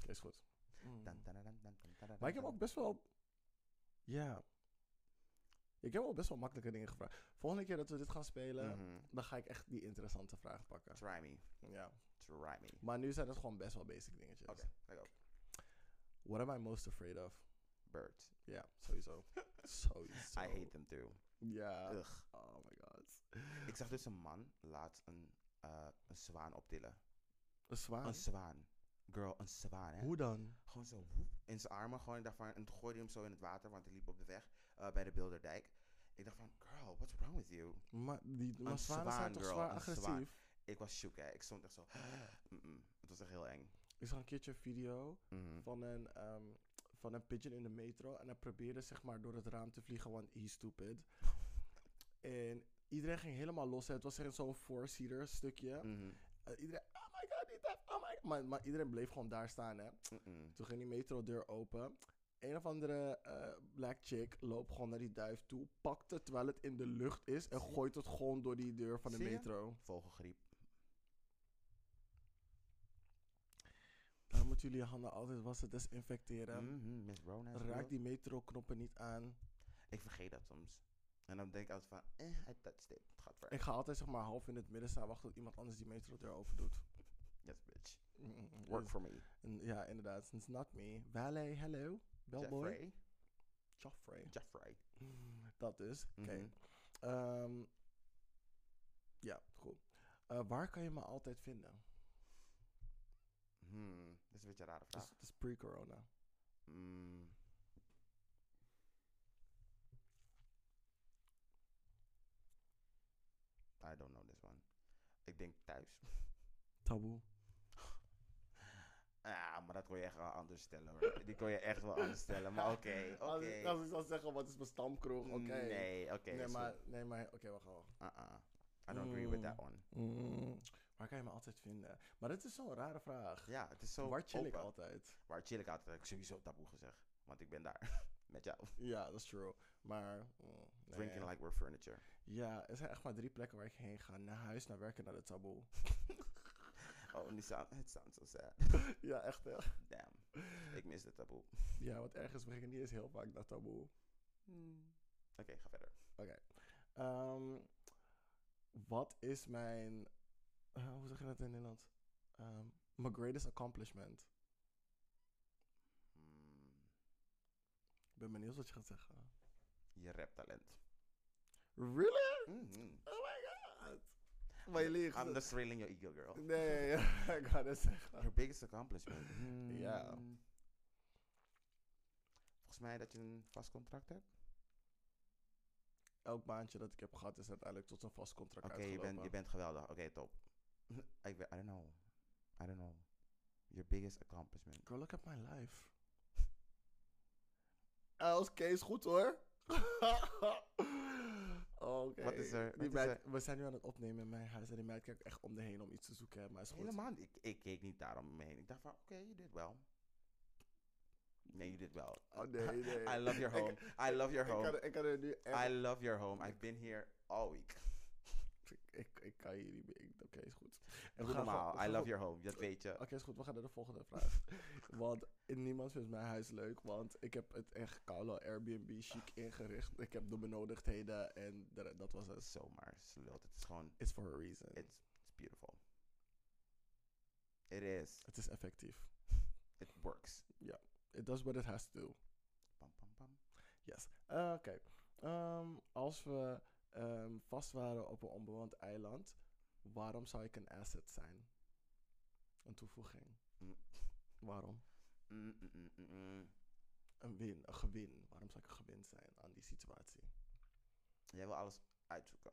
Speaker 3: Oké, Is goed. Mm.
Speaker 2: Dan,
Speaker 3: Mm-hmm.
Speaker 2: dan, dan, dan, dan, dan, dan,
Speaker 3: Maar ik heb
Speaker 2: dan.
Speaker 3: ook best wel. Ja. Ik heb wel best wel makkelijke dingen gevraagd. Volgende keer dat we dit gaan spelen,
Speaker 2: Mhm.
Speaker 3: dan ga ik echt die interessante vragen pakken.
Speaker 2: Try me.
Speaker 3: Ja.
Speaker 2: Try me.
Speaker 3: Maar nu zijn het gewoon best wel basic dingetjes.
Speaker 2: Oké, daar go.
Speaker 3: What am I most afraid of?
Speaker 2: Birds.
Speaker 3: Ja, sowieso. sowieso.
Speaker 2: I hate them too.
Speaker 3: Ja.
Speaker 2: Ugh.
Speaker 3: Oh my god.
Speaker 2: Ik zag dus een man laatst een, eh, een zwaan optillen.
Speaker 3: Een zwaan.
Speaker 2: Een zwaan. Girl, eh? een zwaan, hè?
Speaker 3: Hoe dan?
Speaker 2: Gewoon zo woep, in zijn armen. Gewoon, ik dacht van, en toen gooide hij hem zo in het water, want hij liep op de weg eh, bij de Bilderdijk. Ik dacht van, girl, what's wrong with you?
Speaker 3: Maar, die, maar
Speaker 2: Een
Speaker 3: zwanen zijn
Speaker 2: zwaan,
Speaker 3: toch
Speaker 2: girl,
Speaker 3: zwaar
Speaker 2: een
Speaker 3: agressief?
Speaker 2: zwaan. Ik was shook, hè. Ik stond echt zo... Mm-mm. Het was echt heel eng.
Speaker 3: Ik zag een keertje een video
Speaker 2: Mhm.
Speaker 3: van een, ehm, van een pigeon in de metro. En hij probeerde zeg maar door het raam te vliegen, want he's stupid. en iedereen ging helemaal los. hè. Het was echt zo'n four-seater stukje.
Speaker 2: Mhm.
Speaker 3: Eh, iedereen, oh my god, niet dat, oh my god. Maar, maar iedereen bleef gewoon daar staan, hè.
Speaker 2: Mm-mm.
Speaker 3: Toen ging die metrodeur open. Een of andere eh, black chick loopt gewoon naar die duif toe, pakt het terwijl het in de lucht is en
Speaker 2: Zie je?
Speaker 3: gooit het gewoon door die deur van de
Speaker 2: Zie je?
Speaker 3: metro.
Speaker 2: Vogelgriep.
Speaker 3: Daar moeten jullie je handen altijd wassen, desinfecteren.
Speaker 2: Mhm, Miss Rona. is real.
Speaker 3: Raak die metroknoppen niet aan.
Speaker 2: Ik vergeet dat soms. En dan denk ik altijd van, eh, I touched it. Het gaat ver.
Speaker 3: Ik ga altijd zeg maar half in het midden staan wachten tot iemand anders die metrodeur open doet.
Speaker 2: Yes, bitch.
Speaker 3: Mm,
Speaker 2: Work
Speaker 3: dus-
Speaker 2: for me.
Speaker 3: en ja, inderdaad. It's not me. Valet, hello. Bellboy.
Speaker 2: Jeffrey.
Speaker 3: Joffrey.
Speaker 2: Jeffrey.
Speaker 3: Dat is. Oké.
Speaker 2: Mhm.
Speaker 3: Ehm, ja, goed. Eh, waar kan je me altijd vinden?
Speaker 2: Hmm, dat is een beetje een rare
Speaker 3: Dus
Speaker 2: vraag.
Speaker 3: het is pre-corona.
Speaker 2: Mm. I don't know this one. Ik denk thuis.
Speaker 3: Taboe.
Speaker 2: Ah, dat kon je echt wel anders stellen hoor. Die kon je echt wel anders stellen, maar oké, oké. Mm,
Speaker 3: Als, ik, als ik zou zeggen, wat is mijn stamkroeg? Oké.
Speaker 2: Nee, oké.
Speaker 3: nee,
Speaker 2: is goed.
Speaker 3: maar, nee, maar oké, wacht wel.
Speaker 2: Uh-uh. I don't agree with
Speaker 3: Mm.
Speaker 2: that one.
Speaker 3: Waar kan je me altijd vinden? Maar dat is zo'n rare vraag.
Speaker 2: Ja, het is zo
Speaker 3: Waar chill ik
Speaker 2: open.
Speaker 3: altijd?
Speaker 2: Waar chill ik altijd? Heb ik sowieso taboe gezegd. Want ik ben daar. Met jou.
Speaker 3: Ja, dat is true. Maar... mm, nee.
Speaker 2: Drinking like we're furniture.
Speaker 3: Ja, er zijn echt maar drie plekken waar ik heen ga. Naar huis, naar werken, naar de taboe.
Speaker 2: Oh, nu sound, it sounds so sad.
Speaker 3: ja, echt hè.
Speaker 2: Damn. Ik mis de taboe.
Speaker 3: Ja, want ergens begin ik niet eens heel vaak naar taboe.
Speaker 2: Oké, ga verder.
Speaker 3: Ehm, wat is mijn... eh, hoe zeg je dat in Nederland? Ehm, mijn greatest accomplishment.
Speaker 2: Mm,
Speaker 3: Ik ben benieuwd wat je gaat zeggen.
Speaker 2: je raptalent.
Speaker 3: Really?
Speaker 2: Mhm.
Speaker 3: Oh my god. Maar je liegt.
Speaker 2: I'm just thrilling your ego, girl.
Speaker 3: Nee, ik ga dat zeggen.
Speaker 2: Your biggest accomplishment. Hmm.
Speaker 3: Ja.
Speaker 2: Volgens mij dat je een vast contract hebt.
Speaker 3: Elk baantje dat ik heb gehad is uiteindelijk tot een vast contract
Speaker 2: Oké, je,
Speaker 3: uitgelopen.
Speaker 2: bent, je bent geweldig. Oké, top. ik ben, I don't know. I don't know. Your biggest accomplishment.
Speaker 3: Girl, look at my life.
Speaker 2: Ah,
Speaker 3: LSK is goed hoor. Oké.
Speaker 2: Wat is er? Wat
Speaker 3: Die
Speaker 2: is
Speaker 3: meid- We zijn nu aan het opnemen in mijn huis en die meid kijkt echt om de heen om iets te zoeken. hè, Maar is goed.
Speaker 2: Helemaal niet. Ik, ik keek niet daarom om me heen. Ik dacht van, oké, je deed wel. Nee, je deed wel.
Speaker 3: Oh nee, nee.
Speaker 2: I love your
Speaker 3: Ik-
Speaker 2: home. I love your
Speaker 3: Ik kan,
Speaker 2: home.
Speaker 3: er- ik kan er nu echt...
Speaker 2: I love your home. I've been here all week.
Speaker 3: Ik, ik, ik kan hier niet meer. ik- Oké, is goed. En
Speaker 2: Doe
Speaker 3: gewoon-
Speaker 2: normaal. I
Speaker 3: we
Speaker 2: love
Speaker 3: gaan- Oh,
Speaker 2: your home. Dat weet je.
Speaker 3: Oké, is goed. We gaan naar de volgende vraag. want niemand vindt mijn huis leuk, want ik heb het echt koude Airbnb chic ingericht. Ik heb de benodigdheden en de- dat was het.
Speaker 2: Zomaar slult. Het is gewoon,
Speaker 3: It's for a reason.
Speaker 2: it's, it's beautiful. It is.
Speaker 3: Het is effectief.
Speaker 2: It works.
Speaker 3: It does what it has to do.
Speaker 2: Pam, pam, pam.
Speaker 3: Yes. Eh, Oké. Ehm, als we ehm, vast waren op een onbewoond eiland, waarom zou ik een asset zijn? Een toevoeging.
Speaker 2: Mm.
Speaker 3: Waarom?
Speaker 2: Mm, mm, mm, mm, mm.
Speaker 3: Een win, een gewin. Waarom zou ik een gewin zijn aan die situatie?
Speaker 2: Jij wil alles uitzoeken.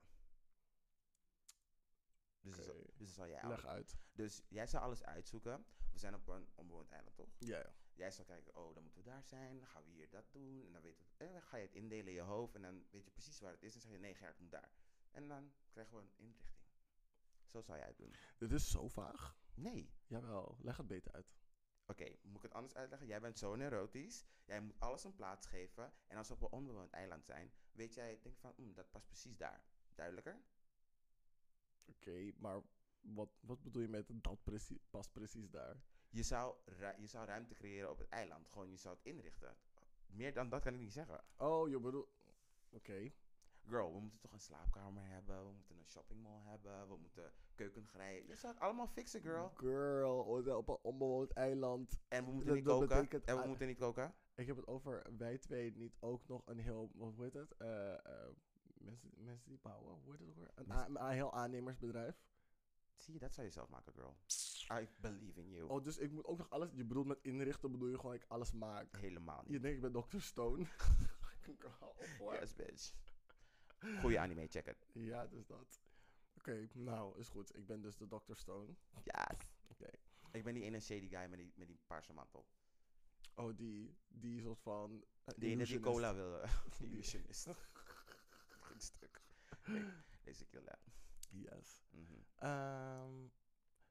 Speaker 2: Dus, dat
Speaker 3: Oké.
Speaker 2: zal- dus dat zal jij
Speaker 3: Leg
Speaker 2: alles-
Speaker 3: uit.
Speaker 2: Dus jij zou alles uitzoeken. We zijn op een onbewoond eiland, toch?
Speaker 3: Ja, ja.
Speaker 2: Jij zou kijken, oh, dan moeten we daar zijn. Dan gaan we hier dat doen. En dan, weten we, en dan ga je het indelen in je hoofd. En dan weet je precies waar het is. En zeg je, nee Gerrit, moet daar. En dan krijgen we een inrichting. Zo zou jij het doen.
Speaker 3: Dit is zo vaag.
Speaker 2: Nee.
Speaker 3: Jawel, leg het beter uit.
Speaker 2: Oké, moet ik het anders uitleggen? Jij bent zo neurotisch. Jij moet alles een plaats geven. En als we op een onbewoond eiland zijn, weet jij, denk van, "Mm, dat past precies daar. Duidelijker?
Speaker 3: Oké, maar wat, wat bedoel je met dat precie- past precies daar?
Speaker 2: Je zou, ru- je zou ruimte creëren op het eiland. Gewoon, je zou het inrichten. Meer dan dat kan ik niet zeggen.
Speaker 3: Oh, je bedoelt... Oké.
Speaker 2: Girl, we moeten toch een slaapkamer hebben. We moeten een shoppingmall hebben. We moeten keukengrij. Je zou het allemaal fixen, girl.
Speaker 3: Girl, oh, op een onbewoond eiland.
Speaker 2: En we moeten
Speaker 3: Dat-
Speaker 2: niet
Speaker 3: dat
Speaker 2: koken.
Speaker 3: betekent
Speaker 2: En we
Speaker 3: aan-
Speaker 2: moeten niet koken.
Speaker 3: Ik heb het over wij twee niet ook nog een heel, wat hoe heet het? Eh, eh, mensen, mensen die bouwen, hoe heet het ook weer? Een, a- een heel aannemersbedrijf.
Speaker 2: Zie je, dat zou je zelf maken, girl. I believe in you.
Speaker 3: Oh, dus ik moet ook nog alles, je bedoelt met inrichten bedoel je gewoon ik alles maak.
Speaker 2: Helemaal
Speaker 3: Je
Speaker 2: niet.
Speaker 3: denkt ik ben Dr. Stone. Girl, what?
Speaker 2: Yes, bitch. Goeie anime, check it.
Speaker 3: Ja, dus dat. Oké, nou is goed. Ik ben dus de Dr. Stone.
Speaker 2: Yes.
Speaker 3: Oké.
Speaker 2: Ik ben die ene shady guy met die, met die paarse mantel.
Speaker 3: Oh, die, die soort van. eh,
Speaker 2: Die ene die
Speaker 3: illusionist.
Speaker 2: cola wilde. Die illusionist. Goed stuk. Nee, Deze kill hè.
Speaker 3: Yes.
Speaker 2: Mhm.
Speaker 3: Ehm,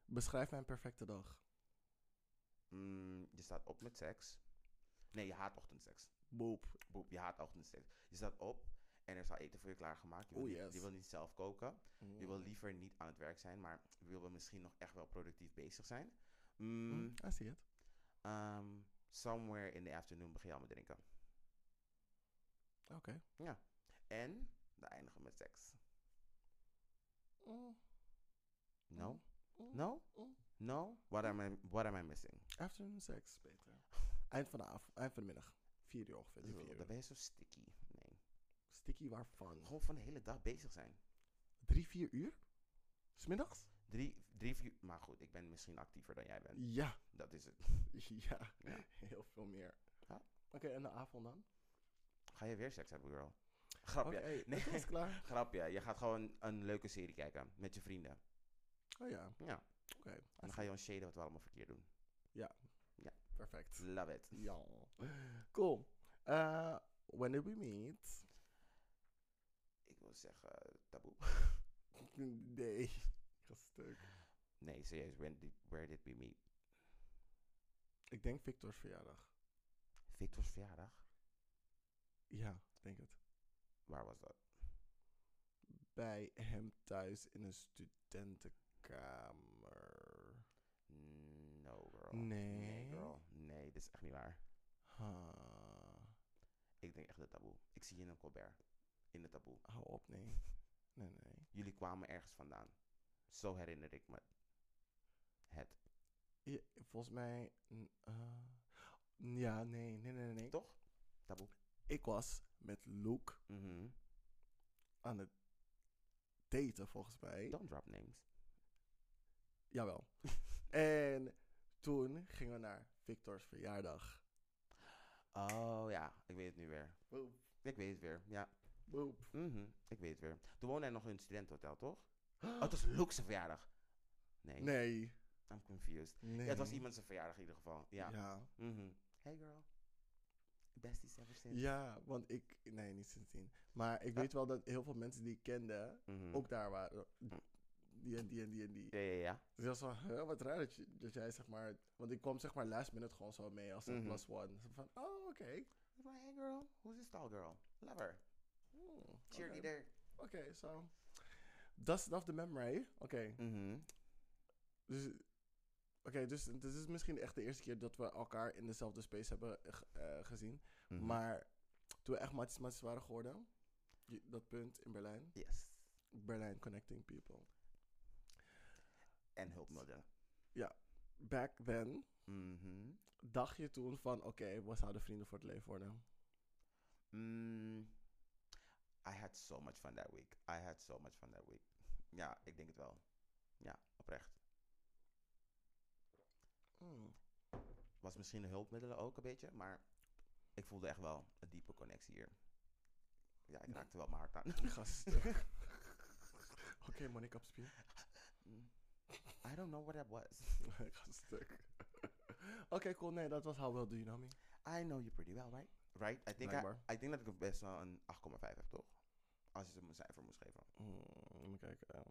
Speaker 3: beschrijf mijn perfecte dag.
Speaker 2: Mm, je staat op met seks. Nee, je haat ochtendseks.
Speaker 3: Boep.
Speaker 2: Boep, je haat ochtendseks. Je staat op en er staat eten voor je klaargemaakt. Je wil,
Speaker 3: Oh,
Speaker 2: niet,
Speaker 3: yes.
Speaker 2: je wil niet zelf koken. Je wil liever niet aan het werk zijn, maar je wil wel misschien nog echt wel productief bezig zijn. Mm,
Speaker 3: Mm, I see it.
Speaker 2: ehm, somewhere in the afternoon begin je al met drinken.
Speaker 3: Oké.
Speaker 2: En dan eindigen we met seks.
Speaker 3: Mm,
Speaker 2: No?
Speaker 3: mm,
Speaker 2: No?
Speaker 3: mm.
Speaker 2: No? What am I, what am I missing?
Speaker 3: Afternoon sex, beter. Eind van de, avond, eind van de middag. Vier uur ongeveer. drie, vier
Speaker 2: Dan
Speaker 3: uur.
Speaker 2: ben je zo sticky. Nee.
Speaker 3: Sticky waarvan?
Speaker 2: Gewoon van de hele dag bezig zijn.
Speaker 3: Drie, vier uur? Smiddags?
Speaker 2: Drie, drie, vier. Maar goed, ik ben misschien actiever dan jij bent.
Speaker 3: Ja.
Speaker 2: Dat is het.
Speaker 3: ja.
Speaker 2: Ja.
Speaker 3: Heel veel meer.
Speaker 2: Ja.
Speaker 3: Oké, en de avond dan?
Speaker 2: Ga je weer seks hebben, girl? Grapje.
Speaker 3: Oké, het
Speaker 2: Nee.
Speaker 3: was klaar.
Speaker 2: Grapje, je gaat gewoon een leuke serie kijken met je vrienden.
Speaker 3: Oh ja,
Speaker 2: Ja, en
Speaker 3: oké.
Speaker 2: dan ga je ons shaden wat we allemaal verkeerd doen.
Speaker 3: Perfect.
Speaker 2: Love it.
Speaker 3: Ja. Cool. Eh, when did we meet?
Speaker 2: Ik wil zeggen eh, taboe.
Speaker 3: Nee. eh, Ik ga stuk.
Speaker 2: Nee, serieus. When did, where did we meet?
Speaker 3: Ik denk Victor's verjaardag.
Speaker 2: Victor's verjaardag?
Speaker 3: Ja, ik denk het.
Speaker 2: Waar was dat?
Speaker 3: Bij hem thuis in een studentenkamer.
Speaker 2: No, girl.
Speaker 3: Nee?
Speaker 2: girl. Nee, dit is echt niet waar.
Speaker 3: Ha.
Speaker 2: Ik denk echt de taboe. Ik zie je in een Colbert. In de taboe.
Speaker 3: Hou op, nee. Nee, nee.
Speaker 2: Jullie kwamen ergens vandaan. Zo herinner ik me het.
Speaker 3: Ja, volgens mij... n- eh, ja, nee, nee, nee, nee.
Speaker 2: Toch? Taboe.
Speaker 3: Ik was met Luke
Speaker 2: Mhm.
Speaker 3: aan het daten, volgens mij.
Speaker 2: Don't drop names.
Speaker 3: Jawel. en toen gingen we naar Victor's verjaardag.
Speaker 2: Oh ja, ik weet het nu weer.
Speaker 3: Boop,
Speaker 2: Ik weet het weer, ja.
Speaker 3: boop.
Speaker 2: Mhm, Ik weet het weer. Toen woonde hij nog in een studentenhotel, toch? Oh, het was Luke's verjaardag. Nee,
Speaker 3: Nee.
Speaker 2: I'm confused.
Speaker 3: nee.
Speaker 2: Ja, het was iemand zijn verjaardag in ieder geval. Ja.
Speaker 3: Ja.
Speaker 2: Mhm. Hey girl. Besties ever since.
Speaker 3: Ja, want ik... Nee, niet sindsdien. Maar ik
Speaker 2: Ja.
Speaker 3: weet wel dat heel veel mensen die ik kende
Speaker 2: Mhm.
Speaker 3: ook daar waren. Die en die en die en die.
Speaker 2: Ja, ja, ja.
Speaker 3: Dus dat was wel huh, wat raar dat, je- dat jij zeg maar... Want ik kwam zeg maar last minute gewoon zo mee als een
Speaker 2: Mhm.
Speaker 3: plus one. Zo van, oh, oké.
Speaker 2: Ik dacht, Hey girl, who's this tall girl? Love her.
Speaker 3: Hmm, Oké,
Speaker 2: Cheerleader.
Speaker 3: Oké, zo. Dusted off the memory. Oké.
Speaker 2: Mhm.
Speaker 3: Dus, oké, dus dit is misschien echt de eerste keer dat we elkaar in dezelfde space hebben eh, ge- eh, gezien.
Speaker 2: Mhm.
Speaker 3: Maar toen we echt matjes matjes waren geworden, je- dat punt in Berlijn.
Speaker 2: Yes.
Speaker 3: Berlijn Connecting People.
Speaker 2: En hulpmiddelen.
Speaker 3: Back then
Speaker 2: Mhm.
Speaker 3: dacht je toen van, oké, we zouden vrienden voor het leven worden.
Speaker 2: Mm, I had so much fun that week. I had so much fun that week. Ja, ik denk het wel. Ja, oprecht.
Speaker 3: Hmm.
Speaker 2: Was misschien de hulpmiddelen ook een beetje, maar ik voelde echt wel een diepe connectie hier. Ja, ik raakte wel mijn hart aan.
Speaker 3: Gast. oké, Monique Kapspier.
Speaker 2: Mm. I don't know what that was.
Speaker 3: Ik ga stuk. Oké, cool. Nee, dat was How Well Do You Know Me.
Speaker 2: I know you pretty well, right? Right? I think, I,
Speaker 3: Blijkbaar.
Speaker 2: I think dat ik best wel een 8,5 heb, toch? Als je ze een cijfer moest geven.
Speaker 3: Hmm, even kijken. eh,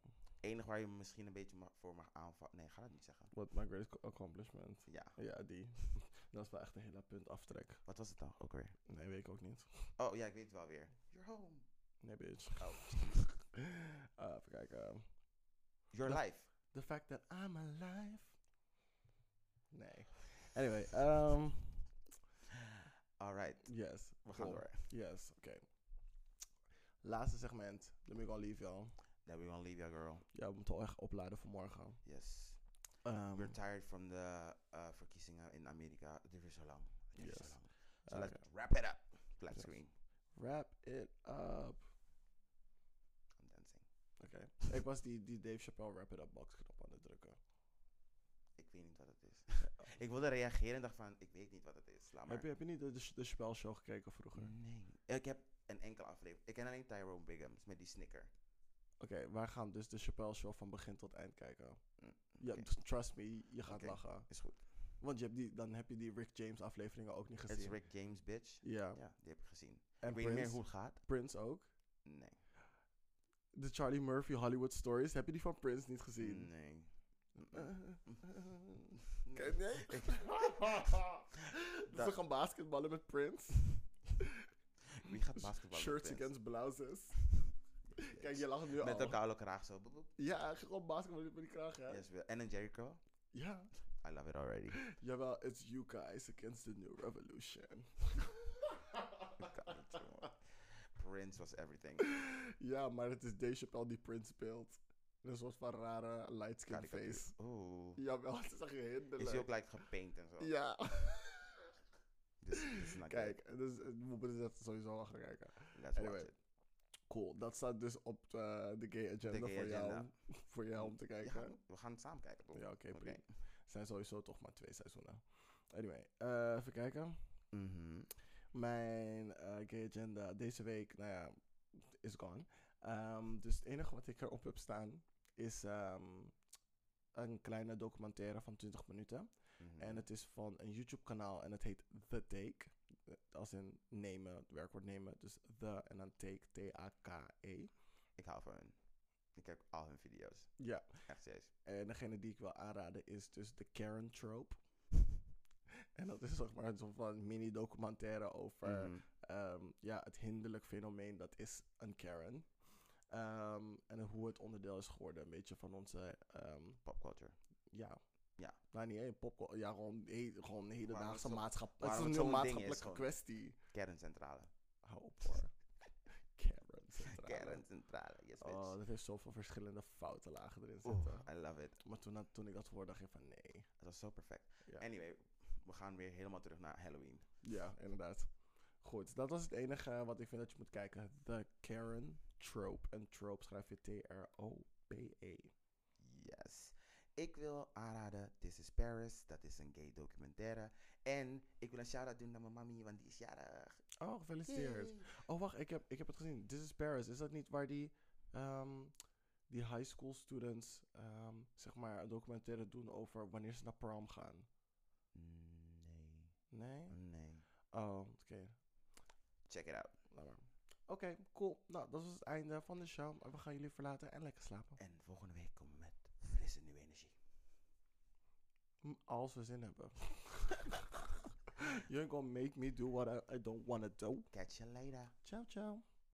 Speaker 2: Enig waar je me misschien een beetje ma- voor mag aanvallen. Nee, ga dat niet zeggen.
Speaker 3: What My Great Accomplishment.
Speaker 2: Ja,
Speaker 3: Ja, die. dat is wel echt een hele punt aftrek.
Speaker 2: wat was het dan ook weer?
Speaker 3: Nee, weet ik ook niet.
Speaker 2: Oh ja, ik weet het wel weer. You're home.
Speaker 3: Nee, bitch.
Speaker 2: Oh.
Speaker 3: Eh, even kijken.
Speaker 2: Your
Speaker 3: Dat-
Speaker 2: life.
Speaker 3: The fact that I'm alive. Nee. Anyway, um,
Speaker 2: Alright,
Speaker 3: yes.
Speaker 2: we gaan
Speaker 3: Cool.
Speaker 2: door.
Speaker 3: Yes, oké. Laatste segment. Dan ben ik al leave, y'all.
Speaker 2: That we gonna leave your girl.
Speaker 3: Ja, we moeten al echt opladen voor morgen.
Speaker 2: Yes.
Speaker 3: Ehm,
Speaker 2: We're tired from the uh, verkiezingen in Amerika. Het duurt weer zo lang. Het duurt weer
Speaker 3: Yes.
Speaker 2: zo lang. So
Speaker 3: oké.
Speaker 2: let's wrap it up. Black
Speaker 3: Yes.
Speaker 2: screen.
Speaker 3: Wrap it up.
Speaker 2: I'm dancing.
Speaker 3: Oké. ik was die, die Dave Chappelle wrap it up box knop aan het drukken.
Speaker 2: Ik weet niet wat het is. ik wilde reageren en dacht van, ik weet niet wat het is. Laat maar.
Speaker 3: Heb je, heb je niet de, de, de Chappelle show gekeken vroeger?
Speaker 2: Nee. Ik heb een enkele aflevering. Ik ken alleen Tyrone Biggums met die snicker.
Speaker 3: Oké, wij gaan dus de Chappelle Show van begin tot eind kijken.
Speaker 2: Mm,
Speaker 3: Ja,
Speaker 2: oké.
Speaker 3: t- trust me, je gaat
Speaker 2: Oké.
Speaker 3: lachen.
Speaker 2: Is goed.
Speaker 3: Want je hebt die, dan heb je die Rick James afleveringen ook niet
Speaker 2: Het is
Speaker 3: gezien.
Speaker 2: Rick James, bitch.
Speaker 3: Ja,
Speaker 2: Ja, die heb ik gezien.
Speaker 3: en
Speaker 2: ik weet niet meer
Speaker 3: Prince,
Speaker 2: hoe het gaat.
Speaker 3: Prince ook.
Speaker 2: Nee.
Speaker 3: De Charlie Murphy Hollywood Stories, heb je die van Prince niet gezien?
Speaker 2: Nee.
Speaker 3: Eh,
Speaker 2: Mm-mm.
Speaker 3: eh, Ken jij? Dat
Speaker 2: Dat-
Speaker 3: ze gaan basketballen met Prince.
Speaker 2: Wie gaat basketballen?
Speaker 3: Shirts
Speaker 2: met Prince?
Speaker 3: against blouses. Kijk, je lacht nu
Speaker 2: Met
Speaker 3: al.
Speaker 2: een koude kraag zo. boep, boep.
Speaker 3: Ja, gewoon basketballen met die kraag, hè?
Speaker 2: Yes, Will. En een Jericho.
Speaker 3: Ja.
Speaker 2: I love it already.
Speaker 3: Jawel, it's you guys against the new revolution.
Speaker 2: Ik kan niet, jongen. Prince was everything.
Speaker 3: ja, maar het is Dave Chappelle die Prince speelt. Een soort van rare light skin
Speaker 2: Karikatuur.
Speaker 3: face.
Speaker 2: Oeh.
Speaker 3: Jawel, het is echt
Speaker 2: Is hij ook
Speaker 3: hinderlijk.
Speaker 2: like gepaint en zo?
Speaker 3: Ja.
Speaker 2: Dus, dus not
Speaker 3: Kijk, dus, eh, we moeten dat sowieso wel gaan kijken.
Speaker 2: good. Let's
Speaker 3: anyway,
Speaker 2: watch it.
Speaker 3: Cool, dat staat dus op eh, de gay agenda,
Speaker 2: gay
Speaker 3: voor,
Speaker 2: agenda.
Speaker 3: Jou, voor jou om te
Speaker 2: Ja,
Speaker 3: kijken.
Speaker 2: we gaan het samen kijken, toch?
Speaker 3: Ja, oké,
Speaker 2: Oké.
Speaker 3: prima. zijn sowieso toch maar twee seizoenen. Anyway, eh, even kijken.
Speaker 2: Mhm.
Speaker 3: Mijn eh, gay agenda deze week, nou ja, is gone. Ehm, dus het enige wat ik erop heb staan is ehm, een kleine documentaire van 20 minuten.
Speaker 2: Mhm.
Speaker 3: En het is van een YouTube-kanaal en het heet The Take. Eh, Als in nemen, het werkwoord nemen. Dus The en dan Take, T-A-K-E.
Speaker 2: Ik hou van hun. Ik heb al hun video's.
Speaker 3: Ja.
Speaker 2: Echt serieus.
Speaker 3: En degene die ik wil aanraden is dus de Karen Trope. en dat is zeg maar een soort van mini-documentaire over
Speaker 2: Mhm.
Speaker 3: ehm, ja, het hinderlijk fenomeen dat is een Karen. Ehm, en hoe het onderdeel is geworden, een beetje van onze, ehm,
Speaker 2: Popculture.
Speaker 3: ja...
Speaker 2: Ja.
Speaker 3: Nou, niet één pop, ja, gewoon, he, gewoon hedendaagse
Speaker 2: zo-
Speaker 3: maatschappij. Het
Speaker 2: waarom
Speaker 3: is een
Speaker 2: het
Speaker 3: heel
Speaker 2: zo'n ding is
Speaker 3: maatschappelijke
Speaker 2: gewoon.
Speaker 3: kwestie.
Speaker 2: Kerncentrale.
Speaker 3: Hou op hoor. Karen centrale.
Speaker 2: Kerncentrale. Yes, bitch.
Speaker 3: Oh, dat heeft zoveel verschillende fouten lagen erin
Speaker 2: Oeh,
Speaker 3: zitten.
Speaker 2: I love it.
Speaker 3: Maar toen, dat- toen ik dat hoorde, dacht ik van nee.
Speaker 2: Het was zo perfect.
Speaker 3: Ja.
Speaker 2: Anyway, we gaan weer helemaal terug naar Halloween.
Speaker 3: Ja, inderdaad. Goed, dat was het enige wat ik vind dat je moet kijken. The Karen Trope. En trope schrijf je T-R-O-P-E.
Speaker 2: Yes. Ik wil aanraden This is Paris. Dat is een gay documentaire. En ik wil een shout-out doen naar mijn mami, want die is jarig.
Speaker 3: Oh, gefeliciteerd.
Speaker 2: Yay.
Speaker 3: Oh, wacht, ik heb, ik heb het gezien. This is Paris. Is dat niet waar die, ehm, die high school students ehm, zeg maar een documentaire doen over wanneer ze naar prom gaan?
Speaker 2: Nee.
Speaker 3: Nee?
Speaker 2: Nee.
Speaker 3: Oh, oké.
Speaker 2: Check it out.
Speaker 3: Laat maar. Oké, cool. Nou, dat was het einde van de show. We gaan jullie verlaten en lekker slapen.
Speaker 2: En volgende week komen we met frisse nieuwe energie.
Speaker 3: M- Als we zin hebben. You're gonna make me do what I, I don't wanna do.
Speaker 2: Catch you later.
Speaker 3: Ciao, ciao.